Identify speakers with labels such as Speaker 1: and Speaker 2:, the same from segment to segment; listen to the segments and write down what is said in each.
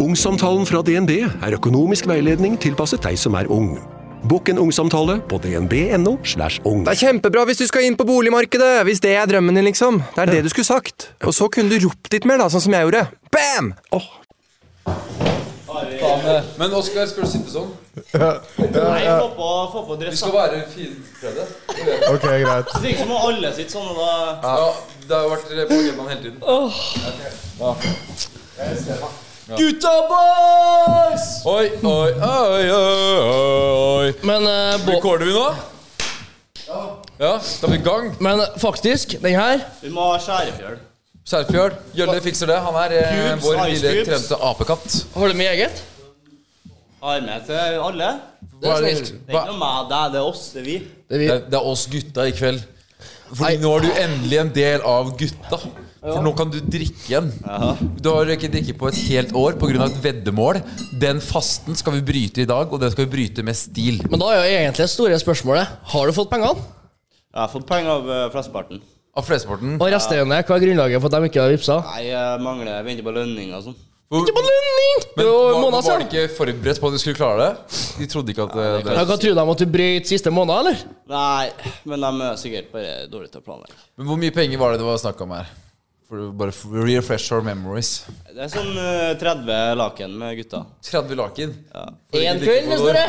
Speaker 1: Ungsamtalen fra DNB er økonomisk veiledning tilpasset deg som er ung. Bokk en ungsamtale på dnb.no. slash ung.
Speaker 2: Det er kjempebra hvis du skal inn på boligmarkedet! Hvis det er drømmen din, liksom. Det er det du skulle sagt. Og så kunne du ropt litt mer, da, sånn som jeg gjorde. Bam!
Speaker 3: Men Oskar, skal du sitte sånn?
Speaker 4: Nei, få på, få på
Speaker 3: Vi
Speaker 4: dress.
Speaker 3: skal
Speaker 4: da.
Speaker 3: være finkledde.
Speaker 5: Ok, greit.
Speaker 4: Det virker som om alle sitter sånn, og da
Speaker 3: Ja, det har jo vært Pokémon hele tiden.
Speaker 4: Gutta boys!
Speaker 3: Oi, oi, oi, oi, oi.
Speaker 6: Men, eh, bo-
Speaker 3: Rekorder vi nå? Ja, da er vi i gang.
Speaker 6: men faktisk, den her
Speaker 4: Vi må ha skjærefjøl.
Speaker 3: Skjerfjørn, Gjølle fikser det. Han er eh,
Speaker 4: Cubes,
Speaker 3: vår
Speaker 4: ice
Speaker 3: lille
Speaker 4: cubes.
Speaker 3: kremte apekatt.
Speaker 6: Har du med eget?
Speaker 4: Har med til alle.
Speaker 6: Det er
Speaker 3: Hva er
Speaker 6: snilt.
Speaker 4: Det er
Speaker 3: Hva?
Speaker 4: ikke noe meg, det er det er oss, det er vi.
Speaker 6: Det er vi.
Speaker 3: Det er, det er oss gutta i kveld. Fordi
Speaker 6: Nei.
Speaker 3: nå er du endelig en del av gutta. For nå kan du drikke igjen. Du har ikke drikket på et helt år pga. et veddemål. Den fasten skal vi bryte i dag, og den skal vi bryte med stil.
Speaker 6: Men da er jo egentlig det store spørsmålet Har du fått pengene?
Speaker 4: Jeg har fått penger av eh, flesteparten.
Speaker 3: Av flesteparten.
Speaker 6: Og resterende, hva er grunnlaget for at de ikke har vippsa?
Speaker 4: Nei, jeg mangler venter på lønning og sånn.
Speaker 3: Hvor-
Speaker 6: Ikke på lønning! Det
Speaker 3: Men
Speaker 6: er jo
Speaker 3: var,
Speaker 6: måneder
Speaker 3: var de
Speaker 6: siden.
Speaker 3: ikke forberedt på at du skulle klare det? De trodde ikke at eh, det,
Speaker 6: Ja, Hva tror de at du brøt siste måned, eller?
Speaker 4: Nei, men de er sikkert bare dårlige til å planlegge.
Speaker 3: Men hvor mye penger var det det var snakk om her? For å bare f- refresh our memories.
Speaker 4: Det er sånn eh, 30 laken med gutta.
Speaker 3: 30 laken.
Speaker 6: Én kveld, hvis dere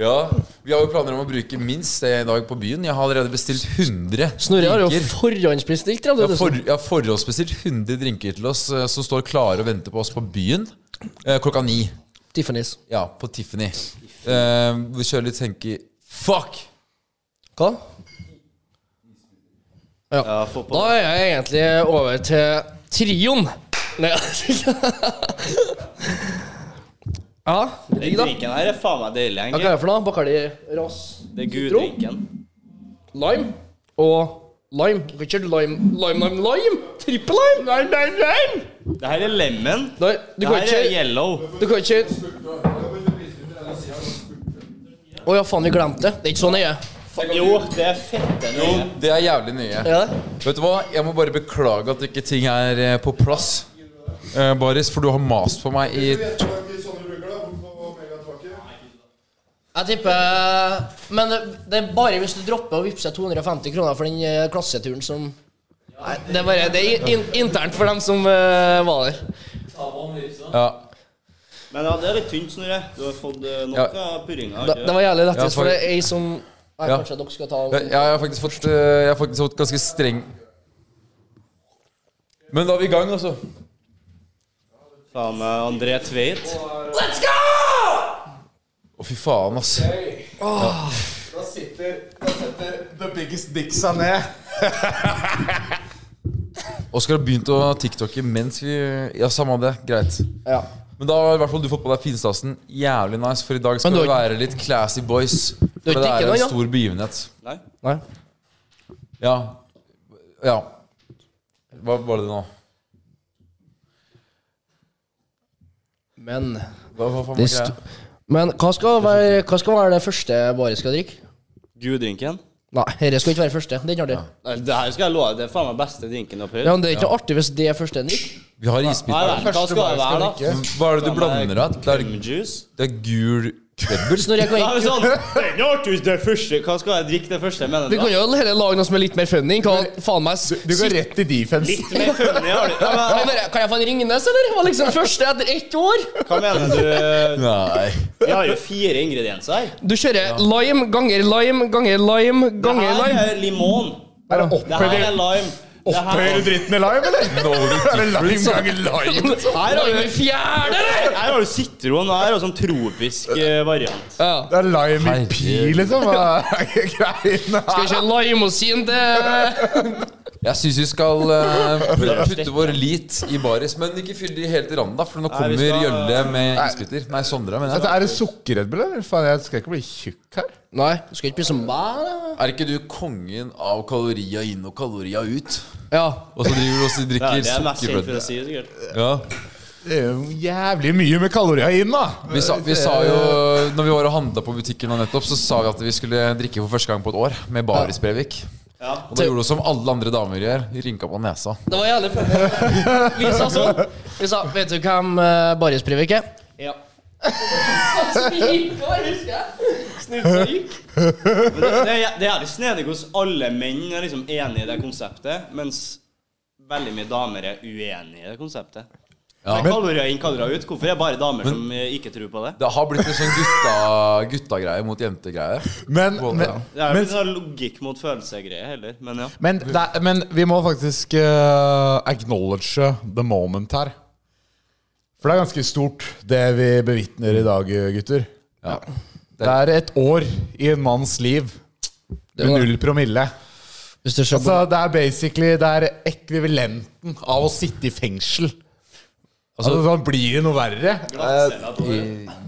Speaker 3: Ja. Vi har jo planer om å bruke minst det i dag på byen. Jeg har allerede bestilt 100
Speaker 6: Snorre har jo
Speaker 3: drinker.
Speaker 6: forhåndsbestilt
Speaker 3: Jeg har,
Speaker 6: 30
Speaker 3: for,
Speaker 6: 000.
Speaker 3: jeg har forhåndsbestilt 100 drinker til oss eh, som står klare og venter på oss på byen eh, klokka ni.
Speaker 6: Tiffany's.
Speaker 3: Ja, på Tiffany. Eh, vi kjører litt henke Fuck!
Speaker 6: Hva?
Speaker 4: Ja, få på
Speaker 6: Da er jeg egentlig over til trioen. Nei Ja,
Speaker 4: Den
Speaker 6: digg, da.
Speaker 4: drinken her er faen meg deilig,
Speaker 6: Ja, Hva er
Speaker 4: egentlig.
Speaker 6: det for noe? Bacardi Ras
Speaker 4: Det er guddrinken.
Speaker 6: Lime og lime. Richard Lime Lime, lime, lime! Trippel lime! Nei, nei, nei!
Speaker 4: Det her er lemon.
Speaker 6: Nei, du
Speaker 4: Det
Speaker 6: kan
Speaker 4: her er
Speaker 6: ikke
Speaker 4: yellow.
Speaker 6: Du kan ikke Å ja, faen, vi glemte det. Det er ikke så nøye.
Speaker 4: Jo, det er fette nøye.
Speaker 3: Det er jævlig nye.
Speaker 6: Er det?
Speaker 3: Vet du hva? Jeg må bare beklage at ikke ting er eh, på plass. Eh, Baris, for du har mast på meg i
Speaker 6: Jeg tipper Men det er bare hvis du dropper å vippse 250 kroner for den eh, klasseturen som Nei, det er bare Det er in internt for dem som eh, var der.
Speaker 3: Ja,
Speaker 4: Men ja, det er litt tynt, Snorre. Du har fått eh, nok
Speaker 3: Ja.
Speaker 4: av purringa.
Speaker 6: Det, det var jævlig lettest,
Speaker 3: Ja, for-
Speaker 6: for det er ei som Nei,
Speaker 3: Ja.
Speaker 6: Kanskje dere skal ta
Speaker 3: jeg, jeg har faktisk fått eh, Jeg har faktisk fått ganske streng Men da er vi i gang, altså.
Speaker 4: Faen meg André Tveit.
Speaker 3: Å, fy faen, ass.
Speaker 5: Ah. Da sitter, da setter The Biggest Dick seg ned.
Speaker 3: Oskar har begynt å TikToke mens vi Ja, samme det. Greit.
Speaker 6: Ja.
Speaker 3: Men da har i hvert fall du fått på deg finstasen. Jævlig nice, for i dag skal
Speaker 6: Men du
Speaker 3: det
Speaker 6: har-
Speaker 3: være litt classy boys. For
Speaker 6: har
Speaker 3: det
Speaker 6: ikke
Speaker 3: er
Speaker 6: noe,
Speaker 3: en
Speaker 6: ja?
Speaker 3: stor begivenhet.
Speaker 4: Nei.
Speaker 6: Nei.
Speaker 3: Ja. Ja. Hva var det nå?
Speaker 6: Men
Speaker 3: Hva, hva faen var
Speaker 6: det
Speaker 3: greia?
Speaker 6: sto... Men hva skal, være, hva skal være det første Bare skal drikke?
Speaker 4: Gudrinken.
Speaker 6: Nei, dette skal ikke være første. Den har det.
Speaker 4: Nei, Det her skal jeg love, det er faen meg beste drinken du har prøvd.
Speaker 6: Ja, men det er ikke noe artig hvis det er første en drikker.
Speaker 3: Vi har
Speaker 4: Nei,
Speaker 3: isbiter.
Speaker 4: nei, hva skal det være, da?
Speaker 3: Hva er det du blander av? Det, er-
Speaker 4: Juice?
Speaker 3: det er gul krøbbel.
Speaker 6: Snorre, jeg kan
Speaker 4: Nei, men
Speaker 6: ikke
Speaker 4: sånn, det er ikke artig hvis det er første. Hva skal jeg drikke det første, mener
Speaker 6: Vi kan
Speaker 4: du? da?
Speaker 6: jo heller lage noe som er litt mer funny. Kan, faen meg s-
Speaker 5: Du går rett i defense.
Speaker 4: Litt mer funny, har du. Ja,
Speaker 6: Kan jeg
Speaker 4: men,
Speaker 6: bare- Kan jeg få en Ringnes, eller? Det var liksom første etter ett år.
Speaker 4: Hva mener du? eh?
Speaker 3: Nei.
Speaker 4: Vi har jo fire ingredienser her.
Speaker 6: Du kjører lime ganger lime ganger lime
Speaker 4: Det
Speaker 6: ganger
Speaker 4: her
Speaker 6: lime.
Speaker 4: er limon. Det her
Speaker 5: Er det
Speaker 4: er
Speaker 5: opphøyde
Speaker 4: lime. Det her
Speaker 5: opphøyde dritten i lime, eller?
Speaker 3: No
Speaker 5: Er det lime ganger lime?
Speaker 4: Her har
Speaker 6: Lime
Speaker 4: du
Speaker 6: i fjerde, eller?
Speaker 4: her har du sitron, og her er jo sånn tropisk eh, variant.
Speaker 6: Ja.
Speaker 5: Det er lime i pi, liksom? Hva er greiene
Speaker 6: Skal
Speaker 5: her?
Speaker 6: ikke limeosin til
Speaker 3: Jeg syns vi skal eh, putte vår lit i baris, men ikke fyll de helt i randen, da, for nå
Speaker 4: vi
Speaker 3: kommer
Speaker 4: skal-
Speaker 3: Gjølle med isbiter. Nei, Sondre, mener jeg.
Speaker 5: Dette Altså, er det sukkerred Bull, eller? Faen, jeg skal ikke bli tjukk her.
Speaker 6: Nei, du skal ikke bli som meg. da.
Speaker 3: Er ikke du kongen av kalorier inn og kalorier ut?
Speaker 6: Ja.
Speaker 3: Og så driver du også og
Speaker 4: Det er
Speaker 3: drikker
Speaker 4: det jeg er mest kjent for å
Speaker 3: sukkerbrød.
Speaker 4: si, sikkert.
Speaker 3: Ja.
Speaker 5: Det er jo jævlig mye med kalorier inn, da.
Speaker 3: Vi, sa, vi sa jo Når vi var og handla på butikken nå nettopp, så sa vi at vi skulle drikke for første gang på et år med Baris Brevik. Og da gjorde hun som alle andre damer gjør. Rynka på nesa.
Speaker 6: Det var jævlig fett. Vi sa sånn. Vi sa Vet du hvem uh, Baris Privik er?
Speaker 4: Ja.
Speaker 6: Snutrik.
Speaker 4: Men Det, det, er- det er jævlig snedig hos alle menn er liksom enig i det konseptet, mens veldig mye damer er uenig i det konseptet.
Speaker 3: Ja.
Speaker 4: Men kaller du inn, kaller du ut. Hvorfor er det bare damer som eh, ikke tror på det?
Speaker 3: Det har blitt en sånn gutta- gutta-greie mot jentegreie.
Speaker 5: Men,
Speaker 3: Både,
Speaker 5: men,
Speaker 3: ja.
Speaker 4: Det er jo
Speaker 5: men,
Speaker 4: ikke sånn logikk mot følelsesgreier heller, men ja.
Speaker 5: men, det er- men vi må faktisk eh, acknowledge the moment her. For det er ganske stort, det vi bevitner i dag, gutter.
Speaker 3: Ja.
Speaker 5: Det er et år i en manns liv med null promille.
Speaker 6: Hvis du ser på
Speaker 5: Så det er basically Det er ekvivalenten av å sitte i fengsel. Altså, da blir det noe verre.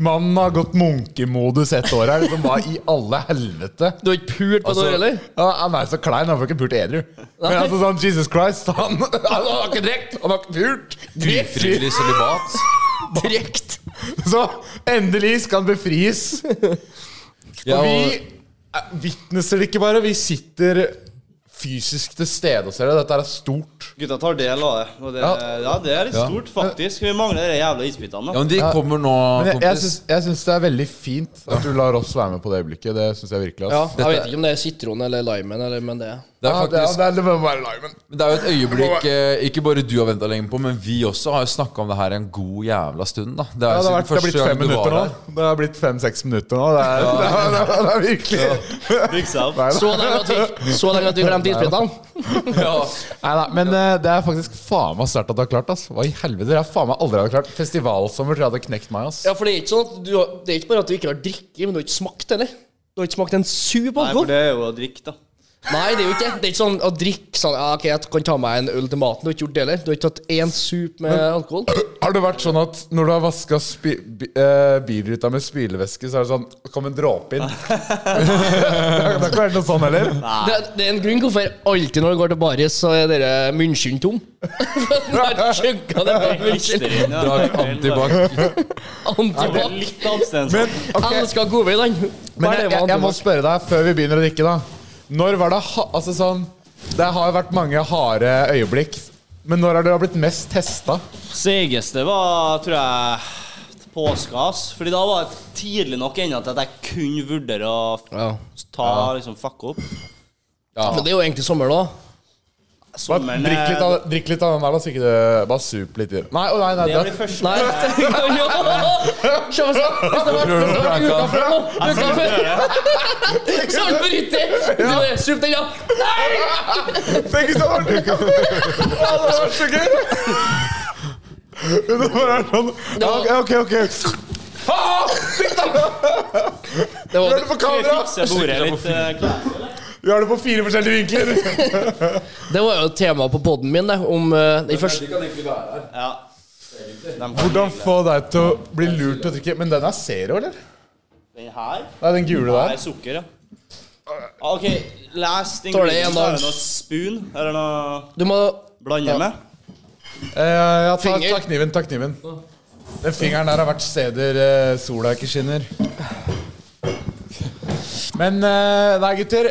Speaker 5: Mannen har gått munkemodus ett år her. Som var i alle helvete. Altså,
Speaker 6: Du har ikke pult på noe, eller?
Speaker 5: Ja, han er så klein, han får ikke pult edru. Men altså sånn, Jesus Christ, han, han har ikke drekt, han har ikke pult. Drekt.
Speaker 3: Ufrivillig sølibat.
Speaker 6: Direkt.
Speaker 5: Så endelig skal han befries.
Speaker 3: Ja,
Speaker 5: og vi
Speaker 3: og-
Speaker 5: eh, vitneser det ikke bare, vi sitter fysisk til stede og ser det. Dette er stort.
Speaker 4: Gutta tar del av det. Og det ja. det er litt stort, faktisk. Vi mangler de jævla isbitene.
Speaker 3: Ja,
Speaker 4: da.
Speaker 3: men de kommer nå,
Speaker 5: Men jeg, jeg,
Speaker 3: kompis.
Speaker 5: syns, jeg syns det er veldig fint at du lar oss være med på det øyeblikket. Det syns jeg virkelig.
Speaker 6: Ja,
Speaker 5: ass.
Speaker 6: jeg vet ikke om det er sitron eller limen, eller, men det
Speaker 3: Det
Speaker 6: er
Speaker 3: er
Speaker 5: Ja, det,
Speaker 3: faktisk
Speaker 5: er- det, er- det må være limen.
Speaker 3: Men Det er jo et øyeblikk eh, ikke bare du har venta lenge på, men vi også har jo snakka om det her en god jævla stund. da Det er
Speaker 5: Ja,
Speaker 3: jo
Speaker 5: det,
Speaker 3: siden
Speaker 5: har vært, det har
Speaker 3: første
Speaker 5: blitt fem
Speaker 3: gang du var
Speaker 5: minutter nå.
Speaker 3: her.
Speaker 5: Det har blitt fem-seks minutter nå. Det er, det er, det er, det er virkelig
Speaker 4: Bygg seg opp.
Speaker 6: Så
Speaker 3: Sånn
Speaker 6: lenge at vi, så lenge at vi glemte isbitene.
Speaker 5: Nei da, men eh, det er faktisk faen meg sterkt at du har klart, ass. Hva i helvete? Det har faen meg aldri hadde klart. Festivalsommer tror jeg hadde knekt meg, ass.
Speaker 6: Ja, for det er ikke sånn at du har, Det er ikke bare at du ikke har drikket, men du har ikke smakt heller. Du har ikke smakt en sup
Speaker 4: Nei, for
Speaker 6: alkohol.
Speaker 4: det er jo å drikke, da.
Speaker 6: Nei, det er jo ikke det. Det er ikke sånn å drikke sånn ja, OK, jeg kan ta meg en øl til maten. Du har ikke gjort det heller. Du har ikke tatt én sup med alkohol.
Speaker 5: Har det vært sånn at når du har vaska spi, bi, eh, bilruta med spylevæske, så er det sånn Kom en dråpe inn. det har det har ikke vært noe sånn heller.
Speaker 6: Det, det er en grunn hvorfor alltid når du går til baris, så er dere munnskyen tom. Du har chugga det på munnskyen.
Speaker 4: Listerine, ja.
Speaker 3: Dag Antibac.
Speaker 4: Det er
Speaker 6: Antibac.
Speaker 4: Litt abstinens.
Speaker 5: Men, ok,
Speaker 6: Elsker godvin, han.
Speaker 5: men jeg, jeg, jeg må spørre deg før vi begynner å drikke, da. Når var det ha, Altså sånn Det har jo vært mange harde øyeblikk. Men når har dere blitt mest testa?
Speaker 4: Seigeste var, tror jeg, påska, ass. Fordi da var jeg tidlig nok ennå til at jeg kunne vurdere å f-
Speaker 6: Ja.
Speaker 4: ta liksom fuck opp.
Speaker 6: Men det er jo egentlig sommer, da.
Speaker 5: Bare
Speaker 4: Sommeren
Speaker 5: Drikk
Speaker 4: eh,
Speaker 5: litt, av- drikk litt av den der, da, så ikke det Bare sup litt i den. Nei, å nei, nei,
Speaker 4: Det
Speaker 5: det-
Speaker 4: blir første
Speaker 6: Nei. Jo! Se hva som- Hvis det var hvis det var uka før nå Uka før! Så han bryter! Du bare Sup den, ja.
Speaker 5: Tenk hvis det hadde vært uka før! Ja, det hadde vært så gøy! Det bare er sånn ja, Ok, ok. ok
Speaker 6: Det var
Speaker 5: Hør det på kamera!
Speaker 4: fikser bordet litt. eh, klart.
Speaker 5: Vi har det på fire forskjellige vinkler.
Speaker 6: Det var jo tema på poden min, det. Om eh, den første
Speaker 4: Ja. De kan
Speaker 5: Hvordan
Speaker 4: hylle.
Speaker 5: få deg til å bli lurt til å drikke Men den er zero, eller?
Speaker 4: Den her
Speaker 5: Nei, den gule
Speaker 4: Nei,
Speaker 5: der.
Speaker 4: sukker, ja. Ah, OK, last
Speaker 6: Tåler det
Speaker 4: ingredients.
Speaker 6: en dag.
Speaker 4: Er det noe spoon? Eller noe
Speaker 6: Du må
Speaker 4: blande med?
Speaker 5: Eh, ja, ta,
Speaker 6: Finger.
Speaker 5: ta kniven, ta kniven. Den fingeren der har vært steder eh, sola ikke skinner. Men eh, nei, gutter.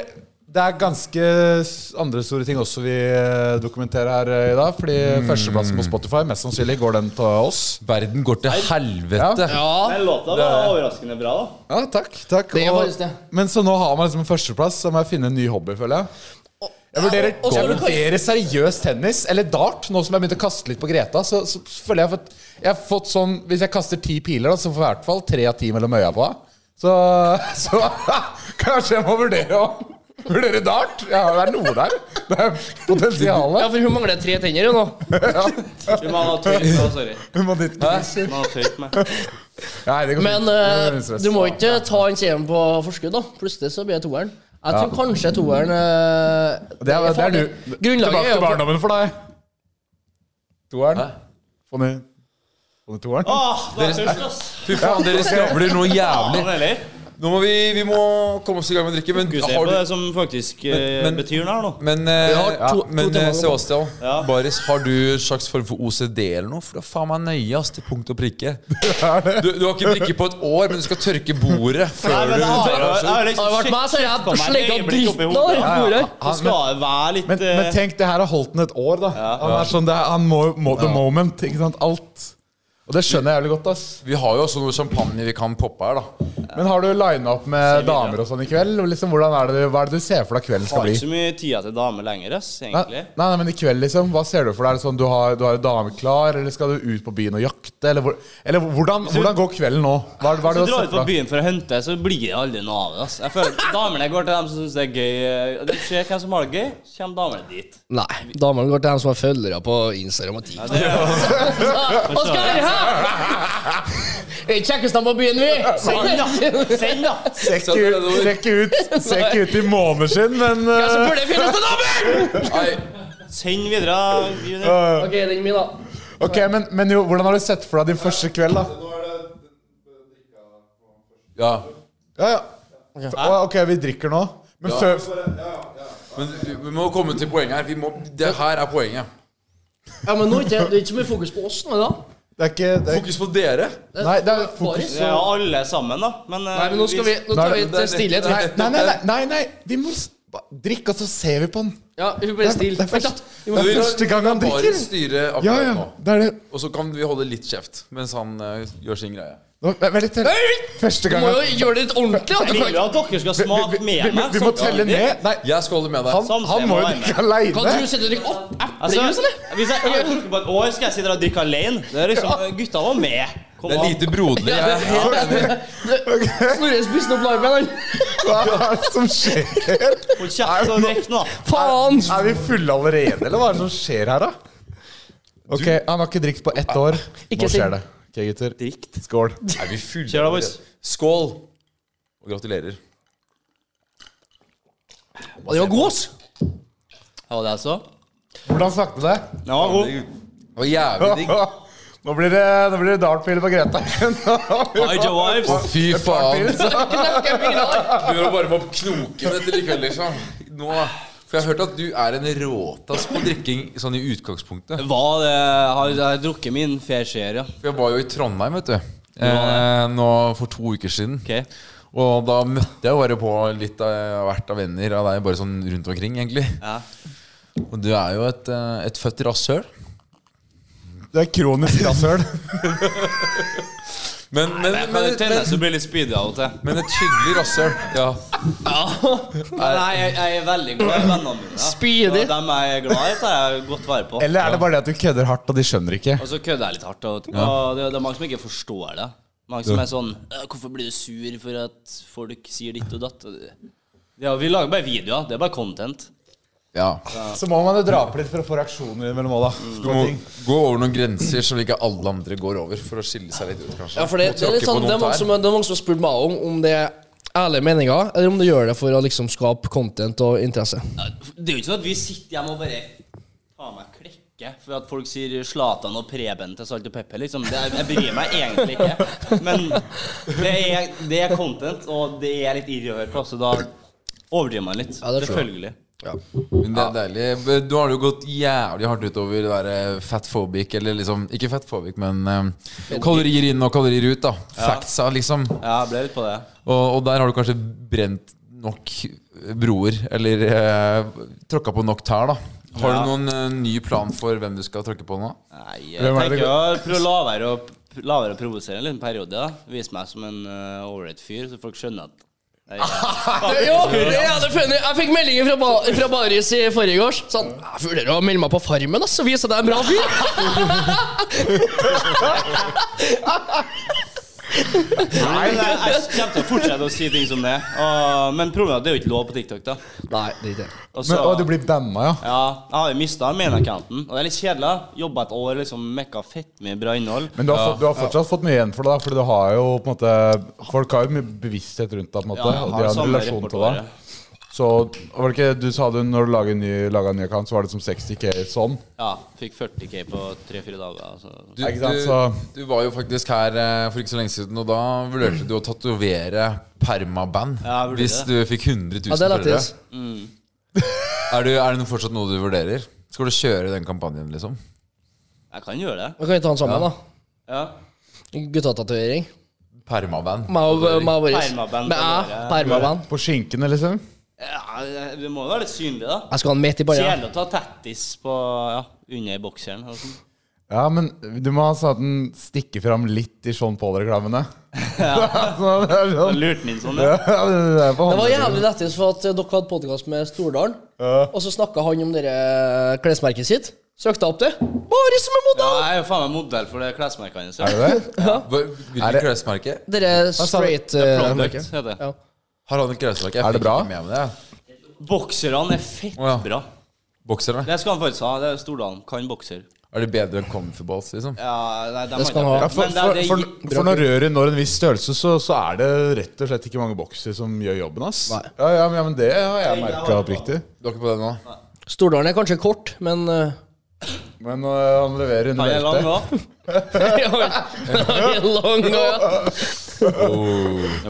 Speaker 5: Det er ganske s- andre store ting også vi eh, dokumenterer her eh, i dag. Fordi førsteplassen på Spotify, mest sannsynlig går den til oss.
Speaker 3: Verden går til helvete.
Speaker 6: Ja.
Speaker 4: Den låta var overraskende bra, da.
Speaker 5: Ja, takk. takk.
Speaker 6: Det er faktisk det.
Speaker 5: men så nå har man liksom en førsteplass, så må jeg finne en ny hobby, føler jeg. Jeg vurderer,
Speaker 6: og så
Speaker 5: jeg
Speaker 6: har du-
Speaker 5: vurderer seriøst tennis eller dart. Nå som jeg begynte å kaste litt på Greta, så, så føler jeg at jeg har fått sånn Hvis jeg kaster ti piler, da, så får jeg i hvert fall tre av ti mellom øya på. henne. Så, så kanskje jeg må vurdere å Vurdere dart? Ja, det er noe der. Det er
Speaker 6: ja,
Speaker 5: potensialet.
Speaker 6: for hun mangler tre tenner jo nå.
Speaker 4: Vi må ha tøyt med, sorry.
Speaker 5: Hun må dit.
Speaker 4: Vi må ha tøyt med.
Speaker 5: Nei, det går
Speaker 6: Men
Speaker 5: fint.
Speaker 6: eh,
Speaker 5: Det går fint.
Speaker 6: du må ikke ta en seieren på forskudd, da. Plutselig så blir det toeren. Jeg tror kanskje toeren eh,
Speaker 5: Det er, det er
Speaker 6: farlig.
Speaker 5: du.
Speaker 6: Grunnlaget
Speaker 5: Tilbake
Speaker 6: er
Speaker 5: til
Speaker 6: jo
Speaker 5: barndommen for deg. Toeren.
Speaker 3: Hæ?
Speaker 5: Få ned Få ned toeren.
Speaker 4: Åh, det er tørst, ass.
Speaker 3: Fy faen, dere skravler noe
Speaker 4: Faen
Speaker 3: jævlig.
Speaker 4: heller.
Speaker 3: Nå må vi, vi må komme oss i gang med å drikke, men
Speaker 4: Fokuser
Speaker 3: har
Speaker 4: på
Speaker 3: du
Speaker 4: det som faktisk eh,
Speaker 3: Men- men-
Speaker 4: betyr noe her nå.
Speaker 3: men, eh,
Speaker 6: har
Speaker 3: ja,
Speaker 6: to- to
Speaker 3: men
Speaker 6: timer
Speaker 3: eh,
Speaker 6: å gå på.
Speaker 3: Sebastian,
Speaker 4: Ja.
Speaker 3: Baris, har du en slags form for OCD eller noe? For du er faen meg nøye ass, til punkt og prikke. Du, du har ikke brikke på et år, men du skal tørke bordet før
Speaker 4: Nei, men
Speaker 3: du
Speaker 4: jeg har- jeg har liksom
Speaker 6: Har det vært
Speaker 4: sjekket
Speaker 6: meg, så har
Speaker 4: på
Speaker 6: jeg
Speaker 4: meg et
Speaker 6: slengt av
Speaker 4: øyeblikk oppi
Speaker 6: dritten
Speaker 4: hodet.
Speaker 6: over bordet.
Speaker 4: Så skal det være litt
Speaker 5: Men, men
Speaker 4: eh,
Speaker 5: tenk, det her har holdt den et år, da. Han er sånn, det er, han må, må the moment. ikke sant, Alt. Og det skjønner jeg jævlig godt. ass
Speaker 3: Vi har jo også noe champagne vi kan poppe her, da.
Speaker 5: Men har du lina opp med damer og sånn i kveld? Og Liksom, hvordan er det, du- hva er det du ser for deg kvelden skal
Speaker 4: Har
Speaker 5: bli?
Speaker 4: ikke så mye tida til dame lenger, ass,
Speaker 5: Nei,
Speaker 4: egentlig.
Speaker 5: nei, nei, men i kveld, liksom. Hva ser du for deg? Er det sånn, du har, du har en dame klar, eller skal du ut på byen og jakte? Eller, hvor, eller hvordan, hvordan går kvelden nå? Hva, er- hva
Speaker 4: Hvis
Speaker 5: er
Speaker 4: du
Speaker 5: det
Speaker 4: drar ut
Speaker 5: du har sett
Speaker 4: på
Speaker 5: for deg?
Speaker 4: byen for å hente, så blir det aldri noe av det. ass. Jeg føler Damene går til dem som syns det er gøy. eh, De ser hvem som har det gøy, så kommer damene dit.
Speaker 6: Nei. Damene går til dem som har følgere på Instagram og TikTok. Hva skal vi her? Vi sjekkes dem på byen, vi.
Speaker 4: Send, da!
Speaker 5: Ser ikke ut, ser ikke ut, ser ikke ut i måneder siden, men
Speaker 6: Ja, så
Speaker 5: eh,
Speaker 6: burde det finnes en dame!
Speaker 3: Nei,
Speaker 4: Send videre. Juni.
Speaker 6: Ok, den er min, da.
Speaker 5: eh, Ok, men, men jo, hvordan har du sett for deg din første kveld, da?
Speaker 3: ja.
Speaker 5: Ja, ja. F- å, Ok, vi drikker nå. Men før
Speaker 3: Men vi- vi må komme til poenget her. Vi må, det her er poenget.
Speaker 6: Ja, men nå er det ikke- det er ikke så mye fokus på oss nå, da.
Speaker 5: Det er ikke det er,
Speaker 3: Fokus på dere.
Speaker 5: Nei, det er fokus
Speaker 6: Baris.
Speaker 4: Ja, alle sammen, da. Men, eh,
Speaker 6: Nei, men nå skal vi Nå tar vi et stillhet.
Speaker 5: Nei, nei, nei, nei, nei, nei. vi må s- ba- drikke, og så ser vi på den.
Speaker 6: Ja, hun ble
Speaker 5: Det er,
Speaker 6: stille.
Speaker 5: det er,
Speaker 6: Vent, da.
Speaker 5: først, det er første gang han
Speaker 3: Bare
Speaker 5: drikker.
Speaker 3: styre akkurat
Speaker 5: Ja, ja,
Speaker 3: nå.
Speaker 5: det er det.
Speaker 3: Og så kan vi holde litt kjeft mens han eh, gjør sin greie.
Speaker 5: Nå, vent- Vent litt. til. Første
Speaker 6: Du
Speaker 5: gang
Speaker 6: må
Speaker 5: han
Speaker 6: jo gjøre det litt ordentlig. Da.
Speaker 4: Jeg vil jo at dere skal
Speaker 5: vi,
Speaker 4: smake
Speaker 5: vi,
Speaker 4: med
Speaker 5: vi,
Speaker 4: meg.
Speaker 5: vi må telle
Speaker 4: samtidig.
Speaker 5: ned. Nei,
Speaker 3: Jeg skal holde med deg.
Speaker 5: han, han må jo drikke aleine.
Speaker 6: Kan du sitte og drikke opp
Speaker 4: Altså,
Speaker 6: eplejus, eller?
Speaker 4: hvis jeg jeg orker på et år, skal jeg sitte der og drikke alene. Det er liksom, Gutta var med. Kom
Speaker 3: Det er
Speaker 4: an.
Speaker 3: lite broderlig. Jeg er helt enig.
Speaker 6: Snorre spiste opp limen, han.
Speaker 5: Hva er det som skjer?
Speaker 4: Hold kjeft og drikk nå.
Speaker 6: Faen!
Speaker 5: Er vi fulle allerede, eller hva er det som skjer her, da? Ok, Han har ikke drukket på ett år.
Speaker 6: Ikke
Speaker 5: Nå
Speaker 6: siden.
Speaker 5: skjer det. Ok, gutter. Skål.
Speaker 3: Er vi fulle?
Speaker 4: Kjør da, boys.
Speaker 3: Skål. Og gratulerer.
Speaker 6: Det var god, ass.
Speaker 4: Det var det jeg så.
Speaker 5: Hvordan smakte det?
Speaker 4: Den var god.
Speaker 3: Det var jævlig digg.
Speaker 5: Nå blir det, nå blir det dartpil på Greta.
Speaker 4: Ija Wives.
Speaker 3: Å, fy faen.
Speaker 6: Knekker fingrene.
Speaker 3: Du må varme opp knoken etter i kveld, liksom. Nå. For jeg har hørt at du er en råtass på drikking sånn i utgangspunktet.
Speaker 4: Hva det har Jeg har drukket min fair share, ja.
Speaker 3: For jeg var jo i Trondheim, vet du. Eh, nå for to uker siden.
Speaker 4: Ok.
Speaker 3: Og da møtte jeg jo bare på litt av hvert av venner av deg, bare sånn rundt omkring, egentlig.
Speaker 4: Ja.
Speaker 3: Og du er jo et, eh, et født rasshøl.
Speaker 5: Det er kronisk rasshøl.
Speaker 3: Men, men,
Speaker 4: Jeg kan
Speaker 3: men,
Speaker 4: jo
Speaker 3: et-
Speaker 4: tenne så blir det litt speedy av og til.
Speaker 3: men et hyggelig rasshøl. Ja.
Speaker 4: Nei, jeg, jeg er veldig glad i vennene mine. ja.
Speaker 6: Speedy.
Speaker 4: Og dem jeg er glad i, tar jeg godt vær på.
Speaker 5: Eller er det bare det at du kødder hardt, og de skjønner ikke?
Speaker 4: Og så kødder jeg litt hardt. Og, og det, det er mange som ikke forstår det. Mange som er sånn «Øh, Hvorfor blir du sur for at folk sier ditt og datt? Og det- Ja, vi lager bare videoer. Det er bare content.
Speaker 3: ja.
Speaker 5: Så må man jo dra på litt for å få reaksjoner mellom alle.
Speaker 3: Du må gå over noen grenser som ikke alle andre går over, for å skille seg litt ut, kanskje.
Speaker 6: Ja, for det,
Speaker 3: Må
Speaker 6: det er
Speaker 3: tråkke
Speaker 6: litt
Speaker 3: på
Speaker 6: sånn, det
Speaker 3: noen
Speaker 6: er mange
Speaker 3: tær.
Speaker 6: som, det er mange som har spurt meg om om det er ærlige meninger, eller om du gjør det for å liksom skape content og interesse.
Speaker 4: Ja, Det er jo ikke sånn at vi sitter hjemme og bare faen meg klekker for at folk sier Zlatan og Preben til Salt og Pepper. Liksom. Det, er- jeg bryr meg egentlig ikke. Men det er, det er content, og det er litt irr å høre på, så da overdriver man litt.
Speaker 6: Ja, det tror jeg.
Speaker 4: Selvfølgelig.
Speaker 3: Men det er deilig. Du har jo gått jævlig hardt utover det derre fatphobic, eller liksom Ikke fatphobic, men eh, kalorier inn og kalorier ut, da. Factsa, liksom. Og,
Speaker 4: Ja, jeg ble litt på det.
Speaker 3: og der har du kanskje brent nok broer, eller eh, tråkka på nok tær, da. Har
Speaker 4: Ja.
Speaker 3: du noen eh, ny plan for hvem du skal tråkke på nå?
Speaker 4: Nei, jeg
Speaker 5: Hvem er det
Speaker 4: tenker å prøve å la være å, la være å provosere en liten periode. da Vise meg som en uh, overrated fyr, så folk skjønner at jeg
Speaker 6: Jo, jeg, hadde funnet, jeg fikk meldinger fra, ba, fra Baris i forrige års. Sånn, jeg vurderer å melde meg på Farmen, ass, og vise at jeg er en bra fyr.
Speaker 4: Nei, men jeg, jeg kommer til å fortsette å si ting som det. Og, men problemet er at det er jo ikke lov på TikTok. da
Speaker 6: Nei, det er ikke det.
Speaker 4: Og
Speaker 5: Men,
Speaker 4: så-
Speaker 5: å, du blir banna, ja.
Speaker 4: Ja, jeg har jo mista main-accounten. Og det er litt kjedelig. da. Jobba et år, liksom mekka fett mye bra innhold.
Speaker 5: Men du har, fått, du har fortsatt fått mye igjen for det, da, Fordi du har jo på en måte Folk har jo mye bevissthet rundt deg, på en måte.
Speaker 4: Ja, jeg
Speaker 5: og
Speaker 4: har
Speaker 5: de har en
Speaker 4: samme
Speaker 5: relasjon til
Speaker 4: repertoire.
Speaker 5: deg. Så var det ikke, du sa det når du laget en ny, laget en ny account, så var det som 60K sånn.
Speaker 4: Ja, fikk 40K på tre-fire dager. altså. Så.
Speaker 3: Du,
Speaker 5: Ikke sant,
Speaker 3: du,
Speaker 5: så-
Speaker 3: du var jo faktisk her eh, for ikke så lenge siden, og da vurderte du å tatovere permaband
Speaker 4: Ja, jeg vurderte
Speaker 3: hvis du fikk 100 000
Speaker 6: Ja, det
Speaker 3: følgere.
Speaker 6: er lættis.
Speaker 3: Er, du, er det noe- fortsatt noe du vurderer? Skal du kjøre den kampanjen, liksom?
Speaker 4: Jeg kan gjøre det.
Speaker 6: Da kan vi ta den sammen,
Speaker 4: Ja.
Speaker 6: da. Guttatatovering.
Speaker 3: Permaband.
Speaker 6: Meg og meg og Boris.
Speaker 4: Permaband
Speaker 6: Men,
Speaker 4: kan
Speaker 6: ja,
Speaker 4: være-
Speaker 6: Permaband.
Speaker 5: På skinkene, liksom.
Speaker 4: ja det- Det må jo være litt synlig, da.
Speaker 6: Jeg skal ha den midt i balla.
Speaker 4: Kjedelig å ta tattis på ja, under bokseren. og sånn.
Speaker 5: Ja, men du må ha sånn at den stikker fram litt i Sean Paul-reklamene. så det
Speaker 4: Da
Speaker 5: er sånn.
Speaker 4: lurte han inn sånn.
Speaker 5: Ja,
Speaker 4: Ja.
Speaker 5: det, er på
Speaker 6: Det var
Speaker 5: håndleddet.
Speaker 6: jævlig lættis for at dere hadde podkast med Stordalen. Og så snakka han om dere klesmerket sitt. Søkte opp det. Boris som er modell!
Speaker 4: jeg er jo faen meg modell for det klesmerket hans.
Speaker 5: Er det det?
Speaker 3: Hva-
Speaker 5: Er
Speaker 3: Hvilket
Speaker 5: det-
Speaker 3: klesmerke?
Speaker 6: Dere straight eh,
Speaker 4: Product,
Speaker 6: merket.
Speaker 4: heter det.
Speaker 6: Ja.
Speaker 3: Har han et klesmerke? Jeg
Speaker 5: Er
Speaker 3: fikk
Speaker 5: det bra?
Speaker 3: ikke Med meg det.
Speaker 4: Bokserne er fett
Speaker 3: Å, ja.
Speaker 4: bra.
Speaker 3: Bokserne?
Speaker 4: Det skal han faktisk ha. Det er Stordalen. Kan bokser.
Speaker 3: Er det bedre enn Comfortballs, liksom?
Speaker 4: Ja, nei, de
Speaker 6: Det skal
Speaker 4: har ikke
Speaker 6: han
Speaker 5: Ja,
Speaker 6: ha.
Speaker 4: det.
Speaker 5: for,
Speaker 4: Men eh,
Speaker 5: for,
Speaker 4: det,
Speaker 5: for,
Speaker 4: det,
Speaker 5: for når røret når en viss størrelse, så, så er det rett og slett ikke mange bokser som gjør jobben. ass ja, ja, men, ja, men det har jeg merka oppriktig.
Speaker 3: Du har ikke på den nå?
Speaker 6: Stordalen er kanskje kort, men eh,
Speaker 5: Men øh, han leverer under
Speaker 4: han er lang
Speaker 5: beltet.
Speaker 4: òg.
Speaker 6: Lang og ja.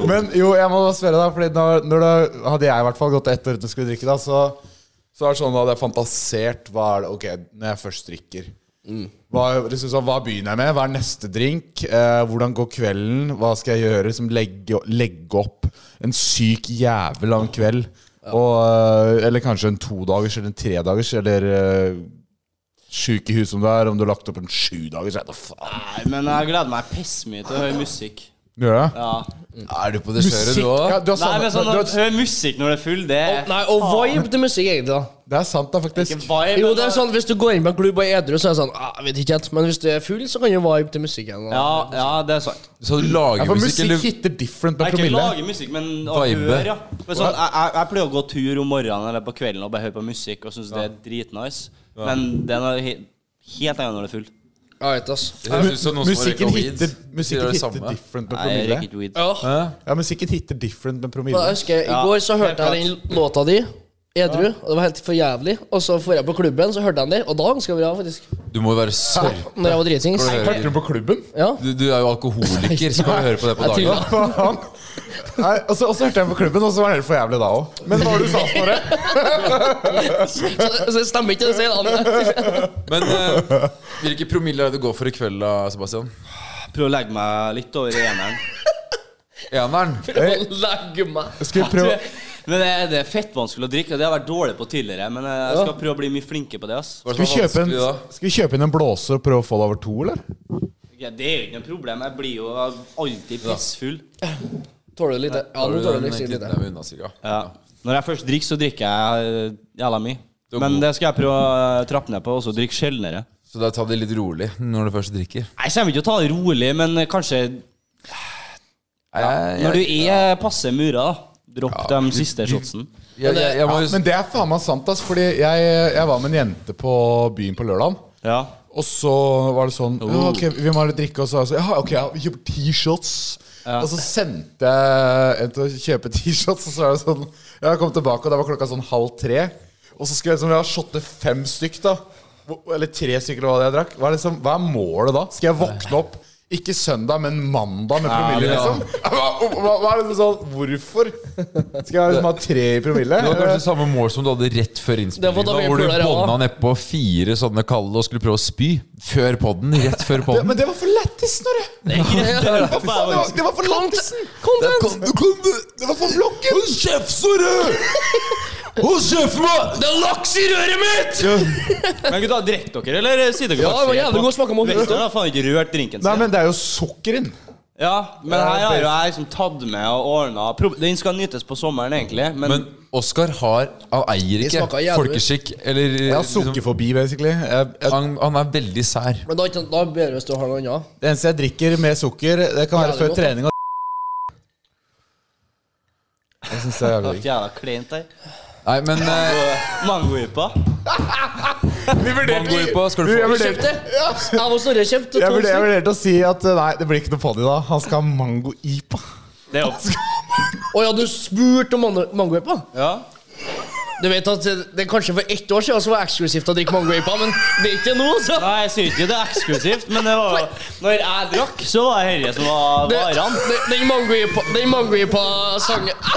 Speaker 5: Men jo, jeg må da spørre deg, Fordi når, når det, hadde jeg i hvert fall gått ett år uten å skulle drikke, da, så, så er det sånn da hadde jeg fantasert hva er det, Ok, når jeg først drikker
Speaker 3: Mm.
Speaker 5: hva, liksom, sånn, hva begynner jeg med? Hva er neste drink? Eh, hvordan går kvelden? Hva skal jeg gjøre? Liksom, legge, legge opp en syk jævel av en kveld. Og, eh, eller kanskje en todagers eller en tredagers, eller eh, sjuk i huet som du er. Om du har lagt opp en sjudagers, jeg vet da faen.
Speaker 4: Nei, men jeg gleder meg pissmye til å høre musikk.
Speaker 5: Gjør du det?
Speaker 4: Ja.
Speaker 3: Er du på det kjøret, du
Speaker 5: Mm. Ja,
Speaker 3: òg?
Speaker 5: du har
Speaker 4: Nei,
Speaker 5: sånne,
Speaker 4: men sånn
Speaker 5: du
Speaker 4: å
Speaker 5: har,
Speaker 4: høre musikk når det er full, det er
Speaker 6: Nei, og vibe til musikk, egentlig. da
Speaker 5: det er sant, da, faktisk.
Speaker 4: ikke vibe.
Speaker 6: Jo,
Speaker 4: men
Speaker 6: det er sånn, Hvis du går inn på en klubb og er edru, så er det sånn ah, jeg vet ikke helt, Men hvis du er full, så kan du vibe til musikken. da.
Speaker 4: Ja, ja, det er sant.
Speaker 3: Så du lager
Speaker 5: Ja, for
Speaker 3: musikk,
Speaker 5: musikk
Speaker 3: eller
Speaker 5: hitter different med
Speaker 4: Jeg kan ikke
Speaker 5: promille.
Speaker 4: lage musikk, men å
Speaker 3: Vibe.
Speaker 4: høre, ja. For sånn, jeg, jeg, jeg pleier å gå tur om morgenen eller på kvelden og bare høre på musikk og synes det er dritnice. Men det er noe he helt annet når det er full.
Speaker 6: Jeg vet, ass.
Speaker 3: Det høres ut som noen som har
Speaker 5: Musikken
Speaker 3: røyka weed.
Speaker 5: hitter,
Speaker 3: Sier
Speaker 5: musikken
Speaker 3: det
Speaker 5: hitter
Speaker 3: samme.
Speaker 5: different med
Speaker 4: Nei, jeg
Speaker 5: promille.
Speaker 4: røyker ikke weed.
Speaker 6: Ja.
Speaker 5: Ja, musikken hitter different med
Speaker 6: Da,
Speaker 5: promille.
Speaker 6: jeg husker, I
Speaker 4: Ja,
Speaker 6: går så hørte jeg
Speaker 4: helt
Speaker 6: den låta di, edru, og det var helt for jævlig. Og så dro jeg på klubben, så hørte jeg den der, og da ganske bra, faktisk.
Speaker 3: Du må jo være sorg.
Speaker 6: Ah, Når jeg var dritings.
Speaker 3: Skal du høre-
Speaker 5: Hørte du på klubben?
Speaker 6: Ja.
Speaker 3: Du, du er jo alkoholiker, så kan du høre på det på
Speaker 6: Jeg
Speaker 3: dagen.
Speaker 6: tuller.
Speaker 5: Faen. Nei, og så og så hørte jeg på klubben, og så var det helt for jævlig da òg. Men hva var det du sa, Snorre?
Speaker 6: Så, så det stemmer ikke, det sier han.
Speaker 3: Men eh, hvilke promille er det du går for i kveld, da, Sebastian?
Speaker 4: Prøv å legge meg litt over i eneren.
Speaker 3: Eneren?
Speaker 6: Legg meg.
Speaker 5: Skal vi prøve
Speaker 4: Men det, det er fettvanskelig å drikke, og det har jeg vært dårlig på tidligere. Men jeg jeg skal prøve å bli mye flinkere på det. ass
Speaker 3: Hva er
Speaker 5: Skal
Speaker 3: det som
Speaker 5: vi
Speaker 3: er
Speaker 5: kjøpe en,
Speaker 3: vanskelig da?
Speaker 5: skal vi kjøpe inn en blåser og prøve å få det over to, eller?
Speaker 4: ja, Det er jo ikke noe problem. Jeg blir jo alltid pissfull.
Speaker 6: Tåler du litt? Ja, nå
Speaker 3: Har
Speaker 6: tåler
Speaker 3: du
Speaker 6: du
Speaker 3: den
Speaker 6: liksom litt.
Speaker 3: knyttneven unna, cirka?
Speaker 4: Ja. Når jeg først drikker, så drikker jeg eh, jævla mye.
Speaker 3: Du er
Speaker 4: Men
Speaker 3: god.
Speaker 4: det skal jeg prøve å eh, trappe ned på, og så drikke sjeldnere.
Speaker 3: Så da ta det litt rolig når du først drikker.
Speaker 4: Jeg kommer ikke til å ta det rolig, men eh, kanskje
Speaker 3: Jeg,
Speaker 4: når
Speaker 3: jeg,
Speaker 4: du er passe mura, da. Dropp de siste shotsen.
Speaker 3: jeg, jeg, jeg må
Speaker 5: Ja, men det er faen meg sant, ass. Fordi jeg, jeg var med en jente på byen på lørdag.
Speaker 4: Ja.
Speaker 5: Og så var det sånn ja, Ok,
Speaker 3: Oh.
Speaker 5: vi må ha litt drikke. Og så var jeg sånn, ja, ok, ja, vi kjøper T-shots. Og så sendte jeg en til å kjøpe T-shots, og så var det sånn Jeg kom tilbake, og da var klokka sånn halv tre. Og så skulle jeg liksom, jeg har shotte fem stykk, da. Hvor- Eller tre stykker, eller hva det jeg drakk. Hva er, liksom, hva er målet da? Skal jeg våkne opp ikke søndag, men mandag med promille,
Speaker 3: Ja, ja.
Speaker 5: liksom? Hva, hva, hva er det sånn Hvorfor? Skal jeg liksom ha tre i promille?
Speaker 3: Det var kanskje samme mål som du hadde rett før
Speaker 6: Det var
Speaker 3: innspillingen.
Speaker 6: da
Speaker 3: Da,
Speaker 6: vi
Speaker 3: hvor du
Speaker 6: pula det av.
Speaker 3: bånda nedpå fire sånne kalde og skulle prøve å spy. Før podden. Rett før
Speaker 5: Ja,
Speaker 3: podden.
Speaker 5: men det var for lættis, Snorre! Det var- det var for lættis!
Speaker 6: Content!
Speaker 5: Det var for blokken!
Speaker 3: Hold kjeft, Snorre! Hold kjeft, mann! Det er laks i røret mitt!
Speaker 4: Men gutta, drikker dere, eller sitter dere
Speaker 6: Ja, det var jævlig god smak av mojito.
Speaker 4: Victor har faen ikke rørt drinken
Speaker 5: Nei,
Speaker 4: sin.
Speaker 5: men det er jo sukker inn.
Speaker 4: Ja, men
Speaker 5: Ja,
Speaker 4: her har
Speaker 5: det-
Speaker 4: jo jeg liksom tatt med og ordna Pro- Den skal nytes på sommeren, egentlig, men,
Speaker 3: Men Oskar har Han eier ikke
Speaker 6: smaker jævlig.
Speaker 3: folkeskikk eller
Speaker 5: Jeg har
Speaker 3: liksom-
Speaker 5: sukkerfobi, basically. Jeg, jeg,
Speaker 3: han, han er veldig sær.
Speaker 6: Men da, er ikke- da er det bedre hvis du har noe annet.
Speaker 5: det eneste jeg drikker med sukker, det kan være
Speaker 6: Jævlig
Speaker 5: før
Speaker 6: godt, da.
Speaker 5: trening og Jeg synes det er jævlig
Speaker 4: det er jævla kleint her.
Speaker 3: Nei, men eh,
Speaker 4: Mangoypa.
Speaker 5: Vi
Speaker 3: mango på, skal du
Speaker 5: Jeg
Speaker 3: få
Speaker 5: vurderte-
Speaker 6: Kjøpte! Jeg og Snorre kjøpte
Speaker 5: jeg
Speaker 6: to
Speaker 5: vurderte jeg
Speaker 6: stykk.
Speaker 5: vurderte å si at eh, nei, det blir ikke noe på det da. Han skal ha mango-ipa.
Speaker 4: Det er jo
Speaker 6: Å ja, du spurte om mango- mangoepa?
Speaker 4: Ja.
Speaker 6: Du vet at det er kanskje for ett år siden så var det eksklusivt å drikke mangoaper, men det er ikke nå, så.
Speaker 4: Nei, jeg sier ikke det er eksklusivt, men det var når jeg drakk, så var det dette som var
Speaker 6: Det,
Speaker 4: varene.
Speaker 6: det, den mangoaper- den mangoaper-sangen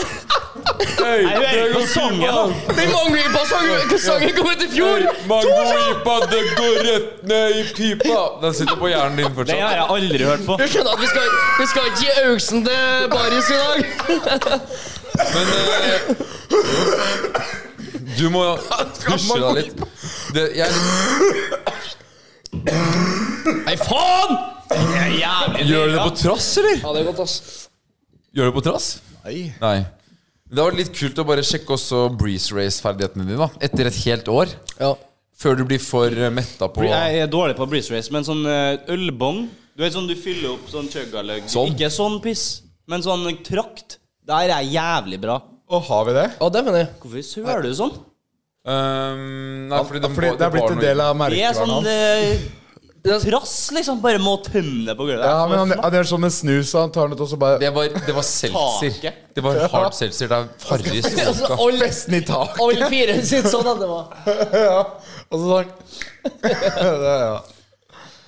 Speaker 4: Jeg hører ikke å synge, da.
Speaker 6: Den mangoaper-sangen kom ut i fjor!
Speaker 3: Mangoipa, det går rett ned i pipa! Den sitter på hjernen
Speaker 4: Det
Speaker 3: din
Speaker 4: har
Speaker 3: fortsatt.
Speaker 4: jeg aldri hørt på.
Speaker 6: Du skjønner at vi skal, vi skal ikke gi Auksen til Baris i dag?
Speaker 3: Men eh, du må dusje deg litt. Det, jeg,
Speaker 6: Nei, faen!
Speaker 4: Jævlig
Speaker 3: gjør du det på trass, eller?
Speaker 6: Ja, det er godt, ass.
Speaker 3: Gjør du det på trass? Nei. Det hadde vært litt kult å bare sjekke også breeze race-ferdighetene dine da etter et helt år.
Speaker 6: Ja.
Speaker 3: Før du blir for eh, metta på
Speaker 4: Jeg er dårlig på breeze race, men sånn eh, ølbong Du vet sånn du fyller opp sånn chuggaløgg
Speaker 3: Sånn.
Speaker 4: Ikke sånn piss, men sånn trakt. Der er jeg jævlig bra.
Speaker 5: Og har vi det?
Speaker 6: Ja, det mener jeg.
Speaker 4: Hvorfor søler du sånn?
Speaker 3: Ehm, Nei, fordi,
Speaker 5: Fordi det er blitt en del
Speaker 4: Det
Speaker 5: av
Speaker 4: er
Speaker 5: merkevaren
Speaker 4: sånn
Speaker 5: hans.
Speaker 4: eh, trass, liksom. Bare må tømme det på gulvet.
Speaker 5: Ja, men han, han gjør sånn med snus, og han tar den ut og så bare
Speaker 3: Det var, det var seltzer.
Speaker 4: Taket.
Speaker 3: Det var hard seltzer. Det er Farris
Speaker 6: Altså,
Speaker 3: vodka.
Speaker 6: alle
Speaker 5: Festen i taket.
Speaker 6: alle fire sitter sånn at det var.
Speaker 5: Og så sånn. det, er, ja.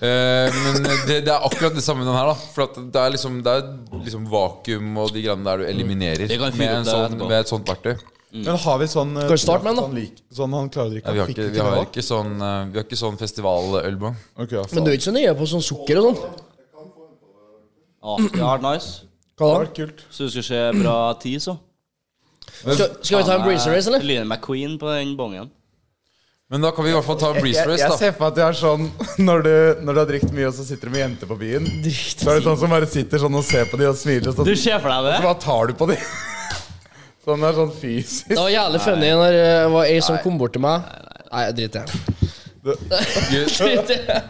Speaker 3: Eh, men det, det er akkurat det samme med den her, da. For at det er liksom, det er liksom vakuum og de greiene der
Speaker 6: Mm.
Speaker 3: du eliminerer
Speaker 4: kan fyre opp
Speaker 3: med, en
Speaker 4: det
Speaker 3: sånn,
Speaker 4: etterpå.
Speaker 3: med et sånt verktøy.
Speaker 5: Men har vi sånn eh,
Speaker 6: Kan vi starte med den, da?
Speaker 5: sånn lik- Sånn han klarer ikke
Speaker 3: Mm. Ja, vi, har
Speaker 5: han fikk
Speaker 3: ikke, vi, har ikke sånn, eh, vi har ikke sånn festivalølbong.
Speaker 5: Ok, ja, faen.
Speaker 6: Men du er ikke så nøye på sånn sukker og sånn?
Speaker 4: Ja, Ah, det har vært nice.
Speaker 6: Hva
Speaker 5: Det
Speaker 6: da?
Speaker 5: var kult.
Speaker 4: Så du skal se bra tid, så.
Speaker 6: Skal, skal vi ta en breezer race, eller?
Speaker 4: Lyne McQueen på den bongen.
Speaker 3: Men da kan vi i hvert fall ta
Speaker 5: Jeg,
Speaker 3: Breeze Race,
Speaker 5: jeg
Speaker 3: da.
Speaker 5: ser for meg at det er sånn når du, når du har drukket mye, og så sitter du med jenter på byen. Så er det sånn som bare sitter sånn og ser på de og smiler og
Speaker 4: Du
Speaker 5: sånn.
Speaker 4: ser for deg det?
Speaker 5: Hva tar du på de? Sånn det er sånn fysisk.
Speaker 6: Det var jævlig funny når eh, det var ei som kom bort til meg. Nei, jeg driter i
Speaker 3: Gud,
Speaker 6: det.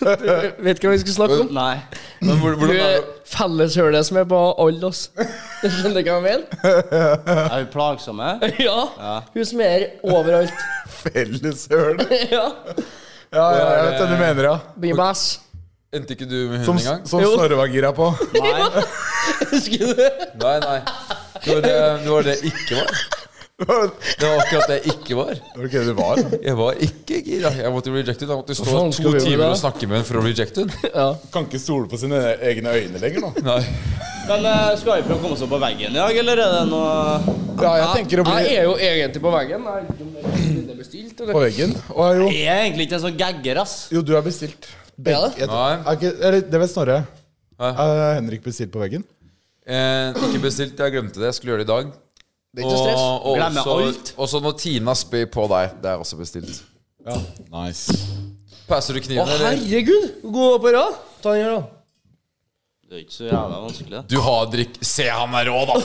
Speaker 6: Vet ikke hva vi skulle snakke om?
Speaker 4: Nei.
Speaker 3: Men hvor-
Speaker 6: Du
Speaker 3: hvordan er
Speaker 6: er
Speaker 3: det?
Speaker 6: felleshølet som er på alle oss. Du skjønner hva jeg mener?
Speaker 4: Er vi plagsomme?
Speaker 6: Ja. Hun som er overalt.
Speaker 5: Felleshøl.
Speaker 6: Ja.
Speaker 5: Ja, ja, jeg vet hva du mener, ja.
Speaker 6: Blir bass.
Speaker 3: Endte ikke du med
Speaker 5: Som,
Speaker 3: hunden engang?
Speaker 5: som
Speaker 6: Jo.
Speaker 5: Snorre var gira på.
Speaker 4: Nei.
Speaker 6: Husker du det?
Speaker 3: Nei, nei. Det var det, det var det jeg ikke var.
Speaker 5: Ok,
Speaker 3: Det var akkurat det jeg ikke var.
Speaker 5: du var
Speaker 3: Jeg var ikke gira. Jeg måtte rejecte den. Jeg måtte stå
Speaker 6: faen skal
Speaker 3: to
Speaker 6: vi gjøre
Speaker 3: timer
Speaker 6: da?
Speaker 3: og snakke med den for å rejecte den.
Speaker 5: Kan ikke stole på sine egne øyne lenger, da.
Speaker 3: Nei.
Speaker 4: Men eh, skal vi prøve å komme oss opp på veggen i dag, eller er det noe
Speaker 5: Ja, jeg tenker å
Speaker 6: Jeg
Speaker 5: bli
Speaker 6: er jo egentlig på veggen. Jeg vet ikke om det er bildet jeg bestilte,
Speaker 5: på
Speaker 6: eller?
Speaker 5: veggen. Og jo,
Speaker 4: Jeg er egentlig ikke en sånn gagger, ass.
Speaker 5: jo, du er bestilt.
Speaker 6: Ja, da.
Speaker 5: Jeg,
Speaker 3: Nei.
Speaker 5: er ikke, eller, det vet Snorre.
Speaker 3: Nei.
Speaker 5: Er Henrik bestilt på veggen?
Speaker 3: Eh, ikke bestilt. Jeg glemte det. Jeg skulle gjøre det i dag.
Speaker 6: Det er ikke stress.
Speaker 3: og
Speaker 4: Glemmer alt.
Speaker 3: også, også når Tina spyr på deg. Det er også bestilt.
Speaker 5: Ja. Nice.
Speaker 3: Passer du
Speaker 6: Å,
Speaker 3: kniven, eller?
Speaker 6: herregud! Gå på rad. Ta den her, da.
Speaker 4: Det er ikke så jævla vanskelig.
Speaker 3: Du har drikk... Se, han er rå, da!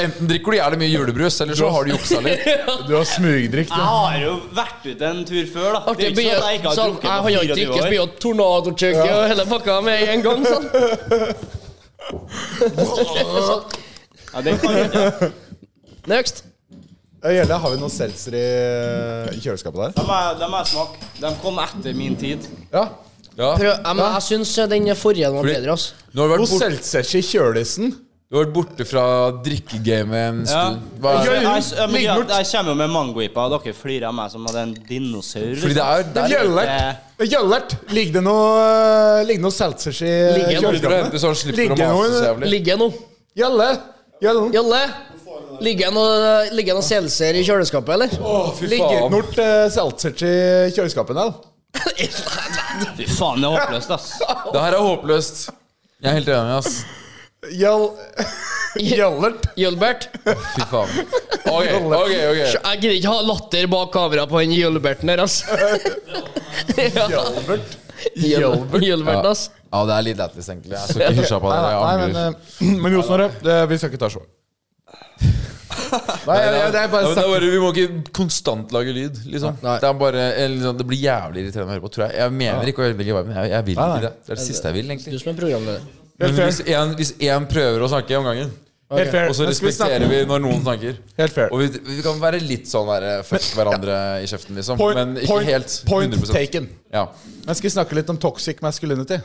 Speaker 3: Enten drikker du jævlig mye julebrus, eller så har du juksa litt.
Speaker 5: Du har smugdrikt.
Speaker 4: Jeg har jo vært ute en tur før, da.
Speaker 6: Artig,
Speaker 4: det er ikke sånn
Speaker 6: begynner-
Speaker 4: at jeg ikke
Speaker 6: sånn,
Speaker 4: har
Speaker 6: jeg har jo
Speaker 4: drukket
Speaker 6: ikke
Speaker 4: på 24 år.
Speaker 6: spydd tornadochugge og hele pakka med en gang, sånn.
Speaker 4: Ja, det kan jeg ikke.
Speaker 6: Next.
Speaker 5: Gjelle, har vi noe seltzer i, i kjøleskapet der?
Speaker 4: De er, de er smak. De kom etter min tid.
Speaker 5: Ja.
Speaker 3: Ja.
Speaker 6: Prøv, jeg, men jeg syns eh, den forrige var
Speaker 3: Fordi-
Speaker 6: bedre, altså.
Speaker 3: Du har
Speaker 5: Noe
Speaker 3: vært, bort,
Speaker 5: seltzers i kjølesen?
Speaker 3: du har vært borte fra drikkegamet en
Speaker 4: Ja.
Speaker 3: stund. Hva er
Speaker 4: Jeg,
Speaker 3: det?
Speaker 4: jeg, jeg, men jeg,
Speaker 5: Ligg bort.
Speaker 4: jeg kommer jo med mangoipa, og dere flirer av meg som hadde en dinosaur.
Speaker 3: Fordi det er, det er
Speaker 5: Gjøllert! Gjøllert! Ligger det noe, ligger det noe seltzers i
Speaker 6: Ligger det noe?
Speaker 3: Du henter
Speaker 5: kjøleskapet?
Speaker 3: så han slipper å
Speaker 5: Ligger
Speaker 3: mase så
Speaker 5: noe-
Speaker 3: jævlig.
Speaker 6: Ligger jeg nå?
Speaker 5: Gjelle! Gjellen!
Speaker 6: Jolle? Ligger jeg noe- ligger jeg noe selser i kjøleskapet, eller?
Speaker 5: Ligger det noe eh, seltzers i kjøleskapet? Nell?
Speaker 4: liksom. Fy faen, det er håpløst, ass.
Speaker 3: Det her er håpløst. Jeg er helt enig, ass.
Speaker 5: Gjell... Gjellert!
Speaker 6: Jølbert?
Speaker 3: Fy faen. Ok, ok, ok.
Speaker 6: Jeg gidder ikke ha latter bak kamera på den altså. Jølberten der, ass.
Speaker 5: Gjellert.
Speaker 6: Jølberten, ass.
Speaker 3: Ja, det er litt lættis, egentlig. Jeg skal ikke hysje på
Speaker 5: Nei,
Speaker 3: det.
Speaker 5: nei,
Speaker 3: Jeg
Speaker 5: men,
Speaker 3: angrer.
Speaker 5: eh, men jo, Snorre, det- vi skal ikke ta show. Nei, jeg, jeg, det er
Speaker 3: Ja, men det
Speaker 5: bare
Speaker 3: er
Speaker 5: sagt.
Speaker 3: bare, vi må ikke konstant lage lyd, liksom. Det, er bare, eller, liksom, det blir jævlig irriterende å høre på, tror jeg. Jeg mener ikke å ødelegge varmen. Jeg, jeg vil
Speaker 5: Nei, nei.
Speaker 3: ikke det. Det er det siste jeg vil, egentlig.
Speaker 6: Du som er programleder.
Speaker 5: Helt
Speaker 3: Men hvis
Speaker 5: fair.
Speaker 3: en, hvis en prøver å snakke om gangen,
Speaker 5: Helt fair.
Speaker 3: og så
Speaker 5: Men skal vi snakke-
Speaker 3: respekterer vi når noen snakker
Speaker 5: Helt fair.
Speaker 3: Og vi, vi kan være litt sånn der fuck hverandre i kjeften, liksom.
Speaker 5: Point-
Speaker 3: men ikke
Speaker 5: point-
Speaker 3: helt.
Speaker 5: point
Speaker 3: 100%.
Speaker 5: taken.
Speaker 3: Ja.
Speaker 5: Men skal vi snakke litt om toxic masculinity?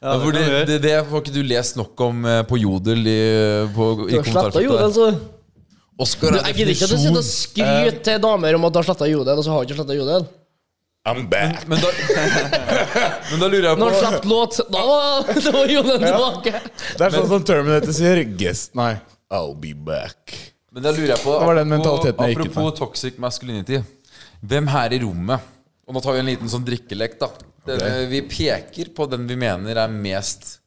Speaker 4: Ja,
Speaker 3: For
Speaker 4: kan
Speaker 3: det,
Speaker 4: vi gjøre.
Speaker 3: det, det får ikke du lest nok om eh, på Jodel i, på, i
Speaker 6: Du har sletta
Speaker 3: kommentarfeltet.
Speaker 6: Jodel,
Speaker 3: der.
Speaker 6: så.
Speaker 3: Oscar er
Speaker 6: Jeg gidder ikke at du sitter
Speaker 3: definisjon
Speaker 6: og skryter til damer om at du har sletta jodel, og så har du ikke sletta jodel.
Speaker 5: I'm back.
Speaker 3: men da, men da lurer jeg
Speaker 6: Når han
Speaker 3: på
Speaker 6: slapp låt, da var, da var jodelen tilbake.
Speaker 5: Det er sånn som Terminator sier. Guess, nei, I'll be back.
Speaker 3: Men da lurer jeg på
Speaker 5: Det var den
Speaker 3: apropos-
Speaker 5: mentaliteten jeg gikk ut
Speaker 3: Apropos toxic masculinity. Hvem her i rommet Og nå tar vi en liten sånn drikkelek, da. Den, eh, Vi peker på den vi mener er mest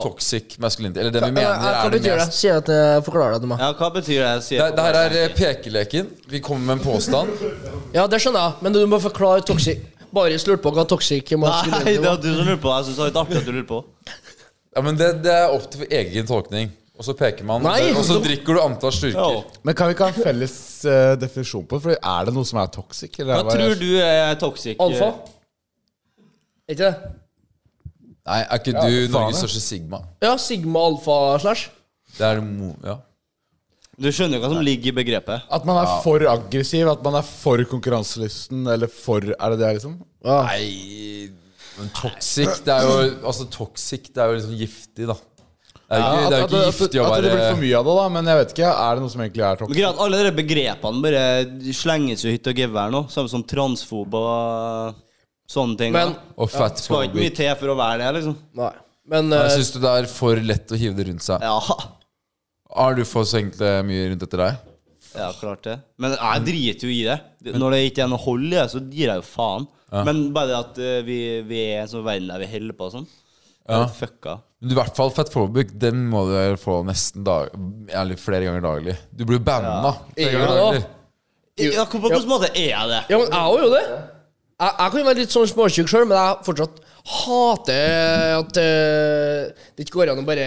Speaker 3: toxic masculinity. Eller den vi mener
Speaker 6: Hva
Speaker 3: er det
Speaker 6: betyr det?
Speaker 3: mest
Speaker 6: Si at jeg forklarer det til meg.
Speaker 4: Ja, hva betyr det? Sier
Speaker 3: det,
Speaker 4: jeg.
Speaker 3: det her er eh, pekeleken. Vi kommer med en påstand.
Speaker 6: Ja, det skjønner jeg, men du må forklare toxic. Baris lurte på hva toxic
Speaker 4: Nei,
Speaker 6: masculinity
Speaker 4: det
Speaker 6: var.
Speaker 4: var du som lurte på. Jeg syns det var litt artig at du lurte på.
Speaker 3: Ja, men det, det er opp til egen tolkning. Og så peker man,
Speaker 6: Nei!
Speaker 3: og så drikker du antall slurker.
Speaker 4: Ja.
Speaker 5: Men kan vi ikke ha en felles eh, definisjon på det? For er det noe som er toxic? Eller er
Speaker 4: Hva
Speaker 5: det bare-
Speaker 4: tror du er toxic?
Speaker 6: Alfa? Er ikke det?
Speaker 3: Nei, er ikke du Norges største Sigma?
Speaker 6: Ja, sigma alfa slash.
Speaker 3: Det er det mo... Ja.
Speaker 4: Du skjønner jo hva som ligger i begrepet.
Speaker 5: At man er for aggressiv? At man er for konkurranselysten? Eller for Er det det, liksom?
Speaker 3: Nei men Toxic, det er jo Altså, toxic, det er jo liksom giftig, da. Det er jo ikke, det er jo
Speaker 5: at,
Speaker 3: ikke
Speaker 5: at, at,
Speaker 3: giftig å
Speaker 5: at det blir for
Speaker 3: være
Speaker 5: mye av det, da. Men jeg vet ikke. Er det noe som egentlig er
Speaker 4: Men
Speaker 5: toxic?
Speaker 4: Greit, alle de begrepene bare slenges jo hit og gevær nå. Samme som transfob og eh, sånne ting.
Speaker 6: Men-
Speaker 4: da.
Speaker 3: Og fat
Speaker 4: Skal ikke mye
Speaker 3: phobic.
Speaker 4: til for å være det, liksom.
Speaker 6: Nei. Men
Speaker 3: Jeg
Speaker 6: eh,
Speaker 3: syns du det er for lett å hive det rundt seg.
Speaker 4: Ja,
Speaker 3: Har du fått slengt det mye rundt etter deg?
Speaker 4: ja klart det. Men jeg driter jo i det. Det- Når det ikke er noe hold i det, så gir jeg jo faen. Men bare det at eh, vi, vi er i en sånn verden der vi holder på og sånn. Ja. Fucka.
Speaker 3: Men du, i hvert fall fat phobic, den må du få nesten dag, eller flere ganger daglig. Du blir banna flere
Speaker 6: Ja.
Speaker 3: ganger daglig.
Speaker 4: Ja, på hvilken måte er jeg det?
Speaker 6: Ja, men jeg òg jo det. Jeg, jeg kan jo være litt sånn småtjukk sjøl, men jeg fortsatt hater at eh, det ikke går an å bare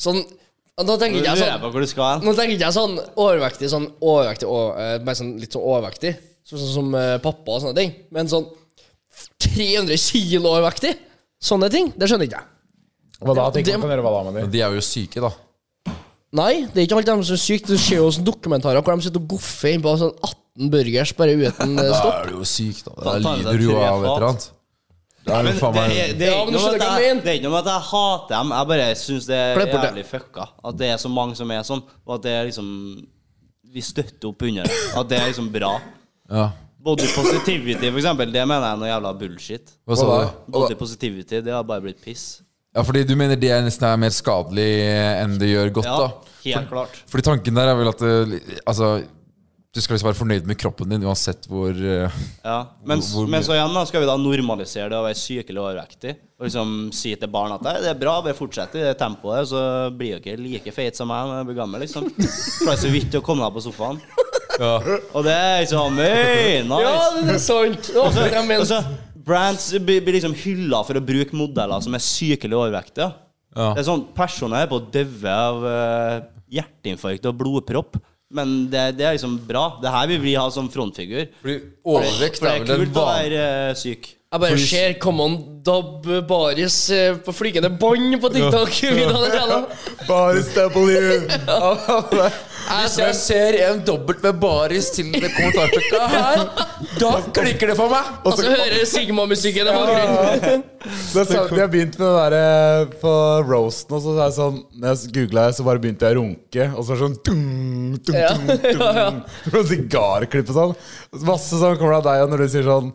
Speaker 6: Sånn Nå tenker
Speaker 4: Nå
Speaker 6: ikke jeg
Speaker 4: lurer jeg
Speaker 6: sånn
Speaker 4: på hvor du skal hen.
Speaker 6: Nå tenker ikke jeg sånn overvektig, sånn overvektig, over, eh, bare sånn litt sånn overvektig. Sånn, sånn som eh, pappa og sånne ting. Men sånn 300 kilo overvektig, sånne ting, det skjønner ikke jeg.
Speaker 5: Hva da?
Speaker 6: det-
Speaker 5: Tenker man kan gjøre hva da med
Speaker 3: Men
Speaker 5: de?
Speaker 3: de er jo syke, da.
Speaker 6: Nei, det er ikke alt dem som er sykt. Du ser jo sånn dokumentarer hvor de sitter og goffer innpå sånn 18 burgers bare uten eh,
Speaker 3: Da
Speaker 6: stopp.
Speaker 3: er du jo syk, da. Da
Speaker 4: Faen, ta i
Speaker 3: lider
Speaker 4: deg
Speaker 3: du jo
Speaker 4: tre
Speaker 3: av et
Speaker 4: fat.
Speaker 3: eller annet. Da er
Speaker 4: Men
Speaker 3: du faen
Speaker 4: det,
Speaker 3: meg
Speaker 4: er- det, er
Speaker 6: Ja,
Speaker 4: ikke
Speaker 6: men
Speaker 4: noe
Speaker 6: du
Speaker 4: med
Speaker 6: skjønner hva
Speaker 4: at
Speaker 6: jeg
Speaker 4: jeg,
Speaker 6: mener.
Speaker 4: det er ikke noe med at jeg hater dem, jeg bare syns det er
Speaker 6: Klipp bort det.
Speaker 4: jævlig fucka. At det er så mange som er sånn, og at det er liksom Vi støtter opp under det. At det er liksom bra.
Speaker 3: ja.
Speaker 4: Body positivity, for eksempel, det mener jeg er noe jævla bullshit.
Speaker 3: Hva sa
Speaker 5: Hva da?
Speaker 3: du?
Speaker 4: Body positivity, det har bare blitt piss.
Speaker 3: Ja, fordi du mener det nesten er mer skadelig enn det gjør godt,
Speaker 4: Ja,
Speaker 3: da?
Speaker 4: helt klart.
Speaker 3: Fordi tanken der er vel at eh, Altså, du skal liksom være fornøyd med kroppen din uansett hvor eh,
Speaker 4: Ja. Men, s-
Speaker 3: Hvor- hvor
Speaker 4: men
Speaker 3: mye?
Speaker 4: så igjen da skal vi da normalisere det å være sykelig overvektig. Og liksom si til barn at «Nei, det er bra, bare fortsett i det tempoet, så blir dere like feite som meg når jeg blir gammel, liksom. Klarer så vidt å komme deg på sofaen. Og det er liksom Hei, nice!
Speaker 6: Ja, det er sant! Det var akkurat det jeg mente.
Speaker 4: Altså, brands blir blir liksom hylla for å bruke modeller som er sykelig overvektige.
Speaker 3: Ja.
Speaker 4: Det er sånn, Personer er på å døve av eh, hjerteinfarkt og blodpropp. Men det, det er liksom bra. Det her vil vi ha som frontfigur.
Speaker 3: Fordi
Speaker 4: For
Speaker 3: overvekt
Speaker 4: det
Speaker 3: er
Speaker 4: er
Speaker 3: vel den
Speaker 4: kult å
Speaker 3: vanlige
Speaker 4: være eh, syk.
Speaker 6: Jeg bare
Speaker 3: Fordi-
Speaker 6: ser Common Dab Baris eh, på flygende bånd på TikTok. videoen der, da.
Speaker 5: Bare stable you!
Speaker 3: Hvis jeg ser en dobbelt med baris til det kommentarfeltet her, da klikker det for meg!
Speaker 6: Og så Altså, hører Sigma-musikken i bakgrunnen.
Speaker 5: Det er sant, jeg begynte med det derre på roasten, og så er det sånn Når jeg googla, så bare begynte jeg å runke, og så var det sånn dung, dung,
Speaker 6: Ja,
Speaker 5: dung, dung.
Speaker 6: ja, ja.
Speaker 5: Sånn Sigarklipp og sånn. Masse sånn kommer det av deg, og når du sier sånn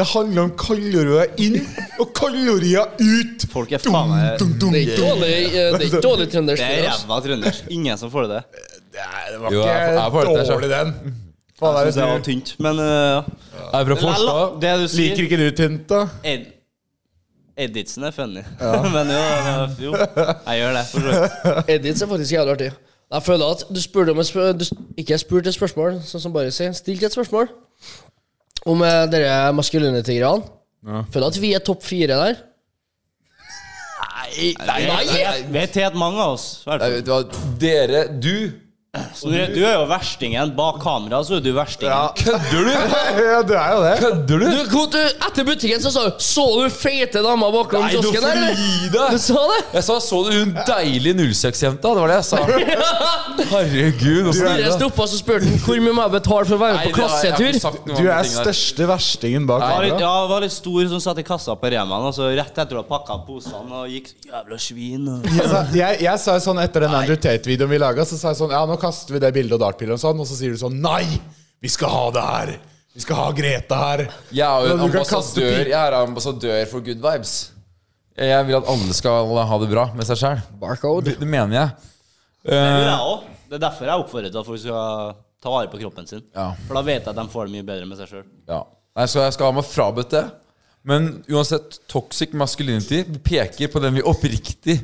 Speaker 5: Det handler om kalorier inn og kalorier ut!
Speaker 4: Folk er faen meg
Speaker 5: Dung, dung.
Speaker 6: Det er ikke dårlig, eh, det er ikke dårlig trøndersk.
Speaker 4: Det
Speaker 6: det,
Speaker 4: er
Speaker 6: altså.
Speaker 4: ræva trøndersk. Ingen som får det til.
Speaker 5: Nei, det var
Speaker 3: Jo, jeg- jeg
Speaker 5: ikke
Speaker 3: følte det selv.
Speaker 5: dårlig, den. Faen,
Speaker 4: Jeg
Speaker 5: er
Speaker 4: synes det var
Speaker 5: det du
Speaker 4: tynt. Men eh,
Speaker 3: Jeg er fra
Speaker 4: Lell, da.
Speaker 3: Forstad.
Speaker 4: Det du sier
Speaker 5: Liker ikke du tynt, da?
Speaker 4: Ed Editsen er funny. men jo, jo, jeg gjør det. For så vidt.
Speaker 6: Edits er faktisk jævlig artig. Jeg føler at du spurte om et spør du s- ikke spurte et spørsmål, sånn som bare sier. Stilt et spørsmål om eh, dere maskulinity-greiene. Føler at vi er topp fire der.
Speaker 4: Nei, Vi er tett mange av oss. i hvert
Speaker 3: Nei,
Speaker 4: fall.
Speaker 3: vet du hva, dere Du
Speaker 4: Så du, du er jo verstingen. Bak kamera så er du verstingen.
Speaker 3: kødder du?!
Speaker 5: Ja, du er jo det.
Speaker 3: Kødder du?!
Speaker 6: Du, Kot, du, etter butikken så sa du Så du feite dama bakom
Speaker 3: Nei, du
Speaker 6: kiosken der?
Speaker 3: får
Speaker 6: eller?
Speaker 3: gi
Speaker 6: Du
Speaker 3: deg!
Speaker 6: sa det?
Speaker 3: Jeg sa så du hun deilige 06-jenta? Det var det jeg sa. Herregud. altså. åssen
Speaker 6: Dere stoppa og spurte han, hvor mye må jeg betale for å være med på klassetur.
Speaker 5: Du er største verstingen bak
Speaker 4: var litt,
Speaker 5: kamera.
Speaker 4: ja, var litt stor som satt i kassa på Remaen. Og så rett etter å ha pakka posene og gikk Jævla svin. og-
Speaker 5: Altså, Jeg, sa- jeg, jeg sa jo sånn etter den Andrew Tate-videoen vi laga, så sa jeg sånn Ja, nå kaster vi det bildet og dartpiler og sånn, og så sier du sånn Nei! Vi skal ha det her! Vi skal ha Grete her!
Speaker 3: Jeg er jo en
Speaker 5: Men du kan kaste
Speaker 3: ambassadør,
Speaker 5: pil-
Speaker 3: jeg er ambassadør for good vibes. Jeg vil at alle skal ha det bra med seg sjøl.
Speaker 6: Barcode.
Speaker 3: Det mener jeg.
Speaker 4: Det gjør
Speaker 3: Eh,
Speaker 4: jeg også. Det er derfor jeg oppfordrer til at folk skal ta vare på kroppen sin.
Speaker 3: Ja.
Speaker 4: For da vet jeg at de får det mye bedre med seg sjøl.
Speaker 3: ja. Nei, så jeg skal ha meg frabedt det. Men uansett, toxic masculinity vi peker på den vi oppriktig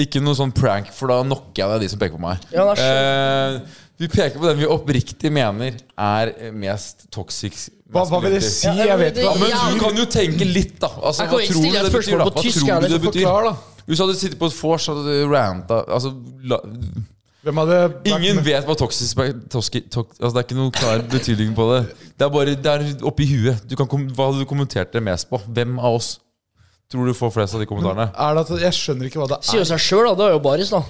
Speaker 3: Ikke noe sånn prank, for da knocker jeg deg, de som peker på meg.
Speaker 6: Ja, da
Speaker 3: eh, vi peker på den vi oppriktig mener er mest toxic
Speaker 5: Hva, hva vil det
Speaker 3: masculinity.
Speaker 5: si? Jeg vet
Speaker 6: det-
Speaker 5: hva
Speaker 3: Men
Speaker 6: Ja.
Speaker 3: du kan jo tenke litt, da. Altså,
Speaker 6: Jeg kan
Speaker 3: hva tror
Speaker 6: ikke
Speaker 3: du
Speaker 6: stille
Speaker 3: det
Speaker 6: et
Speaker 3: betyr, da?
Speaker 6: spørsmål på
Speaker 3: Hva
Speaker 6: tysk,
Speaker 3: tror
Speaker 6: jeg
Speaker 3: du det
Speaker 6: vet ikke.
Speaker 3: betyr?
Speaker 5: Forklar, da.
Speaker 3: Hvis du hadde sittet på et vors, hadde du ranta altså, la,
Speaker 5: Hvem hadde vært
Speaker 3: Ingen
Speaker 5: med?
Speaker 3: vet hva toxisk toski, tok, altså, Det er ikke noen klar betydning på det. Det er bare det er oppi huet. Du kan, kom- hva hadde du kommentert det mest på? Hvem av oss tror du får flest av de kommentarene?
Speaker 5: er det at, Jeg skjønner ikke hva det
Speaker 6: Sier
Speaker 5: er.
Speaker 6: jo seg sjøl, da. Det er jo baris, da.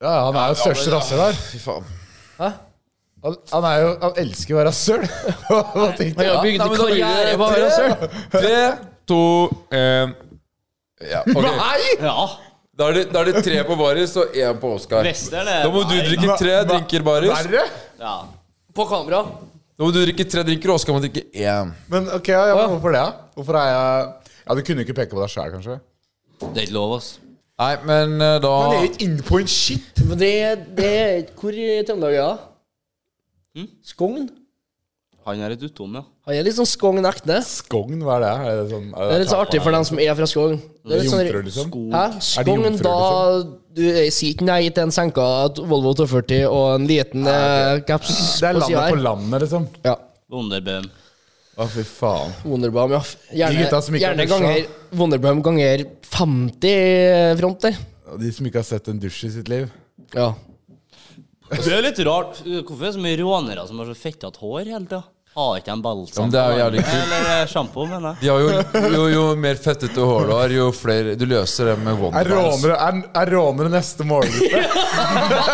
Speaker 5: Ja, ja, han er jo største rasshøl her.
Speaker 3: Fy faen.
Speaker 5: Han, han, er jo, han elsker å være rasshøl. Hva tenkte
Speaker 6: Han
Speaker 5: jeg?
Speaker 6: har bygd
Speaker 3: Nei, men da-
Speaker 6: karriere altså. på å være rasshøl.
Speaker 3: Tre, to, én ja, ok.
Speaker 5: Nei!
Speaker 4: Ja.
Speaker 3: Da er, det, da er det tre på Baris og én på Oskar.
Speaker 4: Western er
Speaker 3: Da må du drikke tre
Speaker 5: Hva-
Speaker 3: drinker Baris.
Speaker 5: Verre?
Speaker 4: Ja.
Speaker 6: På kamera.
Speaker 3: Da må du drikke tre drinker, og Oskar må drikke én.
Speaker 5: Men ok, ja, ja, men hvorfor det? da? Hvorfor er jeg Ja, Du kunne ikke peke på deg sjæl, kanskje?
Speaker 4: Det er ikke lov, ass.
Speaker 3: Nei, men eh, da
Speaker 5: Han er jo ikke inne på en shit.
Speaker 6: Men det, det Hvor i Trøndelag er det?
Speaker 5: Mm?
Speaker 6: Skogn?
Speaker 4: Han er et utom, ja.
Speaker 6: Han er litt sånn Skogn ekte.
Speaker 5: Skogn, hva er det? Er det, sånn,
Speaker 6: Det er litt så artig for dem som er fra Skogn. Det er litt sånn
Speaker 5: jomfruer, liksom?
Speaker 6: Hæ?
Speaker 5: Er det
Speaker 6: Skogn,
Speaker 5: jomfruer, liksom?
Speaker 6: da Du jeg sier ikke nei til en senka Volvo 240 og en liten eh, caps
Speaker 5: Det
Speaker 6: på sida
Speaker 5: er landet på
Speaker 6: her.
Speaker 5: landet, liksom.
Speaker 6: Ja.
Speaker 4: Wonderbøm.
Speaker 5: Å, fy faen.
Speaker 6: Wonderbaum, ja.
Speaker 5: De
Speaker 6: Gjerne,
Speaker 5: gutta som ikke har
Speaker 6: gjerne
Speaker 5: dusja.
Speaker 6: ganger Wonderbaum ganger 50 front der.
Speaker 5: De som ikke har sett en dusj i sitt liv.
Speaker 6: Ja.
Speaker 4: Det er litt rart. Hvorfor er det så mye rånere som har så fettete hår hele tida? Har ikke de
Speaker 3: Ja,
Speaker 4: balsam?
Speaker 3: men det er jo jævlig kult.
Speaker 4: Eller eh, sjampo, mener jeg.
Speaker 3: De har jo, jo, jo mer fettete hår du har, jo flere Du løser det med
Speaker 5: Er
Speaker 3: Wonderboys.
Speaker 5: rånere, er, er rånere neste målgruppe?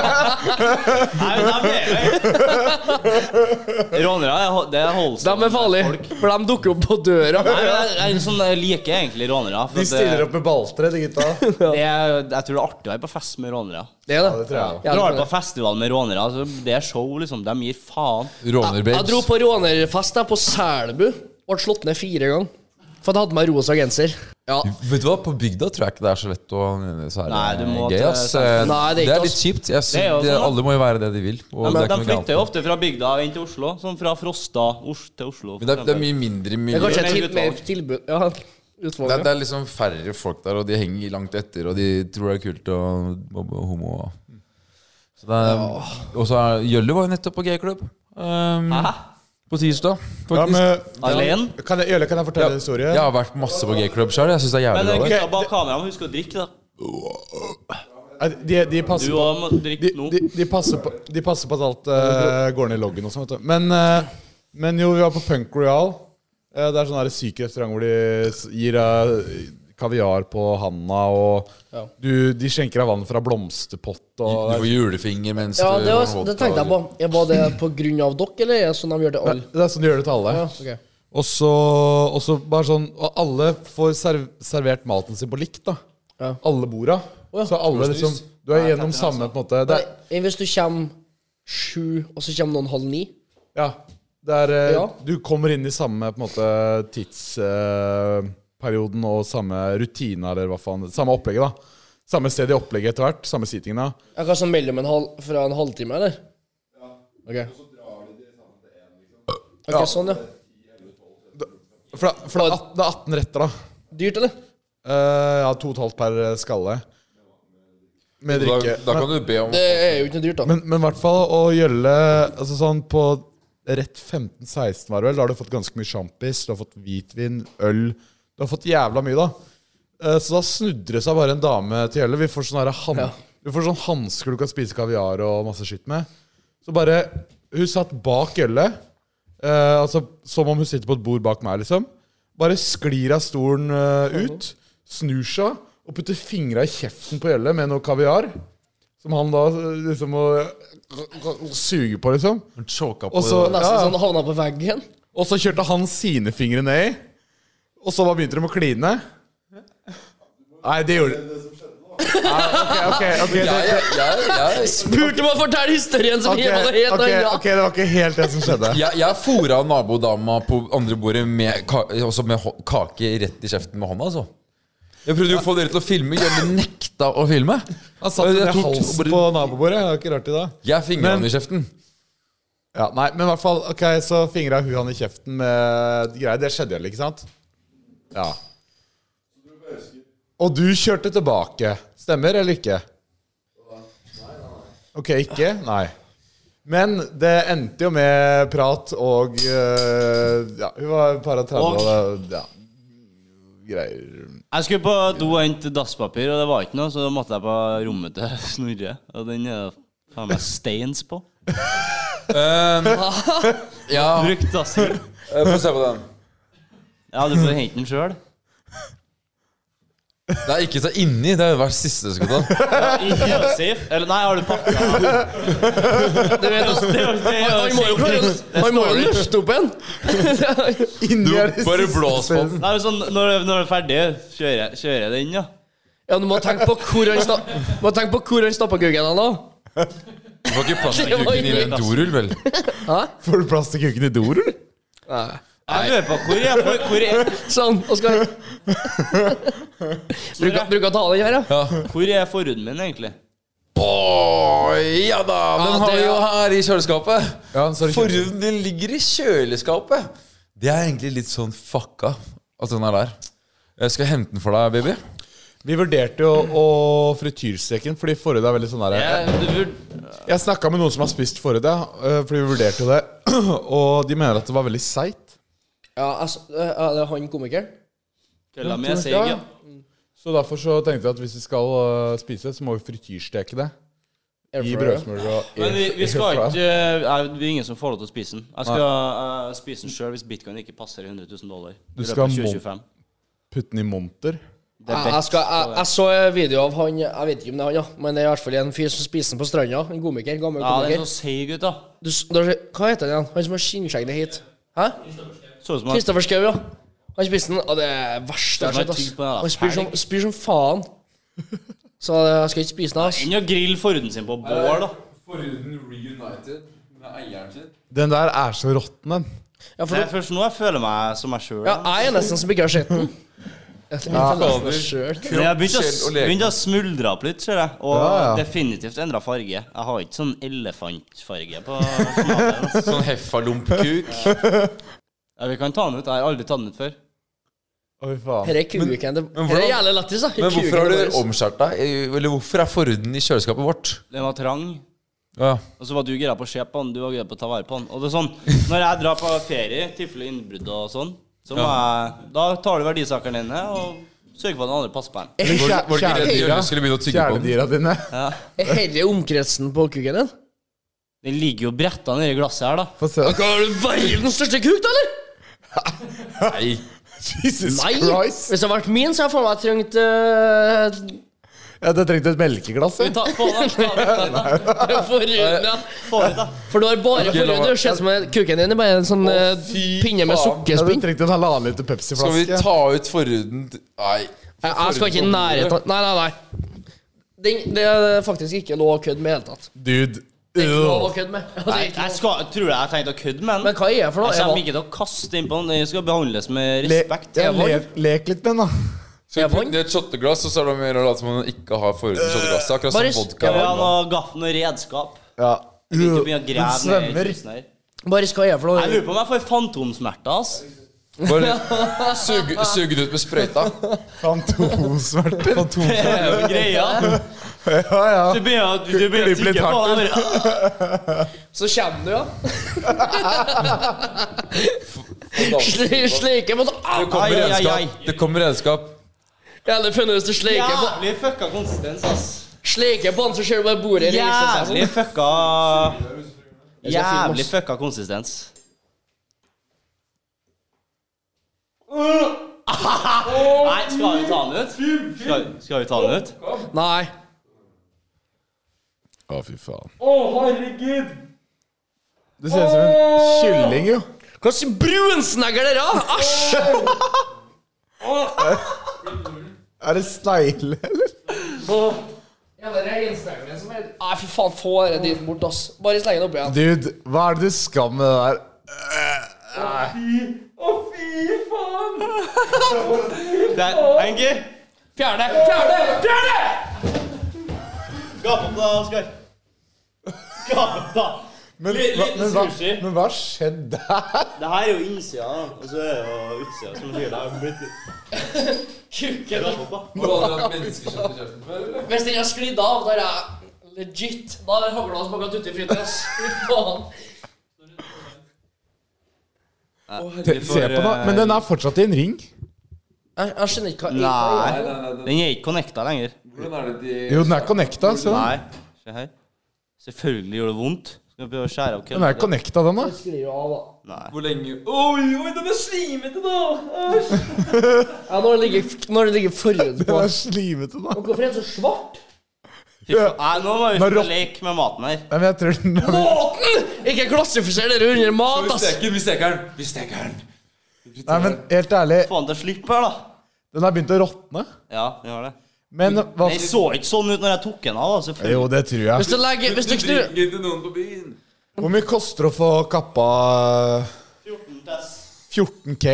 Speaker 4: Nei, men de er jo Rånere er ho- det er
Speaker 6: De
Speaker 4: Holston.
Speaker 6: er farlige, for de dukker opp på døra.
Speaker 4: Nei, men jeg, jeg, er sånn, jeg liker egentlig rånere. For
Speaker 5: De
Speaker 4: at
Speaker 5: stiller
Speaker 4: det,
Speaker 5: opp med balltre, de gutta. Ja,
Speaker 4: det er, jeg tror det er artig å være på fest med rånere.
Speaker 6: Det er
Speaker 5: det
Speaker 6: det.
Speaker 5: tror jeg.
Speaker 6: Ja,
Speaker 4: Drar
Speaker 6: det
Speaker 4: på festival med rånere. Altså, det er show, liksom. De gir faen.
Speaker 6: jeg dro
Speaker 3: Rånerbabes.
Speaker 6: på rånerfest der på Selbu. Ble slått ned fire ganger. For jeg hadde med meg rosa genser. Ja.
Speaker 3: Vet du hva, På bygda tror jeg ikke det er så lett å så er
Speaker 4: Nei,
Speaker 3: det
Speaker 4: du må
Speaker 3: gøy.
Speaker 4: til-
Speaker 3: Ass. Eh,
Speaker 6: Nei, det er
Speaker 3: det,
Speaker 6: ikke
Speaker 3: er litt
Speaker 6: oss.
Speaker 3: kjipt. Jeg
Speaker 4: Det er jo
Speaker 3: synes, det,
Speaker 4: sånn, da.
Speaker 3: alle må jo være det de vil.
Speaker 4: De,
Speaker 3: Og det er
Speaker 4: de
Speaker 3: ikke noe galt.
Speaker 4: flytter jo ofte fra bygda inn til Oslo. Sånn fra Frosta Os til Oslo. for
Speaker 3: Men det, er- det er
Speaker 4: eksempel.
Speaker 3: mye mindre
Speaker 6: Det er
Speaker 3: miljø.
Speaker 6: kanskje
Speaker 4: Mer
Speaker 6: et til,
Speaker 4: utvalg.
Speaker 6: mer tilbud. Ja,
Speaker 3: Det,
Speaker 6: utvalg.
Speaker 3: det er liksom færre folk der, og de henger langt etter, og de tror det er kult å mobbe homo. og- Så det er, og så er Jølle var jo nettopp på gay-klubb. Um,
Speaker 4: Hæ?
Speaker 3: på tirsdag,
Speaker 5: Ja,
Speaker 3: faktisk.
Speaker 5: men,
Speaker 4: Alene?
Speaker 5: kan jeg, Jølle, kan jeg fortelle en historie?
Speaker 3: Jeg har vært masse på gay-klubb sjøl. Jeg syns det er
Speaker 4: Men
Speaker 3: jævlig
Speaker 4: eh,
Speaker 3: bra.
Speaker 4: gutta bak kameraet, husk å drikke, da.
Speaker 5: De, de
Speaker 4: Du
Speaker 5: passer på
Speaker 4: òg må drikke
Speaker 5: de,
Speaker 4: nå.
Speaker 5: de, de, passer på, de passer på at alt eh, går ned i loggen og sånn, vet du. Men, eh, men jo, vi var på Punk Royal. Eh, det er sånn her syk restaurant hvor de s- gir eh, kaviar på handa, og du, de skjenker deg vann fra blomsterpott
Speaker 3: Du
Speaker 5: og
Speaker 3: får julefinger mens
Speaker 6: Ja,
Speaker 3: du
Speaker 6: det, var,
Speaker 3: holder
Speaker 6: det tenkte jeg på. Er Var det på grunn av dere, eller er det sånn de gjør det
Speaker 5: Nei,
Speaker 6: alle?
Speaker 5: Det er sånn de gjør det til alle.
Speaker 6: Ja, ok.
Speaker 5: Og så, og så bare sånn Og alle får serv, servert maten sin på likt, da.
Speaker 6: Ja.
Speaker 5: Alle borda. Så alle liksom Du er gjennom samme på en måte. Det er,
Speaker 6: Nei, Hvis du kommer sju, og så kommer noen halv ni
Speaker 5: ja, det er eh,
Speaker 6: Ja.
Speaker 5: Du kommer inn i samme på en måte tidsperioden perioden og samme rutine, eller hva faen. Samme opplegget, da. Samme sted i opplegget etter hvert. Samme seatinga.
Speaker 6: Jeg kan sånn mellom en halv, fra en halvtime, eller? Ja. Ok. Ok, sånn, ja.
Speaker 5: For, da- for det er at- det er 18 retter, da.
Speaker 6: Dyrt, eller?
Speaker 5: Eh, ja, to og et halvt per eh, skalle. Med
Speaker 3: Da,
Speaker 5: drikke.
Speaker 3: da kan du be om
Speaker 6: Det er jo ikke noe dyrt, da.
Speaker 5: Men, men i hvert fall å gjølle altså sånn på rett 15-16 var det vel, da har du fått ganske mye sjampis, du har fått hvitvin, øl Du har fått jævla mye, da. Eh, Så da snudde det seg bare en dame til gjølle. Vi får sånne her han
Speaker 6: Ja.
Speaker 5: Vi får sånn hansker du kan spise kaviar og masse skitt med. Så bare Hun satt bak gjølle, eh, altså som om hun sitter på et bord bak meg, liksom. Bare sklir av stolen eh, ut, snur seg og putter fingra i kjeften på gjølle med noe kaviar. Som han da liksom må suge på, liksom.
Speaker 3: choka
Speaker 5: Og så,
Speaker 6: Og
Speaker 5: ja,
Speaker 6: Nesten
Speaker 5: ja.
Speaker 6: sånn havna på veggen.
Speaker 5: og så kjørte han sine fingre ned i, og så bare begynte de å kline. Nei, det gjorde Ok, ok, det,
Speaker 3: Jeg, jeg, jeg, jeg,
Speaker 6: Spurte meg å fortelle historien som
Speaker 5: ok,
Speaker 6: hiver det helt
Speaker 5: ok,
Speaker 6: annet.
Speaker 5: ok, det var ikke helt det som skjedde.
Speaker 3: jeg, jeg fora nabodama på andre bordet med, ka også med hå- kake rett i kjeften med hånda, altså. Jeg prøvde jo å få dere til å filme. Jørgen nekta å filme.
Speaker 5: Han satt med
Speaker 3: Jeg tok-
Speaker 5: halsen på nabobordet. Det var ikke rart i dag.
Speaker 3: Jeg fingra
Speaker 5: Men-
Speaker 3: han i kjeften.
Speaker 5: Ja, nei, men i hvert fall, ok, så fingra hun han i kjeften med greier. Det skjedde jo, ikke sant? Ja. Og du kjørte tilbake. Stemmer eller ikke? Ok, ikke? Nei. Men det endte jo med prat og eh, Ja, hun var et par og 30 og ja, greier.
Speaker 4: Jeg skulle på do og hente dasspapir, og det var ikke noe, så da måtte jeg på rommet til Snorre. Og den er det faen meg steins på.
Speaker 5: Eh,
Speaker 3: Eh, Ja,
Speaker 4: Brukt dasspapir.
Speaker 3: eh, Få se på den.
Speaker 4: Ja, du får hente den sjøl.
Speaker 3: Det er ikke så inni. Det er jo hver siste du skal ta.
Speaker 4: I kjølesafe? Eller nei, har du pakka den?
Speaker 6: Du vet, altså,
Speaker 4: Det er jo- det er jo
Speaker 6: han må jo
Speaker 4: safe.
Speaker 6: klare å- Han må jo løfte opp en.
Speaker 5: Inni er
Speaker 3: Du
Speaker 5: det
Speaker 3: bare
Speaker 5: siste
Speaker 3: blås på
Speaker 5: stedet.
Speaker 3: den.
Speaker 4: Nei, men sånn, når, det- når det er ferdig, kjører jeg, kjører jeg den, ja.
Speaker 6: Ja, du må tenke på hvor han sta- du må tenke på hvor han stappa kuken han da.
Speaker 3: Du får ikke plass til
Speaker 6: Det var
Speaker 3: kuken i
Speaker 6: inni.
Speaker 3: en dorull, vel?
Speaker 5: Får du plass til kuken i dorull?
Speaker 4: Jeg lurer på hvor jeg hvor, hvor er,
Speaker 6: Sånn, og skal Bruker bruker å ta den her, ja.
Speaker 4: hvor er forhuden min, egentlig?
Speaker 3: Å, ja da! Den
Speaker 6: Ja,
Speaker 3: har
Speaker 6: det-
Speaker 3: vi jo her i kjøleskapet.
Speaker 5: Ja, så har du kjøpt-
Speaker 3: Forhuden din ligger i kjøleskapet. Det er egentlig litt sånn fucka at den er der. Jeg skal hente den for deg, baby.
Speaker 5: Vi vurderte jo å frityrsteke den, fordi forhuden er veldig sånn der
Speaker 4: Jeg, du, burde-
Speaker 5: Jeg snakka med noen som har spist forhud, ja. eh, Fordi vi vurderte jo det. Og de mener at det var veldig seigt.
Speaker 6: Ja, altså, er det han komikeren?
Speaker 4: kølla mi er seig, ja.
Speaker 5: Så derfor så tenkte vi at hvis vi skal eh, spise det, så må vi frityrsteke det. I brødsmør og
Speaker 4: Men vi, vi skal
Speaker 5: airfryer.
Speaker 4: ikke eh, nei, Det er ingen som får lov til å spise den. Jeg skal eh, spise den sjøl hvis bitcoin ikke passer 100 000 dollar.
Speaker 5: Du
Speaker 4: I løpet
Speaker 5: skal
Speaker 4: av
Speaker 5: ha
Speaker 4: 2025.
Speaker 5: Putte den i monter.
Speaker 4: Det er
Speaker 6: Ah, Jeg, jeg,
Speaker 4: best.
Speaker 6: skal, jeg, jeg så en video av han Jeg vet ikke om det er han, ja. Men det er i hvert fall en fyr som spiser den på stranda. En komiker. Gammel
Speaker 4: Ja, den er
Speaker 6: komiker.
Speaker 4: så seig ut, da.
Speaker 6: Du, s- da, hva heter han igjen? Han som har skinnskjegget hit? Hæ?
Speaker 4: Så ut som at
Speaker 6: Kristoffer Schou, ja. Han spiste den, og det er verst jeg
Speaker 4: Skal
Speaker 6: har sett.
Speaker 4: man tygge på den, da?
Speaker 6: ass. Han spyr som, spyr som faen. Så jeg skal ikke spise den, ass.
Speaker 4: Inn og grill forhuden sin på bål, da.
Speaker 3: Forhuden reunited med eieren sin.
Speaker 5: Den der er så råtten, den.
Speaker 6: Ja, for,
Speaker 4: Det er
Speaker 6: nå-
Speaker 4: først nå jeg føler meg som meg sjøl.
Speaker 6: ja, jeg er nesten som ikke har sett den. Jeg føler nesten det selv.
Speaker 4: Men jeg begynte å,
Speaker 3: Kropp, sjel og leken.
Speaker 4: begynte å smuldre opp litt, ser jeg. Og
Speaker 5: Ja, ja.
Speaker 4: definitivt endra farge. Jeg har ikke sånn elefantfarge på smaken. ass.
Speaker 3: Sånn heffalompkuk.
Speaker 4: Ja, vi kan ta den ut. Jeg har aldri tatt den ut før.
Speaker 5: Oi, faen.
Speaker 6: Her er kuken. Det
Speaker 3: men
Speaker 6: her er
Speaker 3: hvordan-
Speaker 6: jævlig lættis, da.
Speaker 3: Men hvorfor har
Speaker 6: Kuken
Speaker 3: du
Speaker 6: vår.
Speaker 3: omskjært deg? Eller hvorfor er forhuden i kjøleskapet vårt?
Speaker 4: Den var trang.
Speaker 3: Ja.
Speaker 4: Og så var du gira på å se på den, du var gira på å ta vare på den. Og det er sånn, Når jeg drar på ferie, tilfelle innbrudd og sånn, så må jeg Da tar du verdisakene dine og sørger for at den andre passer på den.
Speaker 3: Var, du- var du ikke redd
Speaker 5: Kjæledyra.
Speaker 3: Jørgen skulle begynne å tygge på den?
Speaker 5: Kjæledyra dine.
Speaker 6: Er hele omkretsen på kuken din?
Speaker 4: Den ligger jo bretta nedi glasset her, da.
Speaker 5: Få se.
Speaker 6: Har du verdens største kuk, da, eller?
Speaker 3: Nei.
Speaker 5: Jesus
Speaker 6: Nei!
Speaker 5: Christ.
Speaker 6: Hvis det hadde vært min, så hadde jeg faen meg trengt eh,
Speaker 5: Ja, du trengte et melkeglass.
Speaker 4: Ta, få den, ta den, ta den.
Speaker 6: forhuden, ja.
Speaker 4: Få den ut, da.
Speaker 6: For du har bare
Speaker 3: la
Speaker 6: forhuden.
Speaker 3: meg-
Speaker 6: Det ser ut som en- kuken din er bare en sånn eh,
Speaker 3: fy
Speaker 6: pinne med
Speaker 3: faen.
Speaker 5: Ja, du
Speaker 6: sukkerspinn.
Speaker 5: trengte en halvannen liter
Speaker 3: Skal vi
Speaker 5: Pepsi-flaske.
Speaker 3: ta ut forhuden til- Nei.
Speaker 6: Jeg, jeg skal ikke i nærheten av- Nei, nei, nei. Den- det er faktisk ikke lov å kødde med i det hele tatt.
Speaker 5: Dude.
Speaker 6: Det er ikke lov å
Speaker 5: Ugh.
Speaker 6: kødde med. Ja, det er
Speaker 4: Jeg,
Speaker 6: ikke
Speaker 4: jeg
Speaker 6: lov.
Speaker 4: skal, tror du jeg tenkte å kødde med
Speaker 6: Men
Speaker 4: den?
Speaker 6: hva er det for noe?
Speaker 4: Jeg kommer
Speaker 6: Evan?
Speaker 4: ikke til å kaste innpå den. Den skal behandles med
Speaker 5: Le,
Speaker 4: respekt.
Speaker 5: ja,
Speaker 6: Evan?
Speaker 5: le, lek litt med den, da.
Speaker 3: Skal vi
Speaker 6: Evan?
Speaker 3: putte den i et shotteglass, og så er det mer å late som om den ikke har forhuden i shotteglasset? Akkurat som
Speaker 6: Boris,
Speaker 3: vodka.
Speaker 4: Skal vi ha
Speaker 3: har.
Speaker 4: noe gaffel og redskap?
Speaker 5: Ja.
Speaker 4: Ikke begynne å
Speaker 5: Den
Speaker 4: grave ned i
Speaker 5: svømmer.
Speaker 4: kisten her.
Speaker 6: Bare hva er det for
Speaker 4: Jeg
Speaker 6: noe?
Speaker 4: lurer på om jeg får fantomsmerter, ass.
Speaker 3: Bare suge, suge det ut med sprøyta.
Speaker 5: Fantomsmerter.
Speaker 4: Det er jo greia.
Speaker 5: Ja, ja.
Speaker 4: Du begynner, å- du begynner å
Speaker 5: Klipp litt
Speaker 4: tygge på
Speaker 5: hardt
Speaker 4: den. bare, «Åh!»
Speaker 6: Så kommer du, ja. Sli- Sleiker mot Au!
Speaker 3: Det kommer
Speaker 4: Ai, ai, ai.
Speaker 3: redskap. Det kommer redskap.
Speaker 6: Jævlig funnet hvis du sleiker på
Speaker 4: Jævlig fucka konsistens, ass.
Speaker 6: Sleiker på han, så ser du bare bordet reiser seg
Speaker 4: Jævlig
Speaker 6: sånn.
Speaker 4: fucka
Speaker 6: skal filme
Speaker 4: Jævlig
Speaker 6: oss.
Speaker 4: fucka konsistens. Nei, skal vi ta den ut? Skal, skal vi ta den ut?
Speaker 6: sånn. Nei.
Speaker 5: Å, fy faen. Å, herregud! Det ser ut som en kylling, jo.
Speaker 6: Hva slags brunsnegler er det? da? Æsj!
Speaker 5: Er det snegle, eller?
Speaker 4: på
Speaker 6: Ja, det er Instagramen som er Nei, fy faen, få det dit bort, ass. Bare sleng det oppi igjen.
Speaker 5: Dude, hva er det du skal med det der?
Speaker 4: Der, Enki!
Speaker 6: Fjern det! Fjern det! Fjern det!
Speaker 4: Gap opp, da, Oskar. Gap opp, da.
Speaker 5: Men,
Speaker 4: Li-
Speaker 5: hva,
Speaker 4: liten
Speaker 5: men, hva,
Speaker 4: sushi.
Speaker 5: men hva skjedde der?
Speaker 4: Det her er jo innsida, og så er det jo utsida som sier det. er blitt- Gap
Speaker 6: Kuken.
Speaker 4: opp, da.
Speaker 3: Har du aldri hatt menneskekjøtt i kjeften før, eller?
Speaker 6: Hvis den har sklidd av, da er jeg legit Da er hagla som akkurat ute i fryten, ass. Fy faen.
Speaker 5: Se se på den, men den er fortsatt i en ring.
Speaker 6: Jeg, jeg skjønner ikke hva
Speaker 4: Nei.
Speaker 3: Nei, nei, nei,
Speaker 4: Den er ikke connecta lenger.
Speaker 3: Hvordan er det de
Speaker 5: Jo, den er connecta. Se da.
Speaker 4: Nei. Se her. Selvfølgelig gjør det vondt. Skal vi prøve å skjære av
Speaker 5: Den er
Speaker 4: kølla?
Speaker 5: connecta, den, da.
Speaker 6: jeg skriver av, da.
Speaker 4: Nei.
Speaker 3: Hvor lenge Oi, oi, den er slimete, da!
Speaker 6: Ja, når det ligger, når det ligger forhud
Speaker 5: Den
Speaker 6: på.
Speaker 5: er slimete, da.
Speaker 6: Men hvorfor er den så svart?
Speaker 4: Fy faen. Nei, nå må vi
Speaker 5: Nå
Speaker 4: ikke
Speaker 5: rock-
Speaker 4: leke med maten her.
Speaker 5: Nei, men jeg tror den
Speaker 6: Maten! Ikke klassifiser dere under mat,
Speaker 3: Vi
Speaker 6: ass.
Speaker 3: steker den, vi steker den! Vi steker den!
Speaker 5: Nei, men helt ærlig,
Speaker 4: Få han til å slippe her, da.
Speaker 5: den har begynt å råtne.
Speaker 4: Ja, den gjør det.
Speaker 5: Men hva
Speaker 4: Den så ikke sånn ut når jeg tok den av. da,
Speaker 5: Jo,
Speaker 4: selvfølgelig.
Speaker 5: det tror jeg.
Speaker 6: Hvis du legger Hvis du knu...
Speaker 3: drikker til noen på byen.
Speaker 5: Hvor mye koster det å få kappa
Speaker 4: 14 tess.
Speaker 5: 14K?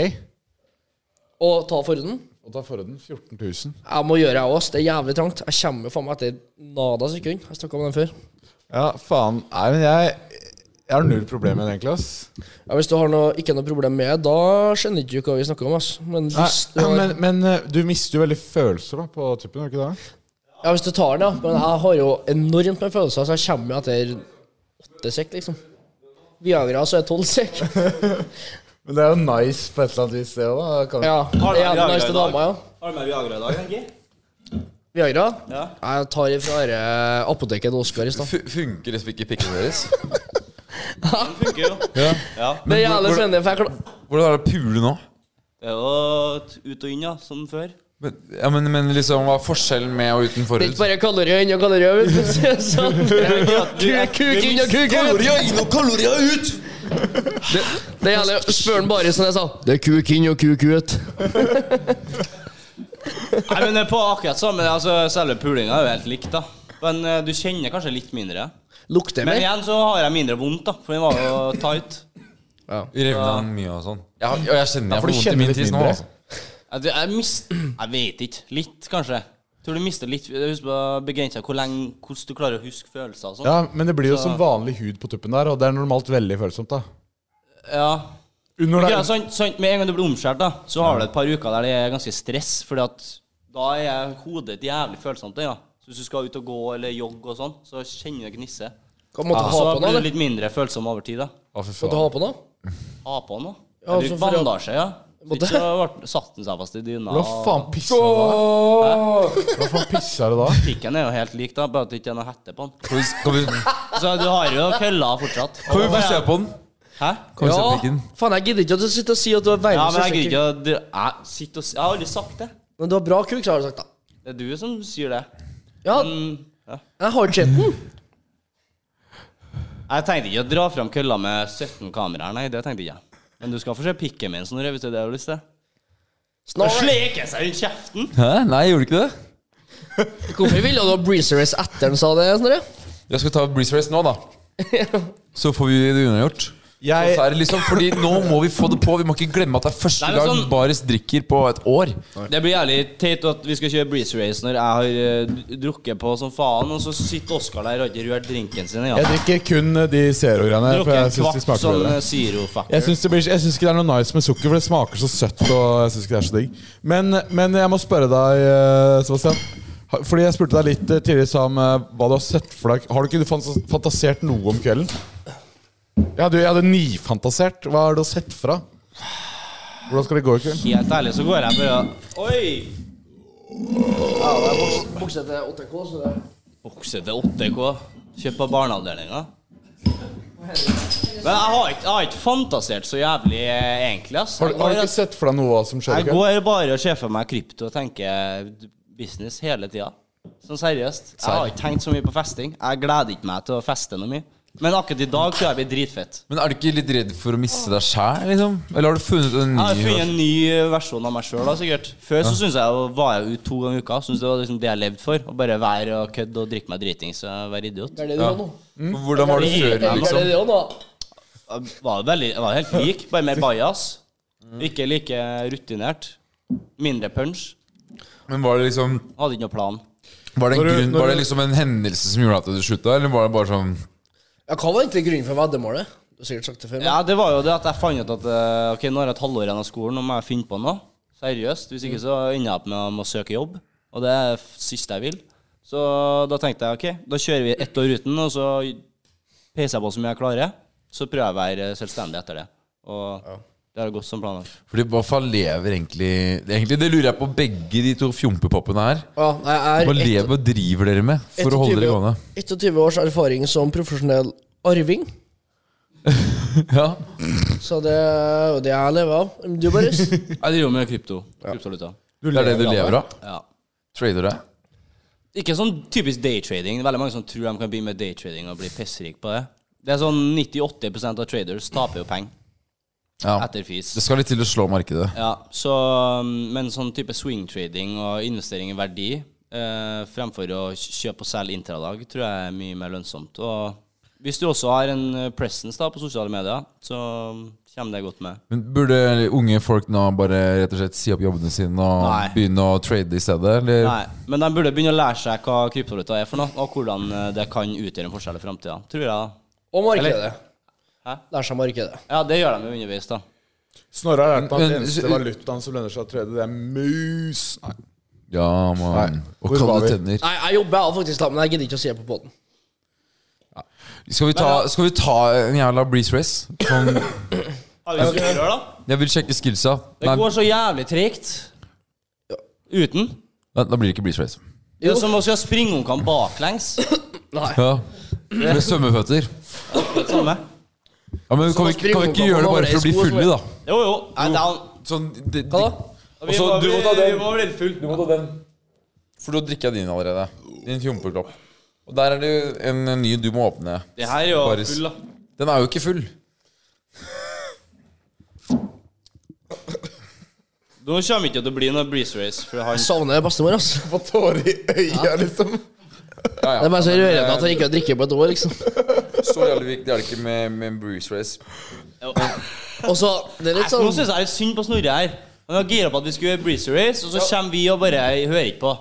Speaker 6: Og ta forhuden?
Speaker 5: Og da får du den 14 000.
Speaker 6: Jeg må gjøre jeg også, Det er jævlig trangt. Jeg kommer jo faen meg etter nada sekund. Jeg snakket om den før.
Speaker 5: Ja, faen. Nei, men jeg Jeg har null problemer med den, egentlig, ass.
Speaker 6: Ja, Hvis du har noe, ikke noe problem med det, da skjønner ikke du hva vi snakker om. ass. Men hvis du,
Speaker 5: Nei,
Speaker 6: har,
Speaker 5: men, men eh, du mister jo veldig følelser da, på tuppen, gjør du ikke det?
Speaker 6: ja, hvis du tar den, ja. Men jeg har jo enormt med følelser, så jeg kommer jo etter åtte sekk, liksom. Viagra så er tolv sekk.
Speaker 5: Men det er jo nice på et eller annet vis, det òg, da. Kan...
Speaker 6: Ja.
Speaker 4: Har du
Speaker 6: Jeg er den
Speaker 4: Viagra i
Speaker 6: nice
Speaker 4: dag?
Speaker 6: dama, ja.
Speaker 4: Har du med Viagra i dag, Henki?
Speaker 6: Viagra?
Speaker 4: Ja.
Speaker 6: Jeg tar ifra eh, apoteket til Oskar i stad.
Speaker 3: Funker liksom ikke pikken deres?
Speaker 4: Den funker jo. ja.
Speaker 6: Det er
Speaker 3: hvor-
Speaker 6: jævlig
Speaker 3: hvor-
Speaker 6: spennende, for jeg klar...
Speaker 3: Hvordan er det å pule nå?
Speaker 4: Det er jo t- ut og inn, ja. Som før.
Speaker 3: Men, ja, men, men liksom, hva er forskjellen med og uten
Speaker 6: Det er ikke
Speaker 3: forhud?
Speaker 6: bare kalorier inn og kalorier ut. for å si det sånn. Kuk inn og kuk ut.
Speaker 3: inn og kalorier ut!
Speaker 6: Det gjelder spør han bare som jeg sa. Det er kuk inn og kuk ut.
Speaker 4: Nei, men det er på akkurat samme altså, Selve pulinga er jo helt likt, da. Men eh, du kjenner kanskje litt mindre.
Speaker 6: Lukter
Speaker 4: Men
Speaker 6: mer.
Speaker 4: igjen så har jeg mindre vondt, da. For den var jo tight.
Speaker 3: Revna den mye og sånn? Jeg, har- og jeg kjenner jeg får
Speaker 5: for du
Speaker 3: vondt i
Speaker 5: kjenner
Speaker 3: min
Speaker 5: litt
Speaker 3: tiss nå.
Speaker 5: mindre.
Speaker 3: Altså.
Speaker 4: Jeg, tror- jeg mist... Jeg vet ikke. Litt, kanskje. Tror du mister litt Husk på begrensa hvor lenge Hvordan du klarer å huske følelser og sånn.
Speaker 5: Ja, men det blir jo som vanlig hud på tuppen der, og det er normalt veldig følsomt, da.
Speaker 4: Ja.
Speaker 5: Under
Speaker 4: Ja,
Speaker 5: der
Speaker 3: altså,
Speaker 4: sant, sant. Med en gang du blir omskjært, da, så har du et par uker der det er ganske stress. Fordi at da er hodet et jævlig følsomt. Ja. Så hvis du skal ut og gå eller jogge og sånn, så kjenner du gnisse.
Speaker 6: Hva måtte du
Speaker 4: Så
Speaker 6: ha på nå?
Speaker 4: Altså, blir du
Speaker 6: eller?
Speaker 4: litt mindre følsom over tid. da
Speaker 5: Å, fy
Speaker 6: Måtte du
Speaker 5: faen.
Speaker 6: ha på noe?
Speaker 4: Ha på noe.
Speaker 6: Ja,
Speaker 4: Eller
Speaker 6: altså, for å-
Speaker 4: bandasje, ja. Så
Speaker 6: Måtte-
Speaker 4: ikke så ble- satte den seg fast i dyna.
Speaker 5: Hva
Speaker 4: og-
Speaker 5: faen pisser du da? Hva faen pisser du da?
Speaker 4: Pikken er jo helt lik, da, bare at det ikke er noe hette på den.
Speaker 3: Kan vi, kan vi, kan
Speaker 4: Så du har jo kølla fortsatt.
Speaker 3: vi få se på den?
Speaker 4: Hæ?
Speaker 3: Kan vi se på pikken?
Speaker 6: faen, jeg gidder ikke at du sitter og sier at du er
Speaker 4: Ja,
Speaker 6: verdens
Speaker 4: men jeg
Speaker 6: største
Speaker 4: gidder ikke
Speaker 6: kuk.
Speaker 4: å dr- Jeg sitter og s- Jeg har aldri sagt det.
Speaker 6: Men du har bra kuk, så har du sagt, da.
Speaker 4: Det er du som sier det.
Speaker 6: Ja,
Speaker 4: Mm, ja.
Speaker 6: jeg har sett den.
Speaker 4: Jeg tenkte ikke å dra fram kølla med 17 kameraer, nei, det tenkte ikke jeg. Men du skal få se pikken min snurre, hvis det er det du har lyst til. Da
Speaker 6: Snarere.
Speaker 4: sleker jeg seg rundt kjeften!
Speaker 3: Hæ? Nei, gjorde du ikke det?
Speaker 6: Hvorfor ville du ha Breezer Race etter han sa det, Snorre?
Speaker 3: Jeg skal ta Breeze Race nå, da. Så får vi det unnagjort.
Speaker 5: Jeg-
Speaker 3: Så er det liksom, fordi Nå må vi få det på. Vi må ikke glemme at det er første
Speaker 4: Nei, men
Speaker 3: gang
Speaker 4: sånn-
Speaker 3: Baris drikker på et år.
Speaker 4: Det blir jævlig teit at vi skal kjøre breeze race når jeg har eh, d- drukket på som faen, og så sitter Oskar der og har ikke rørt drinken sin
Speaker 5: Jeg
Speaker 4: engang.
Speaker 5: drikker kun de zero-greiene, for
Speaker 4: Drukket
Speaker 5: jeg
Speaker 4: en
Speaker 5: syns de
Speaker 4: kvart
Speaker 5: smaker
Speaker 4: sånn
Speaker 5: bedre.
Speaker 4: eh, zero
Speaker 5: Jeg
Speaker 4: fucker.
Speaker 5: syns, det blir, jeg syns ikke det er noe nice med sukker, for det smaker så søtt. Og jeg synes ikke det er så digg Men, men jeg må spørre deg, eh, Sebastian. Ha- Fordi jeg spurte deg litt eh, tidligere sa om eh, hva du har sett for deg. Har du ikke fan- fantasert noe om kvelden? Jeg hadde, jeg hadde nifantasert. Hva har du sett for deg? Hvordan skal det gå i kveld?
Speaker 4: Helt ærlig så går jeg bare Oi!
Speaker 6: Bukse til 8K, så det
Speaker 4: Bukse til 8K. Kjøpt på barneavdelinga. Men jeg har ikke, jeg har ikke fantasert så jævlig, eh, egentlig, ass.
Speaker 5: Har, du- har du ikke sett for deg noe av hva som skjer i
Speaker 4: Jeg
Speaker 5: kveld?
Speaker 4: går bare og ser for meg krypto og tenker eh, business hele tida. Sånn seriøst. Jeg har ikke tenkt så mye på festing. Jeg gleder ikke meg til å feste noe mye. Men akkurat i dag så er vi dritfett.
Speaker 3: Men er du ikke litt redd for å miste deg sjæl, liksom? Eller har du funnet en
Speaker 4: Jeg har
Speaker 3: ny
Speaker 4: funnet en ny eh, versjon av meg sjøl, sikkert. Før så synes jeg jo- var jeg ute to ganger i uka. Synes det var liksom det jeg levde for. Å bare være og kødde og drikke meg dritings og være idiot.
Speaker 6: Det er det du har nå.
Speaker 3: Hvordan var det
Speaker 6: Det
Speaker 3: før,
Speaker 6: er det
Speaker 3: liksom?
Speaker 6: du har nå.
Speaker 4: Jeg var, veldig, jeg var helt lik, bare mer bajas. Ikke like rutinert. Mindre punch.
Speaker 3: Men var det liksom
Speaker 4: Hadde ikke noe plan.
Speaker 3: Var det, en
Speaker 5: Når du-
Speaker 3: grunn,
Speaker 5: når
Speaker 3: var det
Speaker 5: du-
Speaker 3: liksom en hendelse som gjorde at du slutta, eller var det bare sånn
Speaker 6: Ja, hva var egentlig grunnen for veddemålet? Du har sikkert sagt det før. men-
Speaker 4: Ja, det var jo det at jeg fant ut at eh, Ok, nå har jeg et halvår igjen av skolen, nå må jeg finne på noe. Seriøst. Hvis ikke så ender jeg opp med å må søke jobb. Og det er det siste jeg vil. Så da tenkte jeg ok, da kjører vi ett år uten, og så peiser jeg på så mye jeg klarer. Så prøver jeg å være selvstendig etter det. Og det har gått som planlagt.
Speaker 3: Fordi hva faen lever egentlig Egentlig det lurer jeg på begge de to fjompepoppene her.
Speaker 6: Ja, jeg
Speaker 3: Hva
Speaker 6: er ett-
Speaker 3: lever og driver dere med for å holde dere gående?
Speaker 6: 21 års erfaring som profesjonell arving.
Speaker 3: Ja.
Speaker 6: Så det er jo det jeg lever av. Du, Marius?
Speaker 4: Jeg driver med krypto. Kryptovaluta.
Speaker 3: Det er det du lever av?
Speaker 4: Ja.
Speaker 3: Trader deg?
Speaker 4: Ikke sånn typisk daytrading. Det er Veldig mange som tror de kan begynne med daytrading og bli pissrik på det. Det er sånn 98 av traders taper jo penger
Speaker 3: Ja.
Speaker 4: etter fis.
Speaker 3: Det skal litt til å slå markedet.
Speaker 4: Ja, så, um, men sånn type swingtrading og investering i verdi eh, fremfor å kj- kjøpe og selge intradag, tror jeg er mye mer lønnsomt. Og hvis du også har en eh, presence da på sosiale medier, så mm, kommer det godt med.
Speaker 3: Men Burde unge folk nå bare rett og slett si opp jobbene sine og
Speaker 4: Nei.
Speaker 3: begynne å trade i stedet? Eller?
Speaker 4: Nei, Men de burde begynne å lære seg hva kryptovaluta er for noe, og hvordan eh, det kan utgjøre en forskjell i framtida. Tror jeg. da.
Speaker 6: Og markedet.
Speaker 4: Hæ?
Speaker 6: Lær seg markedet.
Speaker 4: Ja, det gjør de jo underveis, da.
Speaker 5: Snorre har lært meg at
Speaker 3: Men-
Speaker 5: den eneste valutaen som lønner seg å trede, det er mus. Nei.
Speaker 3: Ja, man.
Speaker 5: Nei.
Speaker 3: Og
Speaker 5: Hvor var
Speaker 3: kalde
Speaker 5: vi?
Speaker 3: tenner.
Speaker 6: Nei, jeg jobber jeg har faktisk da, men jeg gidder ikke å se på båten.
Speaker 3: Skal vi ta, skal vi ta en jævla breeze race? Sånn,
Speaker 4: Har vi ikke rør, da?
Speaker 3: jeg vil sjekke skillsa.
Speaker 4: Det
Speaker 3: Nei,
Speaker 4: går så jævlig tregt. Uten.
Speaker 3: da da blir det ikke breeze race.
Speaker 4: Det er som å skal springe omkamp baklengs.
Speaker 3: Ja. Med svømmeføtter.
Speaker 4: Det samme.
Speaker 3: Ja, men kan vi, ikke- kan vi ikke gjøre det bare for å bli fulle, da?
Speaker 4: Jo, jo. I'm down.
Speaker 3: Sånn, det,
Speaker 6: Hva da?
Speaker 4: Vi
Speaker 3: så
Speaker 4: må
Speaker 3: du må
Speaker 4: bli-
Speaker 3: ta den.
Speaker 4: Vi må bli litt full.
Speaker 3: For da drikker jeg din allerede. Din fjompekopp. Og der er det en en ny du må åpne.
Speaker 4: Det her er jo
Speaker 3: Baris.
Speaker 4: full, da.
Speaker 3: Den er jo ikke full.
Speaker 4: Nå kommer ikke til å bli noe breeze race. For han
Speaker 6: Jeg savner bestemor, ass.
Speaker 5: Få tårer i øya, liksom.
Speaker 3: Ja,
Speaker 6: Det er
Speaker 3: ja.
Speaker 6: bare så rørende at han ikke har drukket på et år, liksom.
Speaker 3: Så jævlig viktig er det ikke med, med Bruce Race.
Speaker 4: Jo.
Speaker 6: Og så, det er litt
Speaker 4: Nå
Speaker 6: sånn
Speaker 4: syns jeg det er synd på Snorre her. Han var gira på at vi skulle gjøre breeze race, og så kommer vi og bare hører ikke på.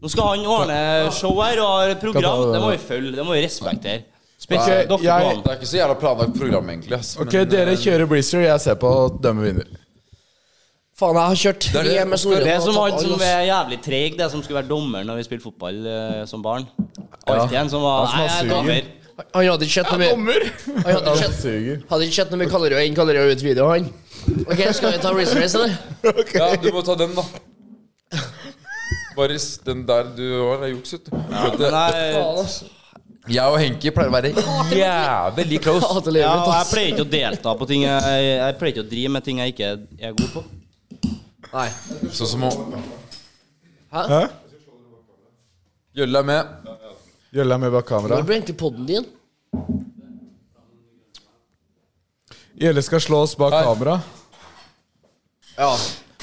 Speaker 4: Nå skal han ordne show her og har et program. Det må vi følge. Det må vi respektere. Spesielt
Speaker 5: Ok,
Speaker 4: dere
Speaker 5: jeg-
Speaker 4: på
Speaker 3: Det er ikke så jævla planlagt program, egentlig. Ass.
Speaker 5: Ok,
Speaker 3: Men,
Speaker 5: dere
Speaker 3: eh,
Speaker 5: kjører Breezer, jeg ser på og dømmer vinner.
Speaker 6: Faen, jeg har kjørt
Speaker 3: er det-
Speaker 6: tre med Snorre.
Speaker 4: Det
Speaker 6: og
Speaker 4: som
Speaker 6: tatt
Speaker 4: han
Speaker 6: alle,
Speaker 4: som
Speaker 6: ass.
Speaker 4: er jævlig treg, det som skulle være dommer når vi spilte fotball eh, som barn. Alltid en som var Nei,
Speaker 5: Han
Speaker 4: jeg
Speaker 5: som
Speaker 4: er
Speaker 5: var
Speaker 4: dommer.
Speaker 6: Han hadde ikke sett noe mer Han hadde ikke
Speaker 5: Han
Speaker 6: sett-
Speaker 5: suger.
Speaker 6: hadde ikke sett noe mer Kallerød inn, Kallerød ut video, han. Ok, skal vi ta Racer Race, eller?
Speaker 3: Ja, du må ta den, da. Baris, den der du har, er juks, vet du. For at, eh,
Speaker 4: Nei,
Speaker 6: Faen, ass.
Speaker 3: Jeg og Henki pleier å være jævlig close.
Speaker 6: Hater
Speaker 4: ja,
Speaker 6: livet
Speaker 4: og
Speaker 6: mitt,
Speaker 4: jeg
Speaker 6: ass.
Speaker 4: pleier ikke å delta på ting jeg, jeg pleier ikke å drive med ting jeg ikke er god på.
Speaker 6: Nei.
Speaker 3: Sånn som å
Speaker 6: Hæ?
Speaker 3: Gjølle er med.
Speaker 5: Gjølla med bak kamera.
Speaker 6: Hvor ble egentlig podden din?
Speaker 5: Gjølle skal slå oss bak
Speaker 3: Her.
Speaker 5: kamera.
Speaker 6: Ja.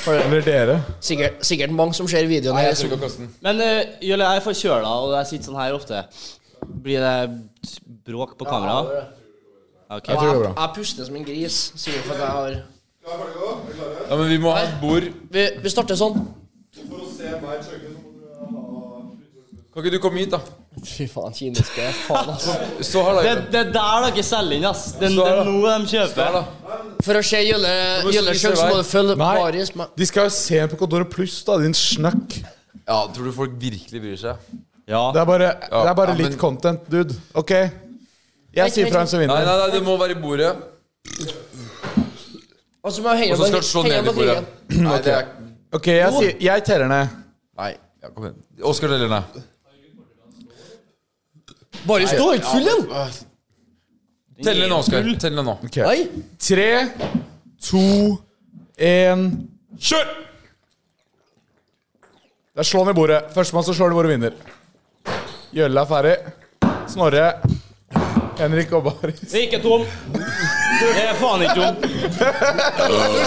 Speaker 5: Eller dere.
Speaker 6: Sikkert, sikkert mange som ser videoen
Speaker 3: Nei,
Speaker 6: her.
Speaker 3: jeg tror ikke å kaste den.
Speaker 4: Men uh, Jølle, jeg er forkjøla, og jeg sitter sånn her ofte. Blir det bråk på kamera? Ok.
Speaker 5: Jeg tror det går bra.
Speaker 6: Jeg puster som en gris, sier for at jeg har
Speaker 3: Ja, men vi må ha et bord.
Speaker 6: Vi, vi starter sånn.
Speaker 3: Kan ikke du komme hit, da?
Speaker 6: Fy faen, kinesiske faen, altså.
Speaker 3: Så har
Speaker 4: Det,
Speaker 3: da.
Speaker 4: det er der dere selger inn, ass. Det er det
Speaker 3: Står
Speaker 4: er
Speaker 3: da.
Speaker 4: nå de kjøper.
Speaker 3: Her, da.
Speaker 6: For å se Jølle
Speaker 3: må du
Speaker 6: Jølle
Speaker 3: spise
Speaker 6: Sjøl, så må
Speaker 3: vei.
Speaker 6: du følge
Speaker 5: Nei.
Speaker 6: Marius med
Speaker 5: De skal jo se på Kontoret Pluss, da, din snakk.
Speaker 3: Ja, tror du folk virkelig bryr seg?
Speaker 4: Ja.
Speaker 5: Det er bare, det er bare
Speaker 3: Ja, men-
Speaker 5: litt content, dude. Ok? Jeg sier fra hvem som
Speaker 3: Nei, nei,
Speaker 5: vinner.
Speaker 3: nei, det må være i bordet.
Speaker 6: Og så Altså, må jeg
Speaker 3: Og
Speaker 6: henge
Speaker 3: så skal du slå ned i bordet. Nei, det er
Speaker 5: Ok, jeg, sier, jeg teller ned.
Speaker 3: Nei, ja, kom igjen. Oskar eller nei?
Speaker 6: Marius står ikke full igjen!
Speaker 3: Tell ned nå, Oskar. Tell ned nå.
Speaker 5: Ok.
Speaker 6: Nei.
Speaker 5: Tre, to, én Kjør! Det er slå ned bordet. Førstemann som slår ned bordet, vinner. Gjølle er ferdig. Snorre. Henrik og Baris.
Speaker 4: Det er ikke tom. Det er faen ikke tom.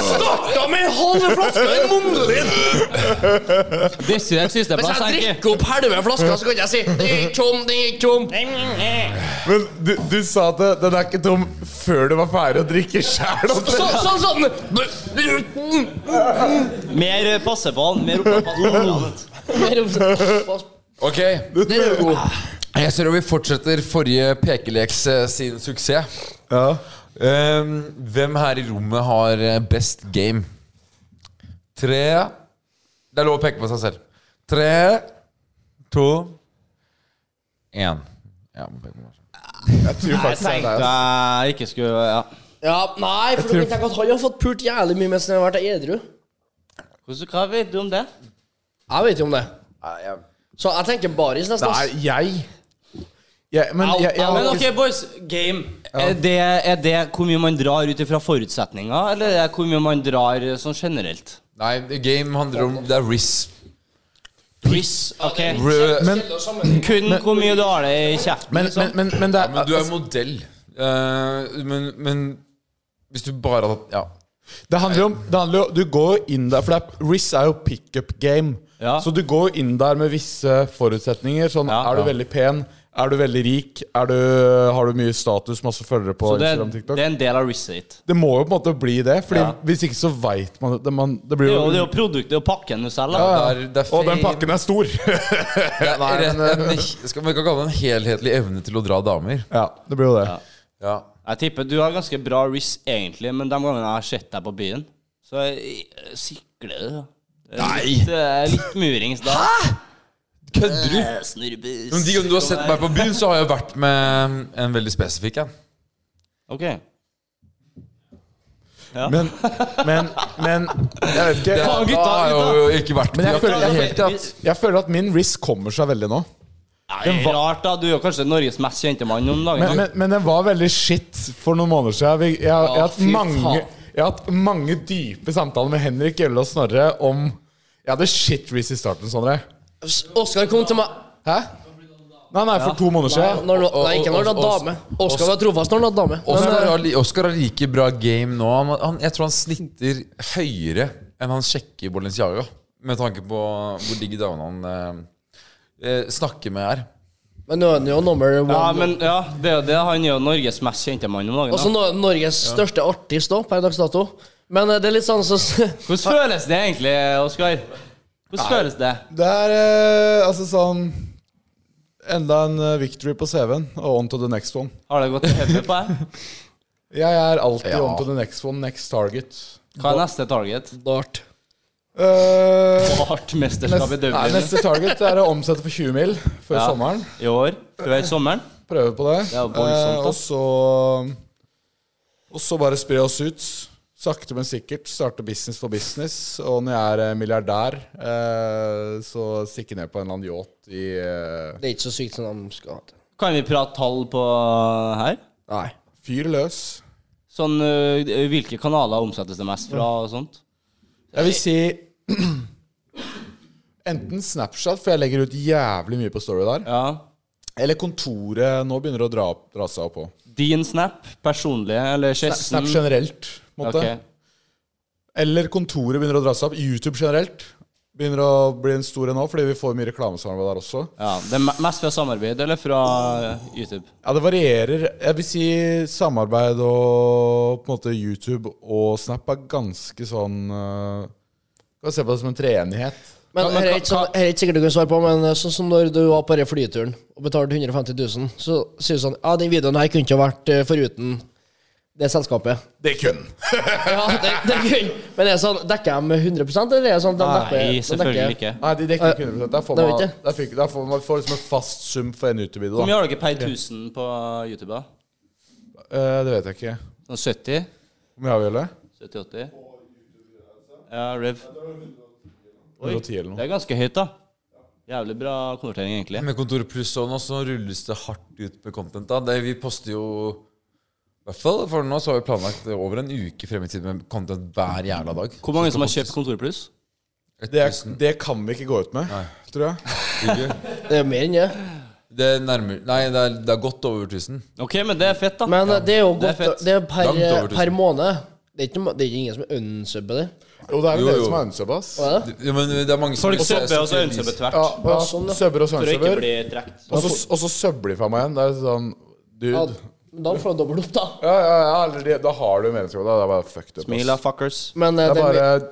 Speaker 6: Starta med en halv flaske i munnen din!
Speaker 7: Desidert
Speaker 6: Hvis
Speaker 7: sisteplass
Speaker 6: jeg
Speaker 7: er ikke
Speaker 6: drikker opp halve flaska, så kan jeg si Den er ikke tom, den er ikke tom.
Speaker 5: Men du, du sa at det- den er ikke tom før du var ferdig å drikke sjæl.
Speaker 6: Så, sånn, sånn.
Speaker 4: Mer eh, passe på han. Mer oppå han.
Speaker 6: Mer om-
Speaker 3: Ok,
Speaker 6: Den er jo god.
Speaker 3: jeg ser at vi fortsetter forrige pekeleks eh, sin suksess.
Speaker 5: Ja.
Speaker 3: Ehm, hvem her i rommet har eh, best game? Tre Det er lov å peke på seg selv. Tre, to, én. Ja, må peke på meg selv.
Speaker 5: Jeg tror faktisk det er det.
Speaker 4: Jeg ikke skulle Ja.
Speaker 6: Ja, nei, for du kan tenke at han har fått pult jævlig mye mens han har vært edru.
Speaker 4: Hvordan- Hva vet du om det?
Speaker 6: Jeg vet jo om det. Så jeg tenker baris nesten. ass.
Speaker 5: Nei, jeg. jeg men jeg, jeg,
Speaker 4: Men
Speaker 5: har
Speaker 4: ok,
Speaker 5: ikke-
Speaker 4: boys. Game. Er det, er det hvor mye man drar ut ifra forutsetninger, eller er det hvor mye man drar eh, sånn generelt?
Speaker 3: Nei, det game handler om Det er Riz.
Speaker 4: Riss. Ok.
Speaker 3: Rød-
Speaker 5: men,
Speaker 4: Kun hvor mye du har det i kjeften. liksom.
Speaker 5: men, men, men, men det er,
Speaker 3: Men du er modell. Eh, men, men hvis du bare hadde Ja.
Speaker 5: Det handler om, det handler jo, Du går inn der, for det er, Riz er jo pickup game.
Speaker 4: Ja.
Speaker 5: Så du går inn der med visse forutsetninger. Sånn,
Speaker 4: Ja.
Speaker 5: Er du
Speaker 4: Ja.
Speaker 5: veldig pen? Er du veldig rik? Er du, har du mye status? Masse følgere på
Speaker 4: Så det,
Speaker 5: Instagram
Speaker 4: det
Speaker 5: TikTok?
Speaker 4: er en del av risset ditt.
Speaker 5: Det må jo på en måte bli det, Fordi
Speaker 4: Ja.
Speaker 5: hvis ikke så veit man det. Man, det blir
Speaker 4: Det er
Speaker 5: jo,
Speaker 4: jo, det er jo produktet og pakken du selger.
Speaker 3: Det
Speaker 4: da.
Speaker 3: er, det er
Speaker 5: Og den
Speaker 3: fame.
Speaker 5: pakken er stor!
Speaker 3: Nei, rett, en, skal man kan kalle det en helhetlig evne til å dra damer.
Speaker 5: ja, det blir jo det.
Speaker 3: Ja.
Speaker 4: Jeg tipper du har ganske bra riss egentlig, men de gangene jeg har sett deg på byen, så jeg- jeg sikler du. Nei! Litt, eh, litt murings da.
Speaker 3: Kødder du?
Speaker 4: Eh, Snurrebus.
Speaker 3: Men de gangene du har sett meg på byen, så har jeg vært med en veldig spesifikk en.
Speaker 4: Ok.
Speaker 5: Men, men, men Jeg vet ikke.
Speaker 3: Da har jeg jo ikke vært
Speaker 5: Men jeg
Speaker 3: med.
Speaker 5: føler, jeg, jeg føler at min risk kommer seg veldig nå.
Speaker 4: Nei, rart da. Du er jo kanskje Norges mest kjente mann om dagen.
Speaker 5: Men, men, men den var veldig shit for noen måneder siden. Vi- Jeg, jeg, har hatt
Speaker 6: fy
Speaker 5: mange,
Speaker 6: faen.
Speaker 5: jeg har hatt mange dype samtaler med Henrik Gjelle og Snorre om Jeg hadde shit Reece i starten, Sondre.
Speaker 6: Oskar kom til meg
Speaker 5: Hæ? Nei, nei, for to
Speaker 6: Nei,
Speaker 5: måneder siden.
Speaker 6: når, du- nei ikke når du har
Speaker 3: Og- og-
Speaker 6: dame. Oskar var trofast når han hadde dame. Men,
Speaker 3: Oscar
Speaker 6: eh,
Speaker 3: har, li- Oscar har like bra game nå. Han, han, jeg tror han snitter høyere enn han sjekker Balenciaga. Med tanke på hvor digg damene han eh, eh, snakker med er.
Speaker 6: men nå er han jo nummer one.
Speaker 4: Ja, men ja, det er jo det. Han er jo Norges mest kjente mann om dagen.
Speaker 6: Også
Speaker 4: da.
Speaker 6: no Norges største artist da, per dags dato. Men eh, det er litt sånn så,
Speaker 4: Hvordan føles det egentlig, Oskar? Hvordan føles det?
Speaker 5: Det er eh, altså sånn Enda en eh, victory på CV-en, og on to the next one.
Speaker 4: Har det gått til hodet på deg?
Speaker 5: Jeg er alltid on to the next one, next target.
Speaker 4: Hva er neste target?
Speaker 6: Dart.
Speaker 5: Eh,
Speaker 4: Artmesterskap i
Speaker 5: nest, nei,
Speaker 4: Dublin
Speaker 5: neste target er å omsette for 20 mil før
Speaker 4: Ja.
Speaker 5: sommeren.
Speaker 4: i år? Før sommeren?
Speaker 5: Prøve på det. Eh,
Speaker 4: Ja, voldsomt, da.
Speaker 5: og så Og så bare spre oss ut. Sakte, men sikkert. Starte business for business. Og når jeg er eh, milliardær, eh, så stikke ned på en eller annen yacht i eh,
Speaker 6: Det er ikke så sykt som de skal ha det.
Speaker 4: Kan vi prate tall på eh, her?
Speaker 6: Nei.
Speaker 5: Fyr løs.
Speaker 4: Sånn, ø, Hvilke kanaler omsettes det mest fra og sånt?
Speaker 5: Jeg vil si Enten Snapchat, for jeg legger ut jævlig mye på Story der.
Speaker 4: Ja.
Speaker 5: Eller Kontoret. Nå begynner det å dra, dra seg opp på.
Speaker 4: Din snap, personlige eller Chessen?
Speaker 5: Snap generelt. på en Måte.
Speaker 4: Ok.
Speaker 5: Eller Kontoret begynner å dra seg opp. YouTube generelt begynner å bli en stor en nå, fordi vi får mye reklamesamarbeid der også.
Speaker 4: Ja, det er me- mest fra samarbeid eller fra ø, YouTube?
Speaker 5: Ja, det varierer. Jeg vil si samarbeid og på en måte YouTube og Snap er ganske sånn eh, Kan se på det som en treenighet.
Speaker 6: Men her er ikke, sånn, her er ikke sikkert du kan svare på, men eh, sånn som når du var på den flyturen og betalte 150 000, så sier du sånn Ja, den videoen her kunne ikke ha vært eh, foruten det selskapet.
Speaker 5: Det kun.
Speaker 6: Ja, det, det er gøy. Men er det sånn, dekker de 100 eller er det sånn de dekker,
Speaker 4: Nei,
Speaker 6: de dekker-
Speaker 4: selvfølgelig ikke.
Speaker 5: Nei, de dekker ikke 100 Der får
Speaker 6: det
Speaker 5: man,
Speaker 6: vet
Speaker 5: der
Speaker 6: jeg.
Speaker 5: fikk, der får man får liksom en fast sum for en YouTube-video.
Speaker 4: Hvor mye
Speaker 5: da.
Speaker 4: har dere per 1000 på YouTube? da?
Speaker 5: Eh, det vet jeg ikke.
Speaker 4: Sånn 70?
Speaker 5: Hvor mye har vi, Jelle?
Speaker 4: 70-80? Ja, Rev.
Speaker 5: 110 eller noe.
Speaker 4: Det er ganske høyt, da. Jævlig bra konvertering, egentlig.
Speaker 3: Med Kontoret Pluss sånn, og nå så rulles det hardt ut med content. da det, Vi poster jo i hvert fall for nå så har vi planlagt over en uke frem i tid med content hver jævla dag.
Speaker 4: Hvor mange som har kjøpt Kontor Pluss?
Speaker 5: Det, er- det kan vi ikke gå ut med, tror jeg.
Speaker 6: Det er mer enn det.
Speaker 3: Det er nærmere Nei, det er, det er godt over 1000.
Speaker 4: Ok, men det er fett, da.
Speaker 6: Men eh, det er jo
Speaker 4: Det er
Speaker 6: godt
Speaker 4: fett.
Speaker 6: Det er per,
Speaker 3: Langt over tusen.
Speaker 6: per måned. Det er ikke, noe- det er ingen som unsubber det.
Speaker 5: Jo, det er jo
Speaker 3: Jo,
Speaker 5: dere
Speaker 3: jo.
Speaker 5: som er unsub, ass.
Speaker 6: Hva er det?
Speaker 3: Ja, men det er mange
Speaker 4: Så har du ikke
Speaker 3: også-
Speaker 4: subbe og så ønsebbe tvert.
Speaker 5: Ja, ja.
Speaker 6: sånn, ja.
Speaker 5: Subber og
Speaker 4: For å ikke
Speaker 5: sønnsubber.
Speaker 4: bli trukket.
Speaker 5: Og så- og så subber de fra meg igjen. Det er sånn
Speaker 6: Ja,
Speaker 5: Dude.
Speaker 6: men da får du dobbelt opp, da.
Speaker 5: Ja, ja, ja, eller de, da har du medlemskap. Da. Det er bare fuck det.
Speaker 4: Smil, da, fuckers.
Speaker 6: Men eh,
Speaker 5: Det er
Speaker 6: det, er
Speaker 5: bare
Speaker 6: my-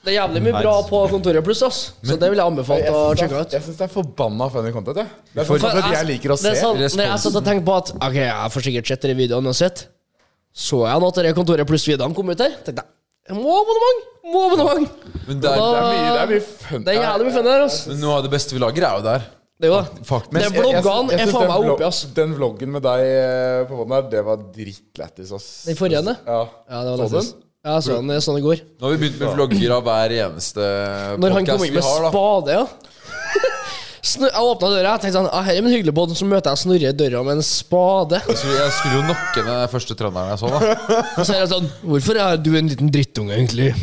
Speaker 6: det er jævlig mye bra på kontoret pluss, ass. Så det vil jeg anbefale å
Speaker 5: Jeg
Speaker 6: sjekke
Speaker 5: syns
Speaker 6: ut.
Speaker 5: det, er- jeg synes det er forbanna funny content, jeg. Det er
Speaker 3: For-
Speaker 5: sånn content jeg liker å
Speaker 6: Det
Speaker 5: se.
Speaker 6: er sånn, når jeg
Speaker 3: Responsen.
Speaker 6: satt og tenkte på at Ok, jeg får sikkert sett denne videoen uansett, så jeg nå at denne kontoret pluss videoen kom ut her. Tenkte jeg jeg må ha abonnement! Må ha abonnement!
Speaker 3: Men, det er,
Speaker 5: Det er mye, det er mye fun.
Speaker 6: Det er jævlig mye fun her, ass.
Speaker 3: men noe av det beste vi lager, er jo der.
Speaker 6: Det er jo det.
Speaker 3: Faktisk.
Speaker 6: Det
Speaker 5: Jeg-
Speaker 6: er
Speaker 5: jeg- jeg
Speaker 6: vloggene
Speaker 5: synes
Speaker 6: er faen
Speaker 5: den
Speaker 6: meg
Speaker 5: vlog-
Speaker 6: oppi, ass.
Speaker 5: Den vloggen med deg eh, på båten her, det var drittlættis, ass.
Speaker 6: Den forrige, den?
Speaker 5: Ja.
Speaker 6: Ja, det var
Speaker 5: Så
Speaker 6: nesten. sånn.
Speaker 5: den?
Speaker 6: Ja, jeg så den, jeg så den i går.
Speaker 3: Nå har vi begynt med vlogger av hver eneste
Speaker 6: Når han kom
Speaker 3: podcast
Speaker 6: inn
Speaker 3: vi
Speaker 6: med
Speaker 3: har. da
Speaker 6: spade, ja. Snu, jeg åpna døra jeg tenkte sånn ah, her er min hyggelige bod. Så møter jeg Snorre i døra med en spade.
Speaker 3: Så Jeg skulle jo nakke ned den første trønderen jeg så, da.
Speaker 6: Og så er jeg sånn Hvorfor er du en liten drittunge, egentlig?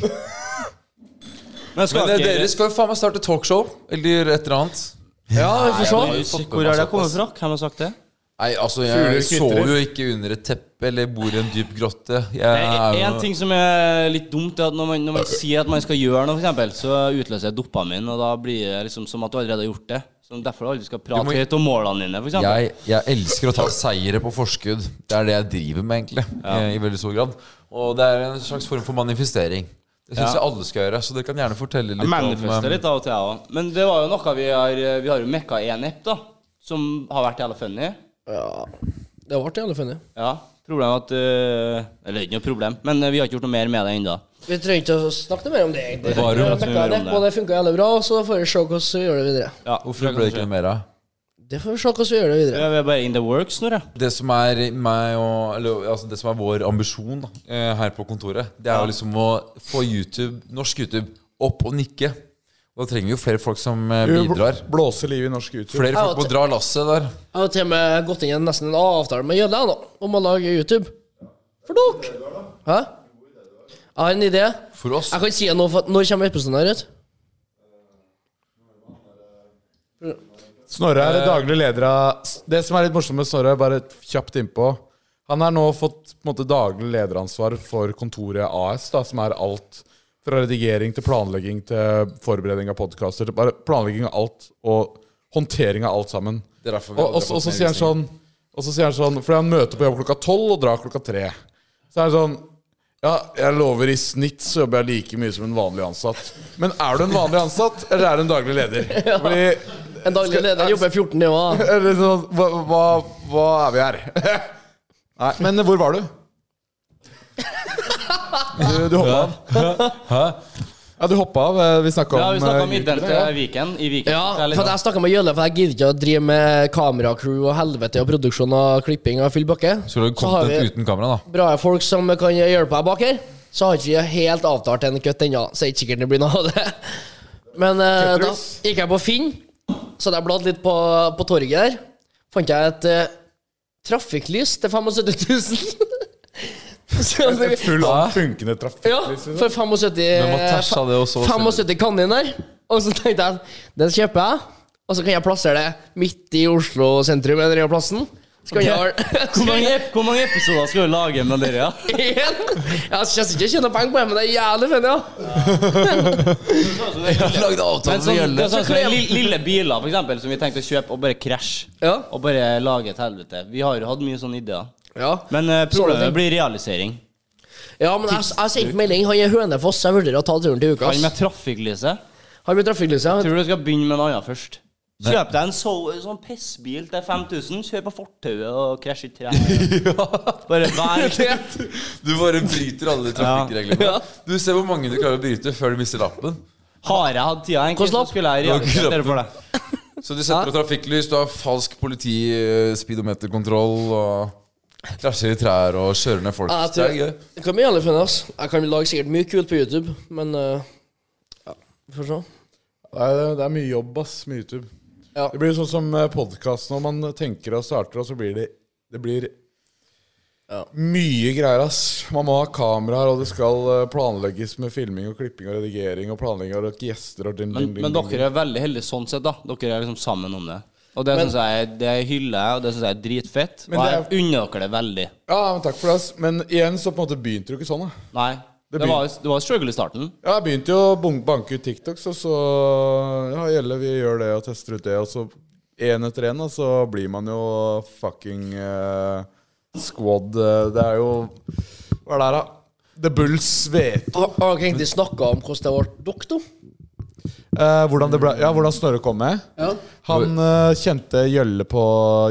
Speaker 4: Men skal
Speaker 3: Men eh,
Speaker 4: ikke
Speaker 3: dere skal jo faen meg starte talkshow eller et eller annet.
Speaker 6: Ja, vi får se.
Speaker 4: Hvor er det jeg kommer fra? Hvem har sagt det?
Speaker 3: Nei, altså,
Speaker 5: Fugler
Speaker 3: jeg så
Speaker 5: kvitrer.
Speaker 3: jo ikke under et teppe eller bor i en dyp grotte. Jeg er jo-
Speaker 4: En ting som er litt dumt, er at når man, når man sier at man skal gjøre noe, for eksempel, så utløser jeg dopamin, og da blir det liksom som at du allerede har gjort det. Så derfor du aldri skal prate
Speaker 3: Du må-
Speaker 4: høyt om målene dine, for eksempel.
Speaker 3: jeg, jeg elsker å ta seire på forskudd. Det er det jeg driver med, egentlig. eh, I veldig stor grad Og det er en slags form for manifestering. Det syns
Speaker 4: Ja.
Speaker 3: jeg alle skal gjøre. Så dere kan gjerne fortelle litt
Speaker 4: Jeg
Speaker 3: om
Speaker 4: manifester
Speaker 3: eh,
Speaker 4: litt av og til, jeg òg. Men det var jo noe vi har Vi har jo mekka en app, da, som har vært jævla funny.
Speaker 6: Det ble jævlig funny.
Speaker 4: Ja. Problemet er at øh, Eller det er ikke noe problem, men øh, vi har ikke gjort noe mer med det ennå.
Speaker 6: Vi trenger ikke å snakke mer om det, egentlig.
Speaker 3: Bare om
Speaker 6: Jeg
Speaker 4: at vi
Speaker 6: mekka
Speaker 4: gjør
Speaker 6: det,
Speaker 4: om det.
Speaker 6: og det funka jævlig bra, så da får vi se hvordan vi gjør det videre.
Speaker 4: Ja,
Speaker 3: Hvorfor ble det ikke noe mer av?
Speaker 6: Det får vi se hvordan vi gjør det videre.
Speaker 4: Ja, Vi er bare in the works nå, ja.
Speaker 3: Det som er meg og Eller altså, det som er vår ambisjon da, eh, her på kontoret, det er jo liksom å få YouTube, norsk YouTube, opp og nikke. Og da trenger vi jo flere folk som eh,
Speaker 5: Du bl-
Speaker 3: bidrar.
Speaker 5: Blåser livet i norsk YouTube.
Speaker 3: Flere folk må dra lasset der.
Speaker 6: Jeg har til og med gått inn i en- nesten en avtale med Jødla nå, om å lage YouTube. For dere! Hæ? Jeg har en idé.
Speaker 3: For oss.
Speaker 6: Jeg kan si noe for at Når kommer episoden her ut?
Speaker 5: Snorre
Speaker 3: Eh.
Speaker 5: er daglig leder av Det som er litt morsomt med Snorre, bare kjapt innpå Han har nå fått på en måte, daglig lederansvar for kontoret AS, da, som er alt fra redigering til planlegging til forberedning av podkaster. Bare planlegging av alt og håndtering av alt sammen.
Speaker 3: Det er derfor
Speaker 5: Og
Speaker 3: vi aldri
Speaker 5: og
Speaker 3: har
Speaker 5: så
Speaker 3: fått
Speaker 5: og så
Speaker 3: mer
Speaker 5: sier han sånn Og så sier han sånn Fordi han møter på jobb klokka tolv og drar klokka tre. Så er han sånn Ja, jeg lover, i snitt så jobber jeg like mye som en vanlig ansatt. Men er du en vanlig ansatt, eller er du en daglig leder? Fordi
Speaker 6: En daglig leder jobber 14 timer.
Speaker 5: eller sånn, hva, hva, hva er vi her? Nei, men hvor var du? Du, du hoppa av. Ja, du hoppa av. eh, Vi snakka om
Speaker 4: Ja, vi snakka om
Speaker 5: eh,
Speaker 4: ideen
Speaker 5: YouTube, ja.
Speaker 4: til Viken i Viken.
Speaker 6: Ja,
Speaker 4: Det er litt- sånn.
Speaker 6: for at jeg snakka med Jølle, for jeg gidder ikke å drive med kameracrew og helvete og produksjon og klipping og full bakke.
Speaker 3: Skulle du
Speaker 6: Så har
Speaker 3: kommet
Speaker 6: vi
Speaker 3: ut uten kamera, da?
Speaker 6: bra folk som kan hjelpe meg bak her. Så har ikke vi helt avtalt en kutt ennå, så det er ikke sikkert det blir noe av det. Men eh, da
Speaker 5: Tetris.
Speaker 6: gikk jeg på Finn, så hadde jeg bladd litt på, på torget der. Fant jeg et eh, trafikklys til 75 000. så,
Speaker 5: Et Full av funkende trafikk.
Speaker 6: ja, for 75
Speaker 3: må
Speaker 5: Eh,
Speaker 3: tæsja det og så
Speaker 5: altså.
Speaker 6: 75 kaniner. Og så tenkte jeg den kjøper jeg, og så kan jeg plassere det midt i Oslo sentrum. eller i plassen Så kan jeg
Speaker 4: Hvor mange, ep- hvor mange episoder skal du lage med dere? Ja?
Speaker 6: Igjen? Ja, Jeg synes ikke jeg tjener penger på det, men det er jævlig funny. Ja.
Speaker 3: Jeg lagde
Speaker 4: Men
Speaker 3: avtale
Speaker 4: sånn, det er
Speaker 3: Gjølle.
Speaker 4: sånn som li- lille biler for eksempel, som vi tenkte å kjøpe og bare krasje.
Speaker 6: Ja.
Speaker 4: Og bare lage et helvete. Vi har jo hatt mye sånne ideer.
Speaker 6: Ja.
Speaker 4: Men eh,
Speaker 6: Sånne ting.
Speaker 4: problemet blir realisering.
Speaker 6: ja, men jeg, jeg sendte melding. Han er Hønefoss, så jeg vurderer å ta turen til uka.
Speaker 4: Han med
Speaker 6: ass.
Speaker 4: trafikklyset.
Speaker 6: Han med trafikklyset.
Speaker 4: Tror du skal begynne med en annen først? Kjøp deg en so sånn pissbil til 5000, kjør på fortauet og krasj i treet. Bare vær
Speaker 3: Du bare bryter alle trafikkreglene. Du ser hvor mange du klarer å bryte før du mister lappen.
Speaker 4: Har jeg hatt tida, egentlig, så
Speaker 6: Hvordan?
Speaker 4: skulle jeg realisert dere for det.
Speaker 3: Så du setter på trafikklys, du har falsk politi, eh, speedometerkontroll og Klasjer i trær og kjører ned folk.
Speaker 6: Ja, jeg
Speaker 3: Det
Speaker 6: tror-
Speaker 3: er gøy.
Speaker 6: Det kan bli jævlig funny. ass. Jeg kan lage sikkert mye kult på YouTube, men eh, ja, vi får se.
Speaker 5: Nei, det det er mye jobb, ass. Mye YouTube.
Speaker 6: Ja.
Speaker 5: Det blir sånn som podkast når man tenker og starter, og så blir det Det blir mye greier, ass. Man må ha kameraer, og det skal eh, planlegges med filming og klipping og redigering og planlegging og gjester og ding,
Speaker 4: Men,
Speaker 5: ding, ding,
Speaker 4: men
Speaker 5: ding, ding.
Speaker 4: dere er veldig heldige sånn sett, da. Dere er liksom sammen om det. Og det
Speaker 6: Men-
Speaker 4: synes jeg det hyller jeg, og det syns jeg er dritfett.
Speaker 8: Men
Speaker 4: Og
Speaker 8: det
Speaker 4: jeg
Speaker 8: er-
Speaker 4: unner dere det veldig.
Speaker 8: Ja, men takk for det. ass. Men igjen så på en måte begynte det jo ikke sånn. da
Speaker 4: Nei. Det,
Speaker 8: begyn-
Speaker 4: var, det var struggle i starten.
Speaker 8: Ja, Jeg begynte jo å bun- banke ut TikToks, og så Ja, Gjelle, vi gjør det og tester ut det, og så én etter én, og så blir man jo fucking eh, squad. eh, det er jo Hva er det her, da? The Bulls vet
Speaker 3: Ah,
Speaker 6: Har har dere egentlig snakka om hvordan det ble dere, da?
Speaker 8: Eh, hvordan det ble, ja, hvordan Snorre kom med.
Speaker 6: Ja.
Speaker 8: Han eh, kjente Gjølle på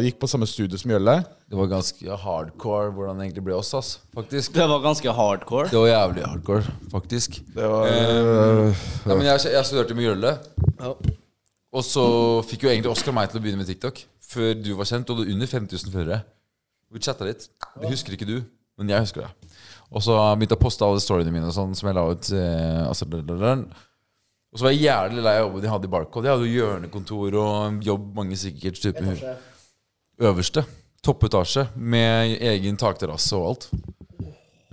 Speaker 8: Gikk på samme studie som Gjølle.
Speaker 3: Det var ganske hardcore hvordan det egentlig ble oss, ass. Faktisk.
Speaker 4: Det var ganske hardcore.
Speaker 3: Det var jævlig hardcore, faktisk.
Speaker 8: Det var
Speaker 3: Nei, men jeg, jeg studerte med Gjølle,
Speaker 6: Ja.
Speaker 3: og så fikk jo egentlig Oskar meg til å begynne med TikTok. Før du var kjent, og det var under 5000 følgere. Vi chatta litt. Det husker ikke du, men jeg husker det. Og så begynte jeg å poste alle storyene mine og sånn, som jeg la ut. Eh, altså, da, da, da. Og så var jeg jævlig lei av jobben de hadde i Barcode. De hadde jo hjørnekontor og jobb mange sikkert typer øverste. Toppetasje med egen takterrasse og alt.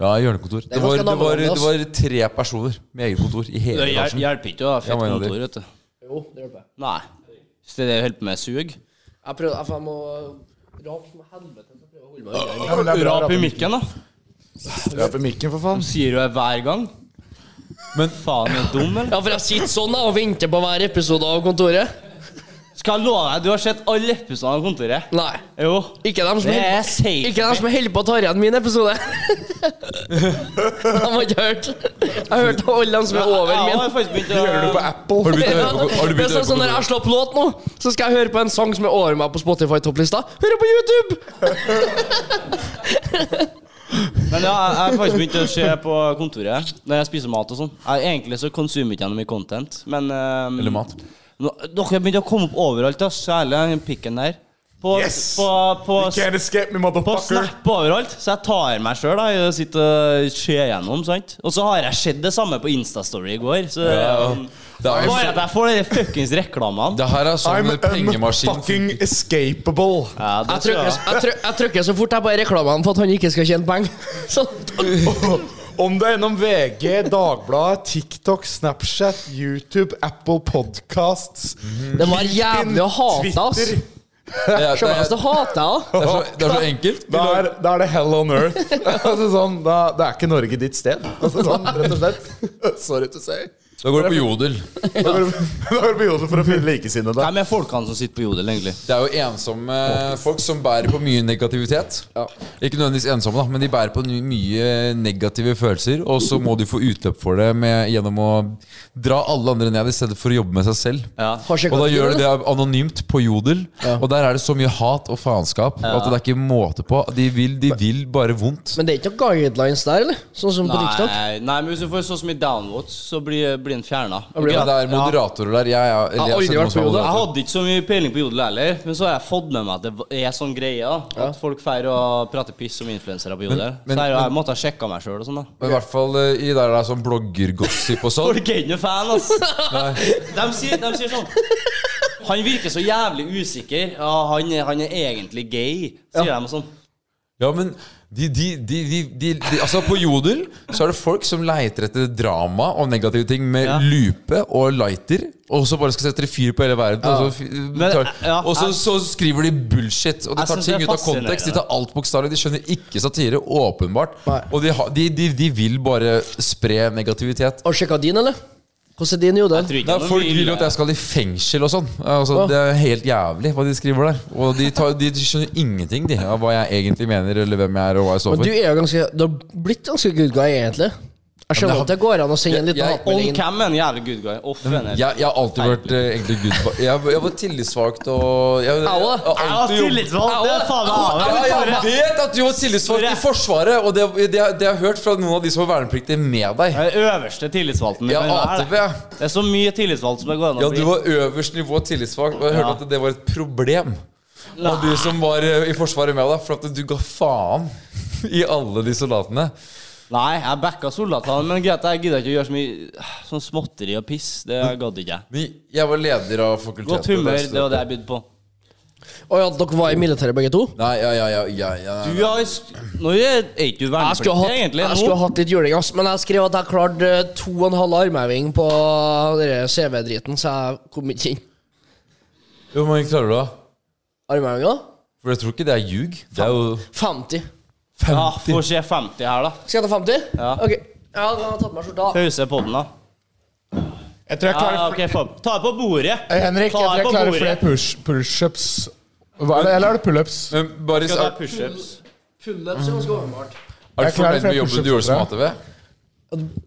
Speaker 3: Ja, hjørnekontor. Det,
Speaker 6: er
Speaker 3: var, det,
Speaker 6: ganske
Speaker 3: var,
Speaker 6: navlebånd,
Speaker 3: det
Speaker 6: ass.
Speaker 3: var tre personer med eget kontor i hele
Speaker 4: Det hjel-
Speaker 3: etasjen.
Speaker 4: hjelper ikke å ha fett
Speaker 3: Jeg var en av de.
Speaker 4: kontor, vet du.
Speaker 6: Jo, det hjelper.
Speaker 4: Nei. Hvis det er det du holder på med, sug.
Speaker 6: Jeg prøvde jeg- Jeg må rape som helvete. så prøver jeg å holde meg unna.
Speaker 8: ja, men det er bra
Speaker 4: Rap i
Speaker 8: rape
Speaker 4: mikken, da.
Speaker 8: rape mikken, for faen.
Speaker 4: Sier du det hver gang? Men faen, er du dum, eller?
Speaker 6: Ja, for jeg sitter sånn da, og venter på hver episode av Kontoret.
Speaker 4: Skal jeg love deg, du har sett alle episodene av Kontoret.
Speaker 6: Nei.
Speaker 4: Jo.
Speaker 6: Ikke dem som
Speaker 4: Det
Speaker 6: held-
Speaker 4: er safe.
Speaker 6: ikke dem som holder på å ta igjen min episode. De har ikke hørt. Jeg har hørt alle dem som er over
Speaker 4: Jeg
Speaker 6: min.
Speaker 4: har faktisk begynt å
Speaker 3: Har du begynt å høre på, har du
Speaker 6: Det er
Speaker 3: begynt å høre
Speaker 6: sånn som
Speaker 3: på
Speaker 6: Når jeg
Speaker 3: kontoret?
Speaker 6: slår opp låt nå, så skal jeg høre på en sang som er over meg på Spotify-topplista. Hører på YouTube!
Speaker 4: Men ja, jeg jeg har faktisk begynt å se på kontoret når jeg spiser mat og sånn. Jeg- Egentlig så konsumer ikke jeg noe mye content, men ehm,
Speaker 3: Eller mat.
Speaker 4: nå- Dere begynte å komme opp overalt, da. Særlig den pikken der. På,
Speaker 8: Yes!
Speaker 4: på, på,
Speaker 8: Can't escape me,
Speaker 4: på
Speaker 8: motherfucker.
Speaker 4: Snap overalt. Så jeg tar meg sjøl i å sitte og se gjennom. sant? Og så har jeg sett det samme på Instastory i går. Så ehm,
Speaker 3: Det er-
Speaker 4: bare at jeg får de fuckings reklamene.
Speaker 3: Det her er sånn
Speaker 8: I'm
Speaker 3: pengemaskin
Speaker 8: fucking escapable.
Speaker 4: Ja, det
Speaker 6: Jeg trykker, jeg, trykker, jeg trykker så fort jeg bare reklamen for at han ikke skal tjene penger. Sånn.
Speaker 8: Om det er gjennom VG, Dagbladet, TikTok, Snapchat, YouTube, Apple Podcasts
Speaker 6: Det var jævlig å hate, ass.
Speaker 8: Twitter.
Speaker 3: Det er, det,
Speaker 6: Sjøl om
Speaker 3: er,
Speaker 6: jeg hater jeg da.
Speaker 3: det, er så, det er så enkelt.
Speaker 8: Da er, da er det hell on earth. altså sånn, da, da er ikke Norge ditt sted. Altså sånn, rett og slett. Sorry to say.
Speaker 3: Da går det på jodel.
Speaker 8: Da går du- da går du på jodel for å finne likesinnede.
Speaker 4: Hvem er folkene som sitter på Jodel, egentlig?
Speaker 3: Det er jo ensomme folk som bærer på mye negativitet. Ikke nødvendigvis ensomme, da, men de bærer på ny- mye negative følelser. Og så må de få utløp for det med, gjennom å dra alle andre ned i stedet for å jobbe med seg selv.
Speaker 6: Har sjekket
Speaker 3: Og da
Speaker 6: ut
Speaker 3: gjør de
Speaker 6: det.
Speaker 3: det anonymt på Jodel. Og der er det så mye hat og faenskap at det er ikke måte på. De vil, de vil bare vondt.
Speaker 6: Men det er ikke noen guidelines der, eller? Sånn som på TikTok?
Speaker 4: Nei, nei, men hvis du får så mye downvotes, så blir blir den fjerna.
Speaker 3: Men det er moderatorer der. Jeg, jeg,
Speaker 6: Jeg har aldri vært på Jodel.
Speaker 4: Jeg hadde ikke så mye peiling på Jodel heller, men så har jeg fått med meg at det er sånn greie. da. At folk feirer å prate piss som influensere på Jodel.
Speaker 3: men-
Speaker 4: så jeg, jeg måtte ha sjekka meg sjøl og sånn, da.
Speaker 3: Men i hvert fall eh, i der det er sånn bloggergossip og sånn.
Speaker 4: Folk er ikke noe fan, ass. De sier, de sier sånn Han virker så jævlig usikker. Ja, han, er- han er egentlig gay, sier de sånn.
Speaker 3: Ja, men de, de, de, de, de, de Altså, på Jodel så er det folk som leiter etter drama og negative ting med
Speaker 4: Ja.
Speaker 3: lupe og lighter, og så bare skal sette fyr på hele verden. Og, så, fi- tar,
Speaker 4: ja,
Speaker 3: og så,
Speaker 4: jeg-
Speaker 3: så skriver de bullshit, og de
Speaker 4: Jeg
Speaker 3: tar
Speaker 4: synes det
Speaker 3: ting
Speaker 4: er
Speaker 3: ut av kontekst. De tar alt bokstavelig. De skjønner ikke satire, åpenbart. Og de, har- de, de, de vil bare spre negativitet.
Speaker 6: Har du sjekka din, eller? Hvordan er din
Speaker 4: Jeg
Speaker 6: jodel?
Speaker 4: tror ikke
Speaker 3: Nei,
Speaker 4: det er noe
Speaker 3: folk
Speaker 4: mye-
Speaker 3: vil jo at jeg skal i fengsel og sånn. Altså, det er helt jævlig hva de skriver der. Og de, tar, de skjønner ingenting de, av hva jeg egentlig mener, eller hvem jeg er, og hva jeg står
Speaker 6: Men
Speaker 3: for.
Speaker 6: du er jo ganske Du har blitt ganske good guy, egentlig. Jeg skjønner at det går an å sende en liten
Speaker 3: Jeg-
Speaker 4: On
Speaker 6: hatmelding inn.
Speaker 4: cam er en jævlig good guy. Off er en
Speaker 3: Jeg, jeg har alltid vært eh, egentlig good boy. Jeg, jeg var tillitsvalgt og jeg, jeg,
Speaker 6: Au, da.
Speaker 3: har
Speaker 4: Ja,
Speaker 3: alltid jobbet-
Speaker 4: tillitsvalgt, det er faen meg
Speaker 3: ja, jeg vet at du var tillitsvalgt i Forsvaret, og det, det, det har jeg hørt fra noen av de som var vernepliktige med deg.
Speaker 4: Det er den øverste tillitsvalgten. vi
Speaker 3: Ja,
Speaker 4: kan være,
Speaker 3: ATV.
Speaker 4: det. Det er så mye tillitsvalgt som det går an
Speaker 3: Ja,
Speaker 4: å
Speaker 3: du
Speaker 4: bli.
Speaker 3: var øverst nivå tillitsvalgt, og jeg hørte
Speaker 4: Ja.
Speaker 3: at det var et problem. Av de som var eh, i Forsvaret med deg, for at du ga faen i alle de soldatene.
Speaker 4: Nei, jeg backa soldatene, men greit, jeg gidder ikke å gjøre så mye sånn småtteri og piss. Det gadd ikke jeg.
Speaker 3: Men jeg var leder av fakultetet.
Speaker 4: Godt humør,
Speaker 3: der, så-
Speaker 4: det var det jeg bydde på.
Speaker 6: Å ja, dere var i militæret begge to?
Speaker 3: Nei, ja, ja, ja, ja, ja.
Speaker 4: Du har jo sk- Nå er er ikke du
Speaker 6: Jeg skulle ha
Speaker 4: vernepliktig,
Speaker 6: hatt,
Speaker 4: egentlig.
Speaker 6: jeg
Speaker 4: Nå.
Speaker 6: skulle ha hatt litt juling, ass. Men jeg skrev at jeg klarte eh, to og en halv armheving på dere CV-driten, så jeg kom ikke inn.
Speaker 3: Hvor mange klarer du, da?
Speaker 6: Armhevninga?
Speaker 3: For jeg tror ikke det er ljug. Det er jo
Speaker 6: 50.
Speaker 4: Ja, Få se 50 her, da.
Speaker 6: Skal jeg ta 50?
Speaker 4: Ja.
Speaker 6: Ok. Ja, da har jeg tatt meg skjorta. av.
Speaker 4: Pause på den, da.
Speaker 5: Jeg tror jeg klarer
Speaker 4: Ja, ok, faen. Ta det på bordet.
Speaker 5: Eh, Henrik, jeg
Speaker 4: Ta
Speaker 5: tror
Speaker 4: det
Speaker 5: jeg
Speaker 4: på
Speaker 5: klarer
Speaker 4: bordet.
Speaker 5: flere push- push-ups. Hva er det, eller er det pull-ups?
Speaker 3: Men bare
Speaker 4: Skal ta
Speaker 3: er,
Speaker 4: pushups?
Speaker 6: Pull-ups er ganske åpenbart.
Speaker 3: er
Speaker 5: Jeg
Speaker 3: du fornøyd
Speaker 5: klarer
Speaker 3: med
Speaker 5: flere
Speaker 3: jobben du
Speaker 5: push-ups,
Speaker 3: gjorde som
Speaker 5: tror
Speaker 3: ATV?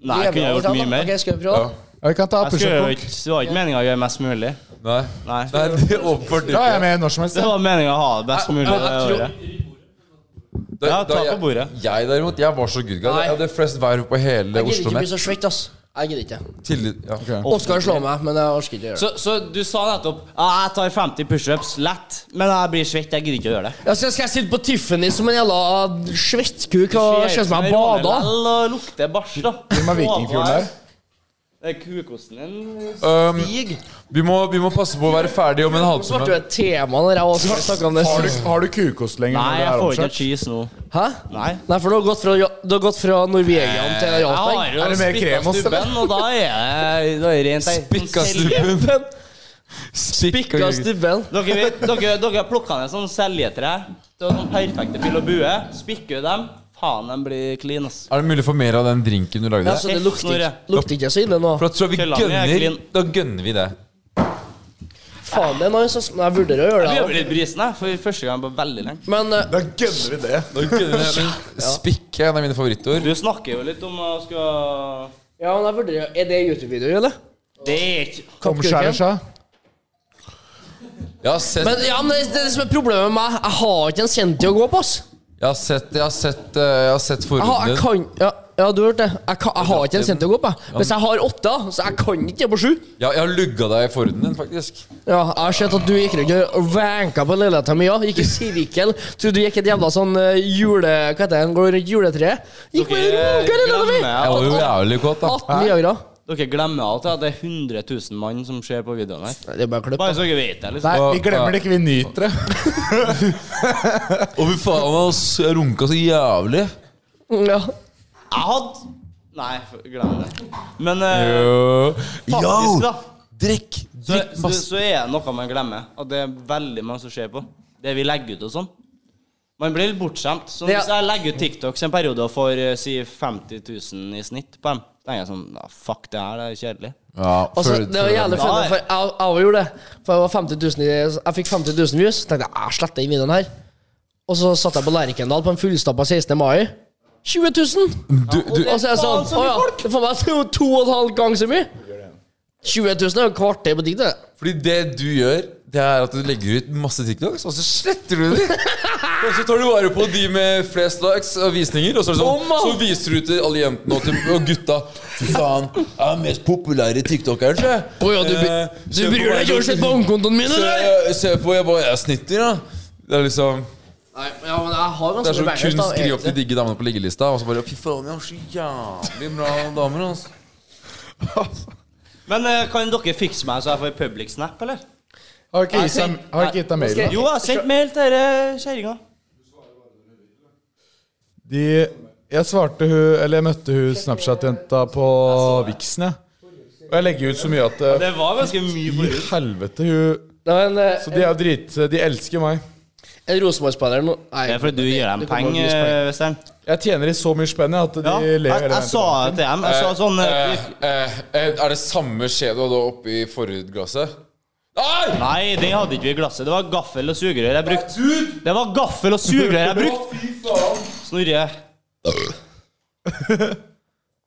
Speaker 4: Nei, jeg kunne gjort mye mer.
Speaker 6: Ok, skal vi prøve?
Speaker 3: Ja.
Speaker 5: Ja, Vi kan ta
Speaker 4: Jeg skulle jo
Speaker 5: push-up.
Speaker 4: ikke, Det var ikke meningen å gjøre mest mulig.
Speaker 3: Nei.
Speaker 4: Nei.
Speaker 3: Nei, det overførte
Speaker 5: Da er jeg
Speaker 3: ikke.
Speaker 5: med når som helst.
Speaker 4: Det
Speaker 5: jeg.
Speaker 4: var meningen å ha det best mulig.
Speaker 3: Jeg- jeg
Speaker 4: det
Speaker 3: tror-
Speaker 4: året.
Speaker 3: Da-
Speaker 4: Ja,
Speaker 3: da
Speaker 4: ta på
Speaker 3: jeg-
Speaker 4: bordet.
Speaker 3: Jeg derimot, jeg var så good guy. Jeg hadde flest verv på hele
Speaker 6: Jeg gidder
Speaker 3: Oslo
Speaker 6: ikke bli
Speaker 3: Met.
Speaker 6: så svett, ass. Jeg gidder ikke.
Speaker 3: Tillit ja.
Speaker 6: Oskar slår meg, men jeg orker ikke å gjøre det.
Speaker 4: Så, så du sa nettopp ja, jeg tar 50 pushups lett, men jeg blir svett. Jeg gidder ikke å gjøre det.
Speaker 6: Ja, skal, skal jeg sitte på Tiffany som en jævla svettkuk og se ut som jeg bader?
Speaker 4: Rånelell og lukter bæsj, da.
Speaker 5: Hvem er vikingfjorden der?
Speaker 4: Det er kukosten din.
Speaker 3: Um, vi, må, vi må passe på å være ferdig om en
Speaker 6: Så ble
Speaker 3: halvtime.
Speaker 6: det et tema når jeg også snakket om det.
Speaker 5: Har du, har du kukost lenger?
Speaker 4: Nei,
Speaker 5: når det
Speaker 4: jeg
Speaker 5: er
Speaker 4: får ikke
Speaker 5: avskjært?
Speaker 4: cheese nå.
Speaker 6: Hæ?
Speaker 4: Nei.
Speaker 6: Nei, for du har gått fra, du har gått fra Norvegian til
Speaker 4: Jeg
Speaker 6: Jarlsberg.
Speaker 4: har jo
Speaker 5: Er det mer
Speaker 4: spikka
Speaker 5: krem hos deg?
Speaker 4: stubben, og da er jeg da er jeg rent Sånn ei-
Speaker 3: Spikka stubben. Spikka
Speaker 6: Spikka
Speaker 3: stubben.
Speaker 6: stubben.
Speaker 4: Dere, vet, dere, dere har plukka ned sånn seljetre. Det var sånn perfekte pil og bue. Spikker dem. Faen, de blir clean, ass.
Speaker 3: Er det mulig å få mer av den drinken du lagde?
Speaker 6: Ja, så det lukter, ikke- lukter ikke så ille nå.
Speaker 3: For da tror jeg vi
Speaker 4: Kølla mi er
Speaker 3: gønner
Speaker 4: clean.
Speaker 3: Da gønner vi det.
Speaker 6: Faen, det er nice, ass. Men jeg vurderer å gjøre
Speaker 4: Vi
Speaker 6: det.
Speaker 4: gjør
Speaker 6: da.
Speaker 4: litt brisen, jeg, for første gang på veldig lenge.
Speaker 6: Men eh,
Speaker 5: Da gønner vi det.
Speaker 3: Da gønner vi det. Men spikke er en av mine favorittord.
Speaker 4: Du snakker jo litt om å skal
Speaker 6: ja, men jeg vurderer Er det YouTube-videoer, eller?
Speaker 4: Det er ikke
Speaker 5: Omskjærer seg.
Speaker 3: Jeg har sett,
Speaker 6: Men ja, men det, det er det som er problemet med meg. Jeg har ikke en kjent til å gå på, ass.
Speaker 3: jeg har sett, jeg har sett, eh, jeg har sett
Speaker 6: Jeg, har,
Speaker 3: forhuden
Speaker 6: jeg
Speaker 3: din.
Speaker 6: kan Ja, ja du hørte det. Jeg, kan, jeg har ikke en cent å gå på. jeg. Hvis jeg har åtte, så jeg kan ikke på sju.
Speaker 3: Ja, jeg har lugga deg i forhuden din, faktisk.
Speaker 6: Ja, jeg har sett at du gikk rundt og vanka på leiligheta mi òg. Gikk i sirkel. Tror du gikk et jævla sånn eh, jule... Hva heter det? Han går rundt juletreet. Gikk bare og runka
Speaker 4: glemmer,
Speaker 3: Jeg var jo
Speaker 6: i leiligheta mi!
Speaker 3: jævlig kåt, da.
Speaker 6: 18 Viagra.
Speaker 4: dere glemmer alt ja. det er 100 000 mann som ser på videoen her.
Speaker 6: Nei, Det er bare klipp.
Speaker 4: Bare så dere vet det. liksom.
Speaker 5: Nei, vi glemmer det ikke. Vi nyter det.
Speaker 3: Å, fy faen, ass. Jeg runka så jævlig.
Speaker 6: Ja.
Speaker 4: Jeg hadde Nei, f- glem det. Men eh,
Speaker 3: Yo!
Speaker 4: faktisk, da,
Speaker 3: Drikk!
Speaker 4: så,
Speaker 3: Drikk
Speaker 4: så,
Speaker 3: masse.
Speaker 4: så er det noe man glemmer. At det er veldig mange som ser på. Det vi legger ut og sånn. Man blir litt bortskjemt. Så
Speaker 6: Ja.
Speaker 4: hvis jeg legger ut TikToks en periode og får eh, si 50 000 i snitt på dem, da er jeg sånn ja, Fuck det her, det er kjedelig.
Speaker 3: Ja,
Speaker 6: Altså,
Speaker 3: føl-
Speaker 6: det var jævlig
Speaker 4: Nei.
Speaker 6: funnet, for jeg, jeg også gjorde det. For jeg, var 50 000 i, jeg fikk 50 000 views. Tenkte jeg, jeg sletter den videoen her. Og så satt jeg på Lerkendal på en fullstappa 16. mai. 20 000!
Speaker 3: Du, du,
Speaker 6: Og så er jeg sånn
Speaker 4: faen så
Speaker 6: Å
Speaker 4: mye
Speaker 6: ja, det er faen meg to- to og en halv gang så mye! 20 000 er jo et kvarter på digg, det.
Speaker 3: Fordi det du gjør, det er at du legger ut masse TikToks, og så sletter du dem. Og så tar du vare på de med flest likes og visninger, og så, er det sånn, så viser du til alle jentene og, til, og gutta. Fy faen, jeg er den mest populære TikTokeren, tror jeg.
Speaker 6: Å ja, du, bry-
Speaker 3: Eh,
Speaker 6: du
Speaker 3: se på
Speaker 6: bryr
Speaker 3: hva jeg
Speaker 6: deg ikke om å sette bankkontoen min, eller?
Speaker 3: Se, se på jeg, hva jeg snitter, da. Det er liksom
Speaker 6: Nei, ja, men jeg har
Speaker 3: Det er som
Speaker 6: ganske mye
Speaker 3: kun
Speaker 6: da,
Speaker 3: skriver opp de
Speaker 6: egentlig.
Speaker 3: digge damene på liggelista, og så bare Fy faen, jeg har så jævlig bra damer, altså.
Speaker 4: Men eh, kan dere fikse meg så jeg får public snap, eller?
Speaker 5: Har ikke gitt deg- har ikke gitt deg mail, da?
Speaker 4: Jo, jeg har sendt mail til dere kjerringa.
Speaker 8: De, jeg svarte hun, eller jeg møtte hun Snapchat-jenta på Vixen, jeg. Og jeg legger ut så mye at eh,
Speaker 4: Det var ganske mye
Speaker 8: I
Speaker 4: forut.
Speaker 8: helvete, hun
Speaker 6: Det var en, eh,
Speaker 8: Så de er jo drit... De elsker meg.
Speaker 6: en Rosenborg-spiller nå Nei,
Speaker 4: Det er fordi du gir dem eh.
Speaker 6: det kommer
Speaker 4: penger,
Speaker 6: til å bli spennende.
Speaker 4: Western.
Speaker 8: Jeg tjener i så mye spenn jeg, at de
Speaker 4: Ja, jeg,
Speaker 8: ler hele
Speaker 4: jeg
Speaker 8: veien
Speaker 4: sa
Speaker 8: tilbake.
Speaker 4: det til dem. Jeg sa sånn eh,
Speaker 3: Eh, eh, eh, er det samme skje du hadde oppi forhudglasset? Nei!
Speaker 4: Nei, det hadde ikke vi i glasset. Det var gaffel og sugerør jeg brukte. Det var gaffel og sugerør jeg brukte!
Speaker 3: Fy faen!
Speaker 4: Snorre.
Speaker 3: Ja,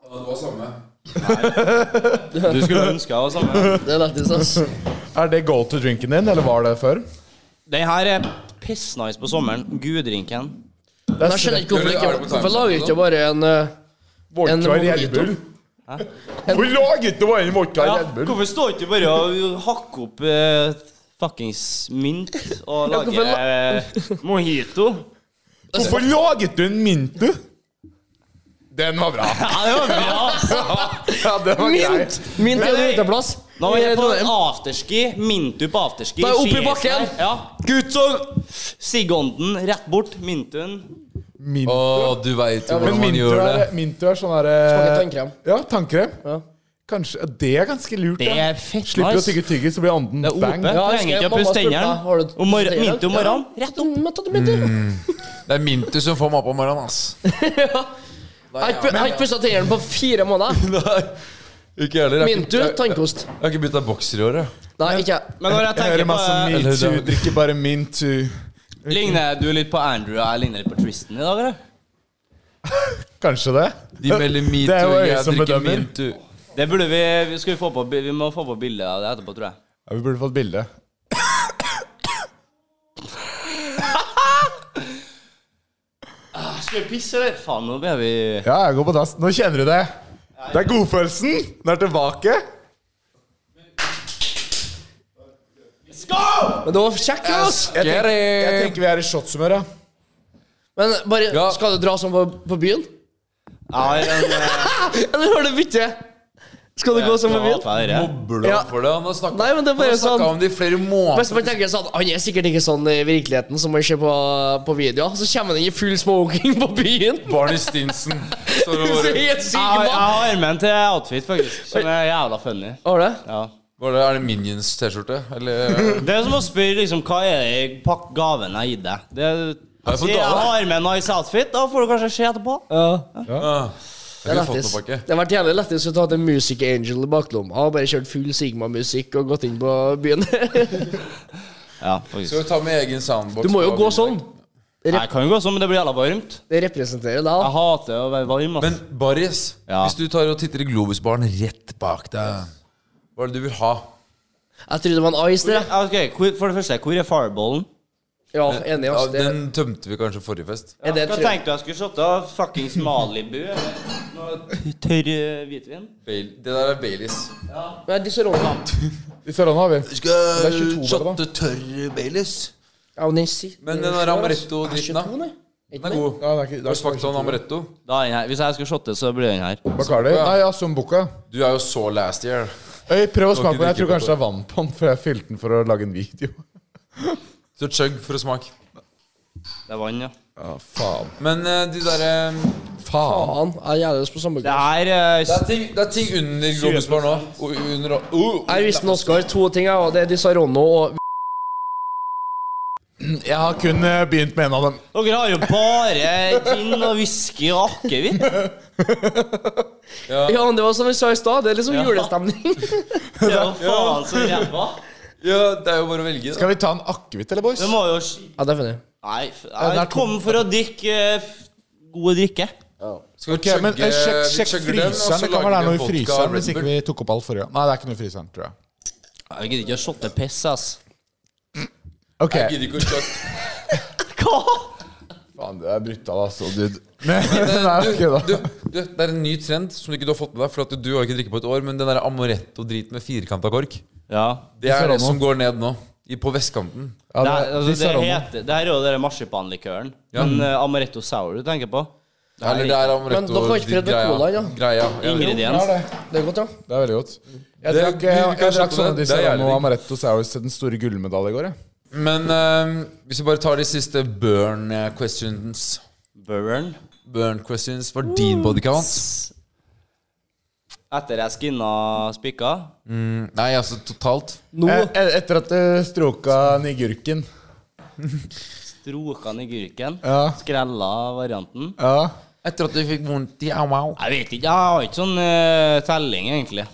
Speaker 3: det var samme.
Speaker 4: Du skulle ønske jeg var sammen.
Speaker 6: Det er lættis, ass.
Speaker 8: Er det go to drinken din, eller var det før?
Speaker 4: Den her er pissnice på sommeren. Guddrinken.
Speaker 6: Men jeg skjønner ikke hvorfor
Speaker 3: Eller er det
Speaker 6: ikke
Speaker 3: på
Speaker 6: Hvorfor lager vi
Speaker 3: timeouten,
Speaker 6: ikke bare en eh, en
Speaker 8: Vodka i
Speaker 6: mojito.
Speaker 8: Red Bull? Hvor laget det var en vodka i
Speaker 4: Ja,
Speaker 8: Red Bull?
Speaker 4: hvorfor står ikke du bare og hakker opp eh, fuckings mynt og
Speaker 6: Ja, hvorfor
Speaker 4: lager eh, mojito?
Speaker 8: Hvorfor laget du en mint, du? Den var bra.
Speaker 4: Ja, det var bra, altså.
Speaker 8: Ja, den var grei.
Speaker 6: Mint! Mint er en uteplass.
Speaker 4: Nå er jeg på
Speaker 6: Trondheim.
Speaker 4: afterski. Mintu på afterski.
Speaker 6: Eh, Da er jeg oppe i
Speaker 4: Skiheisen
Speaker 6: bakken.
Speaker 4: her. Ja. Guttungen! Sigånden rett bort. Mintun.
Speaker 8: Mint.
Speaker 3: Å, du veit jo
Speaker 8: Men
Speaker 3: hvordan man
Speaker 8: mintu
Speaker 3: gjør det.
Speaker 8: er, mintu er sånn derre
Speaker 6: Smaker tannkrem.
Speaker 8: Ja, tannkrem.
Speaker 5: Kanskje, Det er ganske lurt.
Speaker 4: Det
Speaker 5: ja.
Speaker 4: er fett
Speaker 5: Slipper å
Speaker 4: nice.
Speaker 5: tygge tyggis, så blir ånden
Speaker 4: Det er
Speaker 5: bang.
Speaker 4: OP.
Speaker 6: jeg
Speaker 4: Trenger
Speaker 6: husker
Speaker 4: ikke å
Speaker 6: mamma
Speaker 4: pusse
Speaker 6: spurte
Speaker 4: tennene.
Speaker 6: meg, har du
Speaker 4: Og mor-
Speaker 6: tannkrem?
Speaker 4: mynte om morgenen. Rett opp.
Speaker 3: Mm. Det er Mintu som får meg opp om morgenen, ass.
Speaker 6: Jeg har ikke- jeg har ikke pussa tennene på fire måneder.
Speaker 3: Ikke heller. Jeg har
Speaker 6: Mintu,
Speaker 3: ikke-
Speaker 6: tannkost.
Speaker 3: Jeg har ikke bytta bokser i år, jeg.
Speaker 6: Nei, ikke jeg.
Speaker 4: Men når jeg
Speaker 5: Jeg
Speaker 4: tenker
Speaker 5: hører masse
Speaker 4: på eh,
Speaker 5: metoo, drikker bare metoo.
Speaker 4: Ligner du litt på Andrew og jeg ligner litt på Tristan i dag, eller?
Speaker 5: Kanskje det?
Speaker 3: De melder
Speaker 5: Det er
Speaker 3: Mintu,
Speaker 5: jo jeg
Speaker 3: jeg
Speaker 5: som
Speaker 3: drikker
Speaker 5: bedømmer.
Speaker 3: Mintu.
Speaker 4: Det burde vi Vi, skal få på, bi- vi må få på bilde av det etterpå, tror jeg.
Speaker 5: Ja, vi burde fått bilde.
Speaker 4: Ah, Skal vi pisse, eller? Faen, nå blir vi
Speaker 5: Ja, jeg går på dass. Nå kjenner du det. Det er godfølelsen. Den er tilbake.
Speaker 6: Men det var kjekt, da, ass.
Speaker 5: Jeg tenker, jeg
Speaker 3: Scary!
Speaker 5: tenker vi er i shotshumør, ja.
Speaker 6: Men
Speaker 3: Ja.
Speaker 6: bare, skal du dra sånn på, på byen?
Speaker 4: Jeg har en eh,
Speaker 6: Eller har du bytte? Skal du gå sånn på byen?
Speaker 4: jeg hater dere.
Speaker 3: Mobber du
Speaker 6: Ja.
Speaker 3: ham for det? Han har snakka
Speaker 6: Nei, men det er bare sånn
Speaker 3: om det i flere måneder.
Speaker 6: Hvis man tenker sånn Han er sikkert ikke sånn i virkeligheten som man ser på, på videoer. Så kommer han inn i full smoking på byen.
Speaker 3: Barney Stinson. Så det
Speaker 6: Så
Speaker 3: var-
Speaker 6: helt
Speaker 4: Jeg har- jeg
Speaker 6: sigma.
Speaker 4: har armen til outfit, faktisk. Som er jævla funny.
Speaker 6: Har det?
Speaker 4: Ja.
Speaker 3: Var det, er det Minions T-skjorte? Eller eh,
Speaker 4: Det er som å spørre liksom, hva er det i pakk gaven jeg har gitt deg. Det,
Speaker 3: Har jeg fått
Speaker 4: Si, jeg
Speaker 3: gave?
Speaker 4: har med en nice outfit, da får du kanskje se etterpå.
Speaker 3: Ah,
Speaker 6: Det
Speaker 3: Jeg
Speaker 6: er
Speaker 3: har ikke fått
Speaker 6: lættis.
Speaker 3: noe pakke.
Speaker 6: Det har vært jævlig lættis å ta til Music Angel i baklomma og bare kjørt full Sigma-musikk og gått inn på byen.
Speaker 4: Ja,
Speaker 3: Skal
Speaker 4: faktisk.
Speaker 3: vi ta med egen soundbox?
Speaker 6: Du må jo
Speaker 3: på
Speaker 6: gå
Speaker 3: bilen?
Speaker 6: sånn.
Speaker 4: Nei, Jeg kan jo gå sånn, men det blir jævla varmt.
Speaker 6: Det
Speaker 4: Jeg
Speaker 6: representerer deg. da.
Speaker 4: hater å være varm.
Speaker 3: Men
Speaker 4: ass.
Speaker 3: Baris,
Speaker 4: Ja.
Speaker 3: hvis du tar og titter i Globus-baren rett bak deg, hva er det du vil ha?
Speaker 6: Jeg trodde det var en ice,
Speaker 4: Hvor-
Speaker 6: det.
Speaker 4: ja, ok, hvor, for det første, hvor er fireballen?
Speaker 6: Ja, enig.
Speaker 3: Ja,
Speaker 6: ass. Det,
Speaker 3: den tømte vi kanskje forrige fest.
Speaker 6: er det
Speaker 4: Hva
Speaker 6: tre-
Speaker 4: tenkte du jeg skulle shotta? Fuckings Malibu? eller Noe tørr eh, hvitvin?
Speaker 3: Bail- det der er Baileys.
Speaker 6: Nei, disse rollene.
Speaker 5: I Sørlandet har vi.
Speaker 3: Skal
Speaker 5: 22 bare, da.
Speaker 3: tørr Baileys?
Speaker 6: Ja, men den sitter
Speaker 3: Men den der amaretto-dritten, da?
Speaker 6: Den
Speaker 3: Den er god.
Speaker 5: Ja, det er ikke,
Speaker 3: Har du smakt sånn amaretto?
Speaker 4: Da er den her. Hvis jeg skal shotte, så blir den her.
Speaker 5: Bacardi? Nei, ja, Zumbuca.
Speaker 3: Du er jo så last year.
Speaker 5: Øy, prøv å
Speaker 3: Du har
Speaker 5: smake
Speaker 3: ikke
Speaker 5: på den. Jeg tror
Speaker 3: drukket
Speaker 5: kanskje det er vann på den, for jeg fylte den for å lage en video.
Speaker 3: Så chug for å smake.
Speaker 4: Det er vann, ja.
Speaker 5: Ja, faen.
Speaker 3: Men eh, de derre
Speaker 6: Faen,
Speaker 5: Faen.
Speaker 6: jeg gjør det på samme
Speaker 4: Det
Speaker 6: gang.
Speaker 4: er eh,
Speaker 3: det, er ting- det er ting under Globus-baren nå. Og under uh,
Speaker 6: Jeg visste Oskar to ting, jeg, og det er disse Ronno og
Speaker 5: Jeg har kun eh, begynt med en av dem.
Speaker 4: Dere har jo bare gin og whisky og akevitt.
Speaker 6: Ja, men det var som vi sa i stad, det er liksom julestemning.
Speaker 4: Det er jo faen så ræva.
Speaker 3: Ja, det er jo bare å velge. Da.
Speaker 5: Skal vi ta en akevitt, eller, boys?
Speaker 4: Det må jo sk-
Speaker 6: Ja, det er funny.
Speaker 4: Nei, f-
Speaker 5: den er
Speaker 4: jeg
Speaker 5: tom.
Speaker 4: kom for å drikke eh, f- gode drikke.
Speaker 3: Skal vi
Speaker 5: Ok, men eh, sjekk,
Speaker 3: vi
Speaker 5: sjekk
Speaker 3: chugger den, og så
Speaker 5: fryseren. Det kan
Speaker 3: lager
Speaker 5: være
Speaker 3: vi
Speaker 5: det er noe i
Speaker 3: vodka
Speaker 5: fryseren
Speaker 3: Red
Speaker 5: hvis ikke
Speaker 3: Bull.
Speaker 5: vi tok opp alt forrige gang. Nei, det er ikke noe i fryseren, tror jeg.
Speaker 4: Jeg gidder ikke å shotte piss, ass.
Speaker 5: Ok.
Speaker 3: Jeg gidder ikke å chugge.
Speaker 5: Faen, det er brutal, altså, dude. Nei, nei, ok, da.
Speaker 3: eh, du, du, det er en ny trend som du ikke du har fått med deg. For at du har ikke drikket på et år Men den der amoretto-driten med firkanta kork,
Speaker 4: Ja.
Speaker 3: det er det
Speaker 5: Serrano.
Speaker 3: som går ned nå. I, på vestkanten.
Speaker 4: Det,
Speaker 5: Ja, det,
Speaker 4: er- altså,
Speaker 5: de
Speaker 4: det,
Speaker 5: Saromo.
Speaker 4: heter, det her er jo den marsipanlikøren.
Speaker 3: Ja.
Speaker 4: Men eh, Amaretto Sour du tenker på?
Speaker 3: Eller det er
Speaker 6: Men dere har ikke prøvd med cola,
Speaker 3: amoretto-greia.
Speaker 6: ja?
Speaker 3: Greia. Ja.
Speaker 5: Ja,
Speaker 4: Ingrediens.
Speaker 5: det.
Speaker 6: Det er godt, ja.
Speaker 5: det er veldig godt. Jeg
Speaker 3: Det- vi-
Speaker 5: drakk,
Speaker 3: vi
Speaker 5: jeg,
Speaker 3: kan
Speaker 5: jeg
Speaker 3: slutte
Speaker 5: drakk sånn sånne
Speaker 3: med det.
Speaker 5: de
Speaker 3: Det er
Speaker 5: Serrano
Speaker 3: jævlig digg.
Speaker 5: Amaretto Sours til den store gullmedaljen i går, jeg.
Speaker 3: Men eh, hvis vi bare tar de siste burn eh, questions
Speaker 4: Burn.
Speaker 3: Burn questions for din body count?
Speaker 4: Etter jeg skinna spikka.
Speaker 3: Nei, altså totalt.
Speaker 6: Nå
Speaker 5: Eh, eh, Etter at du stroka nigurken.
Speaker 4: Stroka den i gurken.
Speaker 5: Ja.
Speaker 4: Skrella varianten.
Speaker 5: Ja.
Speaker 3: Etter at du fikk vondt i au-au.
Speaker 4: Jeg vet ikke. Jeg har ikke sånn eh, telling, egentlig.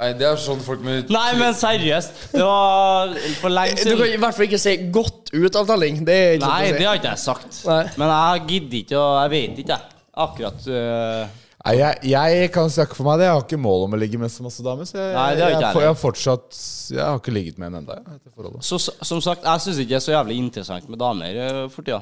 Speaker 3: Nei, det er sånn folk med
Speaker 4: Nei, men seriøst. Det var for lenge
Speaker 6: Du kan
Speaker 4: siden.
Speaker 6: i hvert fall ikke se godt ut av telling. Det er ikke
Speaker 4: Nei,
Speaker 6: lov å si.
Speaker 4: det har ikke jeg sagt.
Speaker 6: Nei.
Speaker 4: Men jeg gidder ikke, og jeg vet ikke, jeg. Akkurat øh,
Speaker 5: Nei, jeg, jeg kan snakke for meg det. Jeg har ikke mål om å ligge med så masse damer. Så jeg,
Speaker 4: Nei, det har
Speaker 5: jeg,
Speaker 4: ikke jeg
Speaker 5: får- jeg, har fortsatt Jeg har ikke ligget med en ennå. Etter forholdet.
Speaker 4: Så s- som sagt, jeg syns ikke det er så jævlig interessant med damer øh, for tida.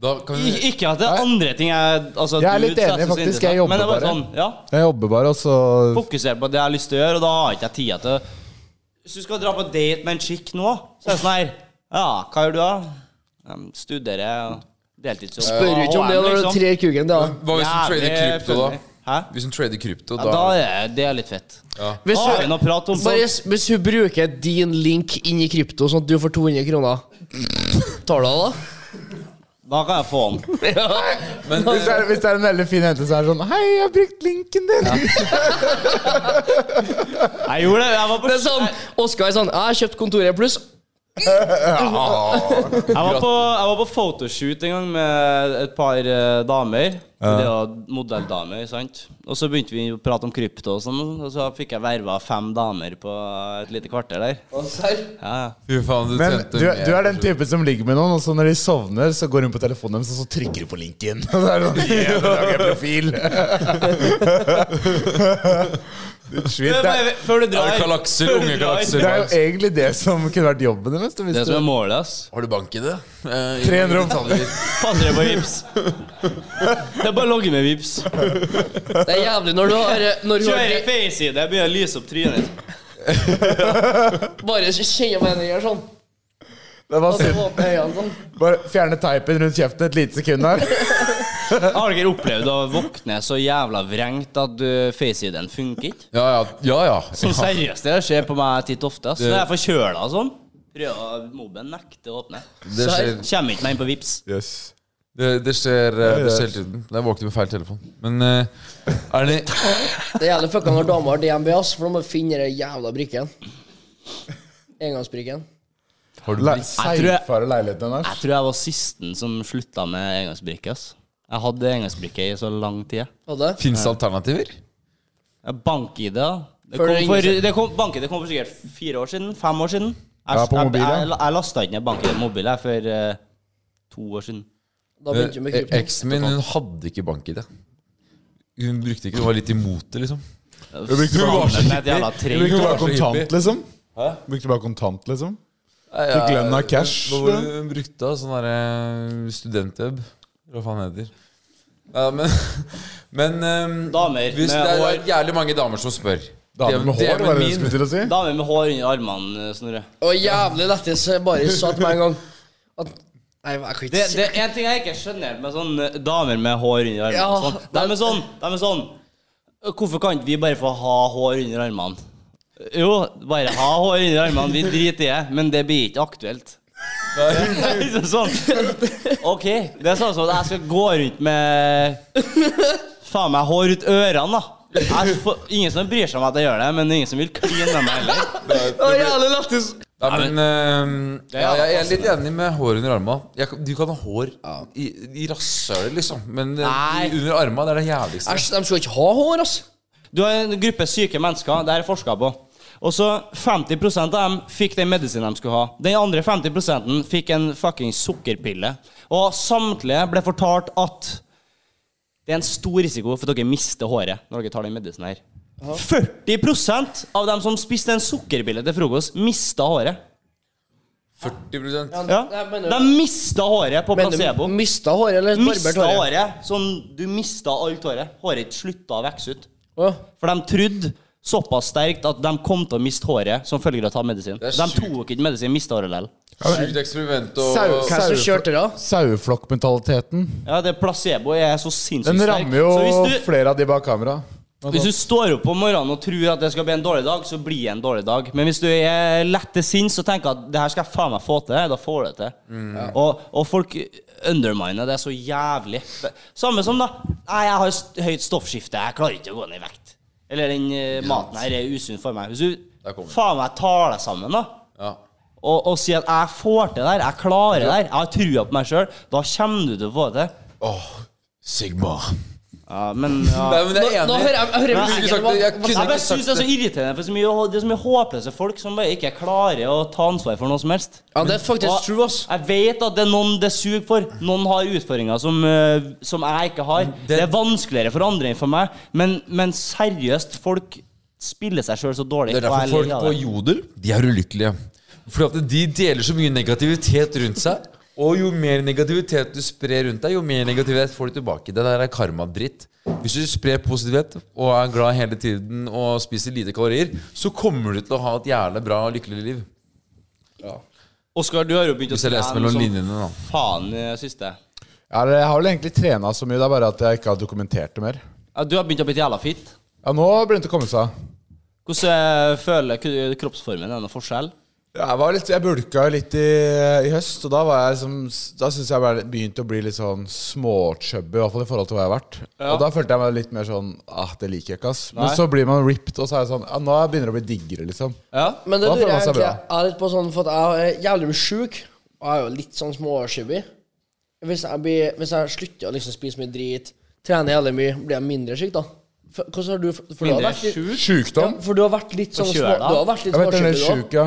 Speaker 3: da kan vi,
Speaker 4: Ik ikke at det er andre ting jeg altså,
Speaker 5: Jeg er litt
Speaker 4: dudes,
Speaker 5: enig,
Speaker 4: synes er
Speaker 5: faktisk. Jeg
Speaker 4: interessant, men
Speaker 5: jobber
Speaker 4: det er
Speaker 5: bare.
Speaker 4: Sånn, ja,
Speaker 5: Jeg jobber bare, og så
Speaker 4: fokuser på det jeg har lyst til å gjøre, og da har ikke jeg tida til å- Hvis du skal dra på date med en chick nå, så er det sånn her Ja, hva gjør du da? Em, studerer og deltidsjobb.
Speaker 6: Spør jo ikke om det når du trer kuken. Det, da.
Speaker 3: Hva hvis hun trader
Speaker 4: Jævlig
Speaker 3: krypto,
Speaker 4: funny.
Speaker 3: da?
Speaker 4: Hæ?
Speaker 3: Hvis hun trader krypto,
Speaker 4: Ja,
Speaker 3: da
Speaker 4: da er det- det er litt fett.
Speaker 6: Hvis
Speaker 4: Da har vi noe
Speaker 6: hun,
Speaker 4: prat om
Speaker 6: bare, s- hvis hun bruker din link inn i krypto, sånn at du får 200 kroner, tar du det da?
Speaker 4: Da kan jeg få den.
Speaker 5: Hvis det, er, hvis det er en veldig fin jente som er sånn Hei, jeg har brukt linken din!
Speaker 4: Jeg gjorde det. Jeg var på,
Speaker 6: Det er sånn, Oskar er sånn Jeg har kjøpt Kontoret Pluss.
Speaker 4: jeg var på, jeg var på photoshoot en gang med et par eh, damer. Det var modelldamer, sant. Og så begynte vi å prate om krypto og sånn, og så fikk jeg verva fem damer på et lite kvarter der. Ja, ja.
Speaker 3: Fy faen, du
Speaker 5: Men
Speaker 3: tjente
Speaker 5: du, er-
Speaker 3: mer
Speaker 5: du er den
Speaker 3: på slutt.
Speaker 5: typen som ligger med noen, og så når de sovner, så går hun på telefonen deres, og så trykker du på linken. Og så er det sånn Yeah, da lager jeg profil! Ditt svin.
Speaker 4: Men,
Speaker 5: Det er,
Speaker 4: men, Før du
Speaker 3: Er
Speaker 4: drar
Speaker 3: det Galakser, unge galakser.
Speaker 5: det er jo egentlig det som kunne vært jobben deres. da, hvis
Speaker 4: Det som er
Speaker 5: du-
Speaker 4: målet, ass.
Speaker 3: Har du bank i det? Eh, i
Speaker 5: 300
Speaker 3: detaljer.
Speaker 4: Passer det på vips? Det er bare å logge med vips.
Speaker 6: Det er jævlig når du har Når du
Speaker 4: Kjører
Speaker 6: har
Speaker 4: i face-ID, jeg begynner å lyse opp trynet.
Speaker 6: Bare kjenner på henne gjør sånn.
Speaker 5: Det var
Speaker 6: Og så
Speaker 5: synd.
Speaker 6: åpner øynene sånn.
Speaker 5: Bare fjerne teipen rundt kjeften et lite sekund her.
Speaker 4: Har dere opplevd å våkne så jævla vrengt at uh, face-ID-en funker ikke?
Speaker 3: Ja, ja. ja, ja.
Speaker 4: Sånn seriøst, det skjer på meg titt ofte. ass. Når jeg er forkjøla og sånn, prøver å mobben nekter å åpne.
Speaker 3: Det skjer,
Speaker 4: Kommer ikke meg inn på vips.
Speaker 5: Yes.
Speaker 3: det, det skjer, eh, det skjer hele tiden. Jeg våkner med feil telefon. Men eh, er det
Speaker 6: Det er jævlig fucka når damer har DNB, ass, for de må finne den jævla brikken. Engangsbrikken.
Speaker 3: Har du
Speaker 5: Le
Speaker 4: tror jeg-
Speaker 5: Seigfare leiligheten hennes.
Speaker 4: Jeg tror jeg var sisten som slutta med engangsbrikke. ass. Jeg hadde engangsbrikke i så lang tid.
Speaker 6: Hadde?
Speaker 3: Fins det alternativer?
Speaker 4: Ja, Bank-ID, da. Det
Speaker 6: Før
Speaker 4: kom,
Speaker 6: det
Speaker 4: for,
Speaker 6: ingen-
Speaker 4: det kom, bank-ID kom for sikkert fire år siden. Fem år siden. Jeg,
Speaker 5: Ja, på
Speaker 4: jeg-
Speaker 5: mobil, ja.
Speaker 4: Jeg, jeg lasta ikke ned bank-ID på mobil jeg, for eh, to år siden.
Speaker 6: Da begynte vi med
Speaker 3: Eh,
Speaker 6: krypto.
Speaker 3: Eksen min hun hadde ikke bank i det. Hun brukte ikke, hun var litt imot det, liksom.
Speaker 5: brukte
Speaker 4: Sammen
Speaker 5: bare-
Speaker 4: med et jævla tre.
Speaker 5: Brukte du bare
Speaker 3: så hyppig.
Speaker 5: kontant, liksom? Brukte du bare kontant, liksom?
Speaker 3: Fikk
Speaker 5: lønn av cash,
Speaker 3: Hun, hun brukte da sånn derre studentweb. Hva faen heter ja, Men, men ehm,
Speaker 4: Damer
Speaker 3: hvis
Speaker 4: med
Speaker 3: det er
Speaker 4: hår.
Speaker 3: jævlig mange damer som spør.
Speaker 5: Damer med hår,
Speaker 3: Djeven
Speaker 5: var det jeg
Speaker 3: min.
Speaker 5: skulle til å si.
Speaker 4: Damer med hår under armene, Snorre.
Speaker 6: Og jævlig lættis eh, bare sa til meg en gang at Nei, jeg kan
Speaker 4: Det,
Speaker 6: ikke si
Speaker 4: det er en ting jeg ikke skjønner med sånn eh, damer med hår under armene.
Speaker 6: Ja,
Speaker 4: og sånn. De er sånn. De er sånn «Øh, Hvorfor kan ikke vi bare få ha hår under armene? Jo, bare ha hår under armene. Vi driter i det. Men det blir ikke aktuelt. Liksom sånn. OK. Det er sånn som at jeg skal gå rundt med faen meg hår ut ørene, da. Jeg får, ingen som bryr seg om at jeg gjør det, men ingen som vil kline med meg heller.
Speaker 6: Det var jævlig lættis.
Speaker 3: Ja, men, ehm, ja, jeg er litt enig med hår under arma. Jeg, kan- du kan ha hår i, i rasshølet, liksom. Men eh,
Speaker 4: Nei.
Speaker 3: i- under arma det er det jævligste.
Speaker 6: Æsj, de skal ikke ha hår, ass.
Speaker 4: Du har en gruppe syke mennesker, det er forska på. Og så 50 av dem fikk den medisinen de skulle ha. Den andre 50 fikk en fucking sukkerpille. Og samtlige ble fortalt at det er en stor risiko for at dere mister håret når dere tar den medisinen her. 40 av dem som spiste en sukkerpille til frokost, mista håret.
Speaker 3: 40
Speaker 4: Ja.
Speaker 6: Jeg mener-
Speaker 4: De mista håret på
Speaker 6: Men
Speaker 4: placebo.
Speaker 6: du mista håret eller barbert
Speaker 4: Mista
Speaker 6: håret?
Speaker 4: håret. Sånn, du mista alt håret. Håret slutta å vokse ut.
Speaker 6: Å,
Speaker 4: For de trodde såpass sterkt at de kom til å miste håret som følge av å ta medisin.
Speaker 3: Det er
Speaker 4: De
Speaker 3: sjukt.
Speaker 4: tok ikke medisin, mista håret likevel.
Speaker 3: Sjukt eksperiment og
Speaker 5: Sau-
Speaker 6: Hva er det som kjørte da?
Speaker 5: Saueflokkmentaliteten.
Speaker 4: Ja, det placebo er så sinnssykt
Speaker 5: Den
Speaker 4: sterk.
Speaker 5: rammer jo
Speaker 4: Så hvis du,
Speaker 5: flere av de bak kamera.
Speaker 4: hvis du står opp om morgenen og tror at det skal bli en dårlig dag, så blir det en dårlig dag. Men hvis du er lett til sinns og tenker at det her skal jeg faen meg få til, da får du det til.
Speaker 3: Mm.
Speaker 4: Og, og folk underminer det så jævlig. Samme som da Nei, jeg har st- høyt stoffskifte, jeg klarer ikke å gå ned i vekt. Eller den eh, maten her er usunn for meg. Hvis
Speaker 3: Der kom
Speaker 4: du
Speaker 3: den.
Speaker 4: faen meg tar deg sammen, da.
Speaker 3: ja.
Speaker 4: og, og si at 'jeg får til det her, jeg klarer det her, jeg har trua på meg sjøl', da kommer du til å få det til.
Speaker 3: Sigma.
Speaker 4: Ja, men ja.
Speaker 3: Nei, men jeg er
Speaker 6: Nå, nå
Speaker 3: enig.
Speaker 6: hører jeg, jeg hører
Speaker 4: Nei,
Speaker 3: Skulle
Speaker 6: musikken.
Speaker 3: sagt det, jeg
Speaker 6: hva-
Speaker 3: kunne
Speaker 4: Jeg
Speaker 3: ikke
Speaker 4: bare synes det
Speaker 3: sagt
Speaker 4: er så
Speaker 3: det.
Speaker 4: irriterende, for så mye, det er så mye håpløse folk som bare ikke klarer å ta ansvar for noe som helst.
Speaker 6: Ja, det er
Speaker 4: Og
Speaker 6: faktisk true, ass.
Speaker 4: Jeg vet at det er noen det suger for. Noen har utfordringer som, eh, som jeg ikke har.
Speaker 3: Mm,
Speaker 4: Det, er vanskeligere for andre enn for meg, men, men seriøst, folk spiller seg sjøl så dårlig.
Speaker 3: Det er
Speaker 4: og jeg
Speaker 3: derfor folk
Speaker 4: ler av
Speaker 3: på
Speaker 4: det.
Speaker 3: Jodel De er ulykkelige. Fordi at de deler så mye negativitet rundt seg. Og jo mer negativitet du sprer rundt deg, jo mer negativitet får du tilbake. Det der er karmadritt. Hvis du sprer positivitet og er glad hele tiden og spiser lite kalorier, så kommer du til å ha et jævlig bra og lykkelig liv.
Speaker 4: Oskar, du har jo begynt å
Speaker 3: Hvis jeg leser
Speaker 4: trene
Speaker 3: mellom
Speaker 4: som
Speaker 3: linjene, da.
Speaker 4: Faen, eh, siste.
Speaker 5: Ja, jeg har vel egentlig trena så mye, det er bare at jeg ikke har dokumentert det mer.
Speaker 4: Ja, Du har begynt å bli jævla fit.
Speaker 5: Ja, nå begynte det å komme seg.
Speaker 4: Hvordan eh, føler k- kroppsformen? Er det noen forskjell?
Speaker 5: Jeg, var litt, jeg bulka jo litt i, i høst, og da, var jeg som, da syns jeg bare begynte å bli litt sånn småchubby, i hvert fall i forhold til hva jeg har vært. Og da følte jeg meg litt mer sånn ah, det liker jeg ikke, ass. Men så blir man ripped, og så er jeg sånn ja, nå begynner jeg å bli diggere, liksom.
Speaker 6: Men det
Speaker 5: Da
Speaker 6: lurer
Speaker 5: føler
Speaker 6: jeg
Speaker 5: man seg
Speaker 6: egentlig
Speaker 5: bra.
Speaker 6: jeg er litt på sånn For at jeg er jævlig mye sjuk Og jeg er jo litt sånn småskibby hvis, jeg blir- hvis jeg slutter å liksom spise mye drit Trener jævlig mye Blir jeg mindre syk da For- Hvordan har du for, for du har
Speaker 4: Mindre
Speaker 6: vært litt-
Speaker 4: sjuk?
Speaker 6: ja,
Speaker 5: Sjukdom.
Speaker 6: For du har vært litt sånn
Speaker 4: Og
Speaker 6: små,
Speaker 4: kjøla.
Speaker 6: Du har vært litt
Speaker 5: Jeg har vært en del
Speaker 6: småskibby
Speaker 5: sjuk, ja.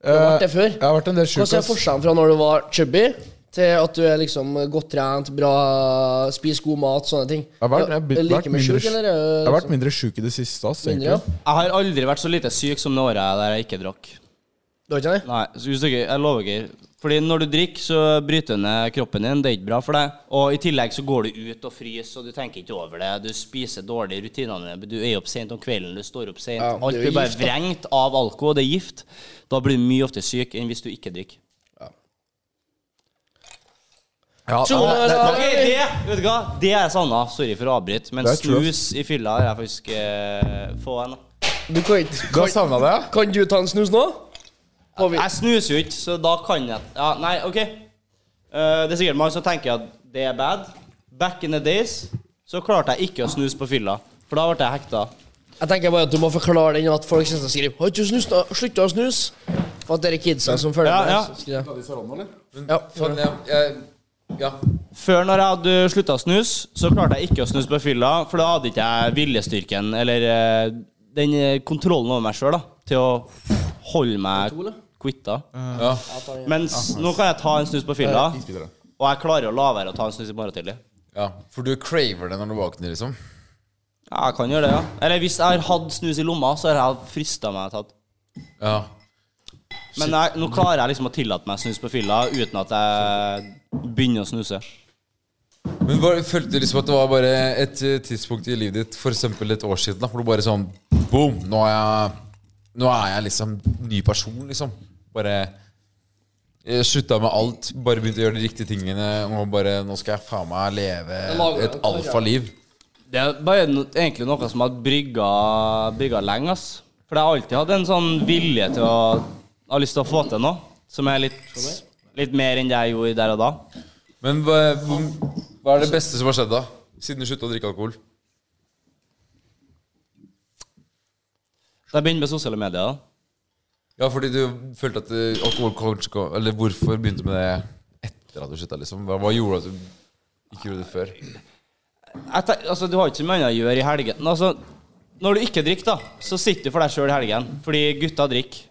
Speaker 5: Eh,
Speaker 6: Du har vært det før
Speaker 5: Jeg har vært en del sjuk,
Speaker 6: Hvordan er
Speaker 5: ass.
Speaker 6: forskjellen fra når du var chubby Til at du er liksom godt trent Bra Spiser god mat Sånne ting
Speaker 5: Jeg har vært, jeg,
Speaker 6: Er
Speaker 5: har
Speaker 6: du
Speaker 5: blitt- vært
Speaker 6: Like mye
Speaker 5: mindre,
Speaker 6: sjuk
Speaker 5: sj-
Speaker 6: eller er
Speaker 5: jeg
Speaker 6: du
Speaker 5: har vært
Speaker 6: liksom
Speaker 5: mindre sjuk i det siste, ass.
Speaker 6: mindre ja?
Speaker 5: Egentlig.
Speaker 4: Jeg har aldri vært så lite syk som det året der jeg ikke drakk.
Speaker 6: Du har ikke det?
Speaker 4: Nei, så hvis dere, jeg lover dere. Fordi når du drikker, så bryter du ned kroppen din. Det er ikke bra for deg. Og i tillegg så går du ut og fryser, og du tenker ikke over det. Du spiser dårlig, rutinene dine Du er opp sent om kvelden, du står opp sent.
Speaker 6: Ja, det
Speaker 4: Alt
Speaker 6: er jo
Speaker 4: blir bare
Speaker 6: gift, da.
Speaker 4: vrengt av alkohol. Det er gift. Da blir du mye oftere syk enn hvis du ikke drikker.
Speaker 5: Ja,
Speaker 6: Tror du-
Speaker 4: Ok, det vet du hva? Det er jeg savna. Sorry for å avbryte, men
Speaker 5: Det er true,
Speaker 4: snus i fylla har jeg faktisk eh, få en. da.
Speaker 6: Du kan ikke
Speaker 5: Du har savna det? ja?
Speaker 6: Kan du ta en snus nå? Har vi-
Speaker 4: Jeg snuser jo ikke, så da kan jeg ja, Nei, OK. Eh, det er sikkert mange som tenker at det er bad. Back in the days så klarte jeg ikke å snuse på fylla, for da ble jeg hekta.
Speaker 6: Jeg tenker bare at du må forklare den at folk synes de skriver Har ikke du snust da? Slutt å snus For at dere kidsa som følger
Speaker 4: Ja,
Speaker 6: med
Speaker 4: ja.
Speaker 6: så skriver jeg.
Speaker 3: Faen, Sånn, jeg, jeg, ja.
Speaker 4: Før når jeg hadde slutta å snuse, så klarte jeg ikke å snuse på fylla, for da hadde ikke jeg viljestyrken eller eh, den eh, kontrollen over meg sjøl til å holde meg quitta.
Speaker 3: Ja.
Speaker 4: Mens nå kan jeg ta en snus på fylla, og jeg klarer å la være å ta en snus i morgen tidlig.
Speaker 3: ja. For du craver det når du våkner, liksom?
Speaker 4: Ja, jeg kan gjøre det, ja. Eller hvis jeg har hatt snus i lomma, så har jeg frista meg tatt.
Speaker 3: Ja.
Speaker 4: Men jeg, nå klarer jeg liksom å tillate meg å snuse på fylla uten at jeg begynner å snuse.
Speaker 3: Men bare, følte du liksom at det var bare et eh, tidspunkt i livet ditt, f.eks. et år siden, da, hvor du bare sånn Boom! Nå er jeg, nå er jeg liksom ny person, liksom. Bare jeg slutta med alt. Bare begynte å gjøre de riktige tingene. Og bare Nå skal jeg faen meg leve
Speaker 6: lager
Speaker 3: et
Speaker 6: en karriere.
Speaker 3: alfaliv.
Speaker 4: Det er bare no, egentlig noe som har brygga, brygga lenge, ass. For jeg har alltid hatt en sånn vilje til å ha lyst til å få til noe som er litt, litt mer enn det jeg gjorde der og da.
Speaker 3: Men hva, hvor- hva er det beste som har skjedd, da? Siden du slutta å drikke alkohol?
Speaker 4: Da jeg begynte med sosiale medier, da.
Speaker 3: Ja, fordi du følte at eh, alkohol kanskje kom- Eller hvorfor begynte du med det etter at du slutta, liksom? Hva, hva gjorde at du ikke gjorde det før?
Speaker 4: Jeg tenk, altså, du har ikke så mye annet å gjøre i helgen. Altså, når du ikke drikker, da, så sitter du for deg sjøl i helgen. Fordi gutta drikker.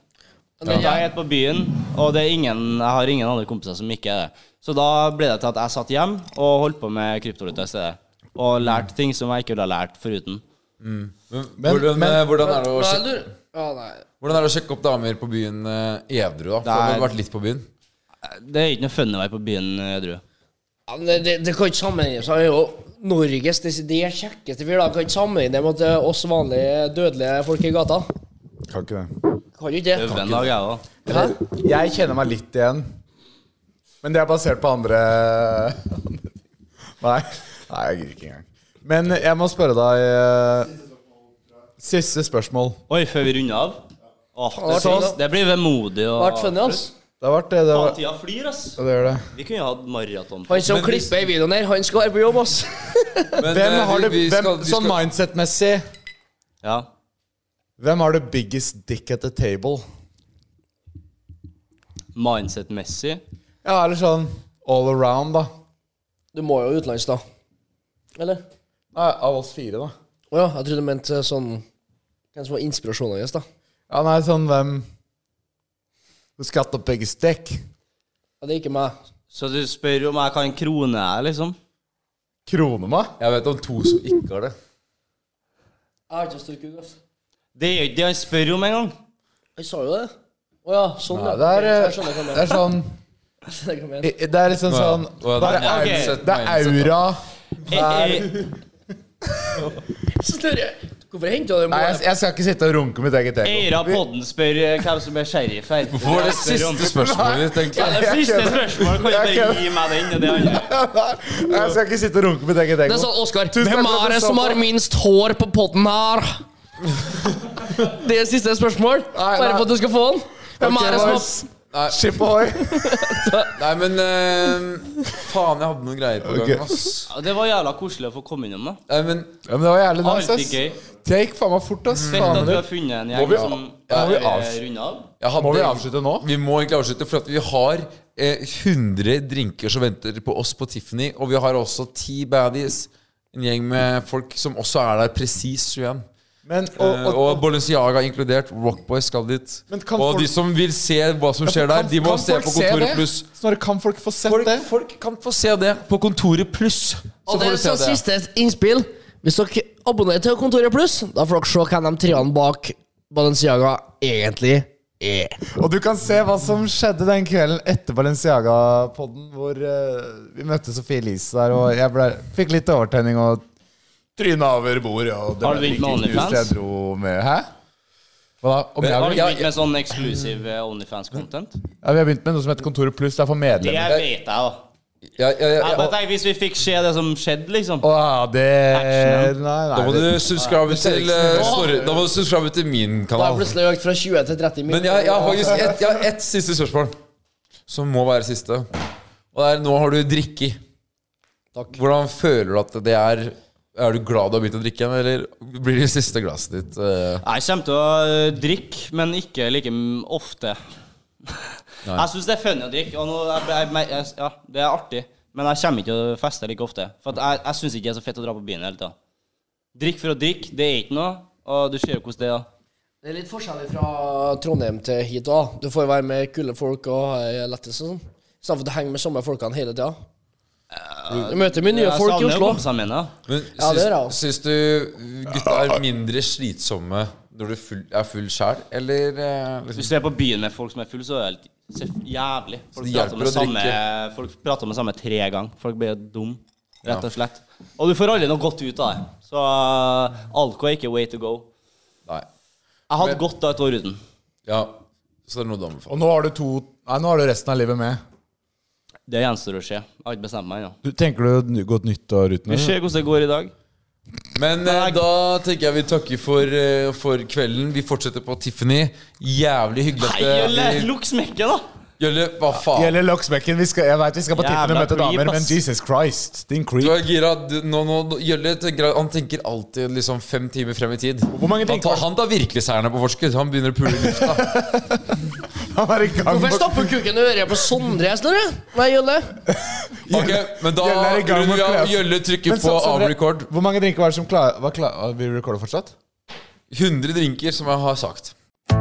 Speaker 4: Jeg er helt på byen, og det er ingen, jeg har ingen andre kompiser som ikke er det. Så da ble det til at jeg satt hjem og holdt på med kryptovaluta i stedet. Og lærte ting som jeg ikke ville ha lært foruten.
Speaker 3: Men, hvordan, eh, hvordan, er det å
Speaker 6: Nei,
Speaker 3: sjekke,
Speaker 6: du- Ja, nei
Speaker 3: hvordan er det å sjekke opp damer på byen eh, edru, da? For
Speaker 4: Nei.
Speaker 3: du har vært litt på byen.
Speaker 4: Det er ikke noe fun å være på byen, edru.
Speaker 6: Ja, men det, det, det kan ikke sammenlignes Han er jo Norges desidert kjekkeste fyr da Kan ikke sammenligne mot eh, oss vanlige dødelige folk i gata
Speaker 5: Kan ikke det.
Speaker 6: Kan jo ikke det
Speaker 4: Øve en dag, jeg òg.
Speaker 5: Jeg kjenner meg litt igjen. Men det er basert på andre Nei, Nei jeg gidder ikke engang. Men jeg må spørre deg eh, Siste spørsmål.
Speaker 4: Oi, før vi runder av? Åh, det,
Speaker 6: det var
Speaker 4: synes- det blir vemodig å
Speaker 6: Det har vært funnet ass
Speaker 5: Det har vært det. det,
Speaker 4: Faen,
Speaker 5: var,
Speaker 4: Tida flyr, ass.
Speaker 5: det, gjør det.
Speaker 4: Vi kunne jo hatt maraton.
Speaker 6: Han som
Speaker 3: Men hvis-
Speaker 6: klipper i videoen her Han skal være på jobb ass
Speaker 3: Men,
Speaker 5: Hvem
Speaker 3: eh,
Speaker 5: har det,
Speaker 3: vi- vi
Speaker 5: hvem,
Speaker 3: skal- vi
Speaker 5: sånn
Speaker 3: skal-
Speaker 5: mindset-messig,
Speaker 4: Ja.
Speaker 5: hvem har the biggest dick at the table?
Speaker 4: Mindset-messig.
Speaker 5: Ja, eller sånn all around, da.
Speaker 6: Du må jo utenlands da Eller?
Speaker 5: Nei, av oss fire, da.
Speaker 6: Åja, jeg trodde du mente sånn Hvem som var inspirasjonen hans da
Speaker 5: Ja, nei, sånn hvem Who's got the biggest dick?
Speaker 6: Ja, det er ikke meg
Speaker 4: Så du spør om jeg kan krone deg, liksom?
Speaker 5: Kronema?
Speaker 3: Jeg vet om to som ikke har det.
Speaker 6: Jeg har ikke styrket ut ass
Speaker 4: Det er jo ikke det han spør om engang.
Speaker 6: Jeg sa jo det. Å ja, sånn,
Speaker 5: Ja, det er, eh,
Speaker 6: Jeg skjønner hva du
Speaker 5: det
Speaker 6: mener.
Speaker 5: er sånn
Speaker 6: Jeg skjønner hva du mener.
Speaker 5: Det er liksom sånn
Speaker 3: Nå er
Speaker 5: Det er,
Speaker 4: Ok.
Speaker 3: mindset,
Speaker 5: det er
Speaker 3: mindset, da.
Speaker 5: aura
Speaker 4: Eh, eh,
Speaker 6: Så spør jeg, Hvorfor henta du det
Speaker 5: Nei, jeg,
Speaker 6: målet?
Speaker 5: jeg skal ikke sitte og runke mitt eget ego.
Speaker 4: Eier av podden spør eh, hvem som er sheriff her.
Speaker 3: Hvorfor var det siste spørsmålet ditt,
Speaker 4: Ja,
Speaker 3: egentlig?
Speaker 4: det siste spørsmålet kan jeg
Speaker 5: Jeg
Speaker 4: bare
Speaker 5: kødder.
Speaker 4: gi meg den og det andre.
Speaker 5: Jeg skal ikke sitte og runke mitt eget
Speaker 6: Det er
Speaker 5: ego.
Speaker 6: sånn, Oskar
Speaker 5: Tusen takk
Speaker 6: Hvem
Speaker 5: for at
Speaker 6: er
Speaker 5: du
Speaker 6: det
Speaker 5: så
Speaker 6: som
Speaker 5: på.
Speaker 6: har minst hår på potten her? Det er siste spørsmål.
Speaker 5: nei.
Speaker 6: Bare for at du skal få den. Hvem er det som har
Speaker 3: Nei.
Speaker 5: Skip ohoi!
Speaker 3: Nei, men eh, Faen, jeg hadde noen greier på
Speaker 5: Ok.
Speaker 3: gang, ass.
Speaker 4: Ja, Det var jævla koselig å få komme innom, da.
Speaker 3: Nei, men
Speaker 5: Ja, men det var jævlig nice,
Speaker 4: Alltid
Speaker 5: ass.
Speaker 4: gøy. Mm.
Speaker 5: Det gikk faen meg fort, ass.
Speaker 4: Fett at du
Speaker 5: Faen, det.
Speaker 4: har funnet en
Speaker 5: Må vi-
Speaker 4: gjeng som
Speaker 5: ja, må vi
Speaker 4: Eh,
Speaker 5: avslutte?
Speaker 4: runde av.
Speaker 3: jeg hadde
Speaker 5: Må vi avslutte nå?
Speaker 3: Vi må egentlig avslutte, for at vi har eh, 100 drinker som venter på oss på Tiffany. Og vi har også ti baddies. En gjeng med folk som også er der presis 21.
Speaker 5: Men,
Speaker 3: Og,
Speaker 5: og, og,
Speaker 3: Eh, og Balenciaga inkludert. Rockboy skal dit.
Speaker 5: Men kan
Speaker 3: og
Speaker 5: folk-
Speaker 3: de som vil se hva som skjer
Speaker 5: Kan-
Speaker 3: der, de må
Speaker 5: kan
Speaker 3: se
Speaker 5: folk
Speaker 3: på Kontoret
Speaker 5: det?
Speaker 3: Pluss.
Speaker 5: Snorre, kan folk få sett
Speaker 3: Folk,
Speaker 5: det?
Speaker 3: folk kan få se det på Kontoret Pluss. Så
Speaker 6: Og det
Speaker 3: får
Speaker 6: er
Speaker 3: du se
Speaker 6: så
Speaker 3: det.
Speaker 6: siste innspill. Hvis dere abonnerer til Kontoret Pluss, da får dere se hvem de treene bak Balenciaga egentlig er.
Speaker 5: Og du kan se hva som skjedde den kvelden etter Balenciaga-podden, hvor eh, vi møtte Sophie Elise der, og jeg ble, fikk litt overtenning og tryna over bordet. Og det
Speaker 4: Har du
Speaker 5: ble
Speaker 4: begynt med
Speaker 5: like knust
Speaker 4: OnlyFans?
Speaker 5: Jeg dro med, hæ? Hva da? Om jeg,
Speaker 4: Har du
Speaker 5: ja,
Speaker 4: begynt med sånn eksklusiv eh, Onlyfans-content?
Speaker 5: vi har begynt med noe som heter Kontoret Pluss. Det er for
Speaker 4: Det
Speaker 5: medlemmer.
Speaker 4: vet jeg, da.
Speaker 3: Ja, ja, ja,
Speaker 4: Ja,
Speaker 3: ja.
Speaker 4: men tenk hvis vi fikk se det som skjedde, liksom.
Speaker 5: Å, det Nei,
Speaker 4: Action,
Speaker 5: nei.
Speaker 3: Da må
Speaker 5: det-
Speaker 3: du subscribe til eh, Snorre. Da må du subscribe til min
Speaker 6: Da har jeg
Speaker 3: kanal.
Speaker 6: plutselig økt fra 20 til 30
Speaker 3: Men jeg, jeg har faktisk ett jeg har ett siste spørsmål, som må være siste. Og det er nå har du drikke.
Speaker 6: Takk.
Speaker 3: Hvordan føler du at det er Er du glad du har begynt å drikke, eller blir det siste glasset ditt eh,
Speaker 4: Jeg kommer til å eh, drikke, men ikke like m- ofte. Jeg syns det er funny å drikke, og nå, jeg, jeg, jeg, jeg, ja, det er artig. Men jeg kommer ikke til å feste like ofte. For at jeg, jeg syns ikke det er så fett å dra på byen hele tida. Drikk for å drikke, det er ikke noe. Og du ser jo hvordan det er.
Speaker 6: Det er litt forskjellig fra Trondheim til hit òg. Du får være med kule folk og ha lettelse og sånn. Istedenfor at du henger med samme folkene hele tida. Du møter mye nye
Speaker 4: Jeg
Speaker 6: folk i
Speaker 4: savner jo
Speaker 6: Oslo.
Speaker 4: kompisene mine, da.
Speaker 3: Men
Speaker 6: Ja, det gjør jeg også.
Speaker 3: syns, syns du gutta er mindre slitsomme når du full, er full sjæl, eller eh, liksom,
Speaker 4: Hvis du er på byen med folk som er fulle, så er det helt så jævlig. Folk prater,
Speaker 3: det hjelper
Speaker 4: med
Speaker 3: å
Speaker 4: samme,
Speaker 3: drikke.
Speaker 4: folk prater med samme tre ganger. Folk blir dum, rett og slett. Og du får aldri noe godt ut av det. Så uh, alko er ikke way to go.
Speaker 3: Nei.
Speaker 4: Jeg hadde godt av et år uten.
Speaker 3: Ja. Så det er noe du anbefaler.
Speaker 5: Og nå har du to
Speaker 8: Nei, nå har du resten av livet med.
Speaker 4: Det gjenstår å se. Jeg har ikke bestemt meg ennå.
Speaker 5: du, Tenker du et ny- godt nyttår uten
Speaker 4: Vi ser hvordan det går i dag.
Speaker 3: Men eh, da tenker jeg vi takker for, eh, for kvelden. Vi fortsetter på Tiffany. Jævlig hyggelig
Speaker 4: Nei,
Speaker 3: at
Speaker 4: Jølle!
Speaker 3: vi-
Speaker 4: Lukk smekket, da!
Speaker 3: Jølle, hva faen?
Speaker 5: Gjelder locksmekken. Vi skal, jeg vet vi skal på
Speaker 4: Jævla
Speaker 5: Tiffen og møte
Speaker 4: creep,
Speaker 5: damer, men
Speaker 4: ass.
Speaker 5: Jesus Christ, din
Speaker 3: Du
Speaker 5: creep.
Speaker 3: er gira. Du- Nå, nå, nå- Jølle tenker, han tenker alltid liksom fem timer frem i tid.
Speaker 5: Hvor mange
Speaker 3: Han
Speaker 5: tenker
Speaker 3: tar, han tar virkelig seierne på forskudd. Han begynner å pule i lufta.
Speaker 5: Han er i gang
Speaker 6: Hvorfor
Speaker 5: med
Speaker 6: stapper kuken i øret på Sondre, Snorre? Nei, Jølle.
Speaker 3: Ok, men da
Speaker 5: Jølle er i gang
Speaker 3: runder vi
Speaker 5: med å kle
Speaker 3: av.
Speaker 5: oss.
Speaker 3: Jølle trykker
Speaker 5: Men så-
Speaker 3: på
Speaker 5: så dere-
Speaker 3: av-record.
Speaker 5: Hvor mange drinker var det som klar, var klar, Vi recorder fortsatt?
Speaker 3: 100 drinker, som jeg har sagt.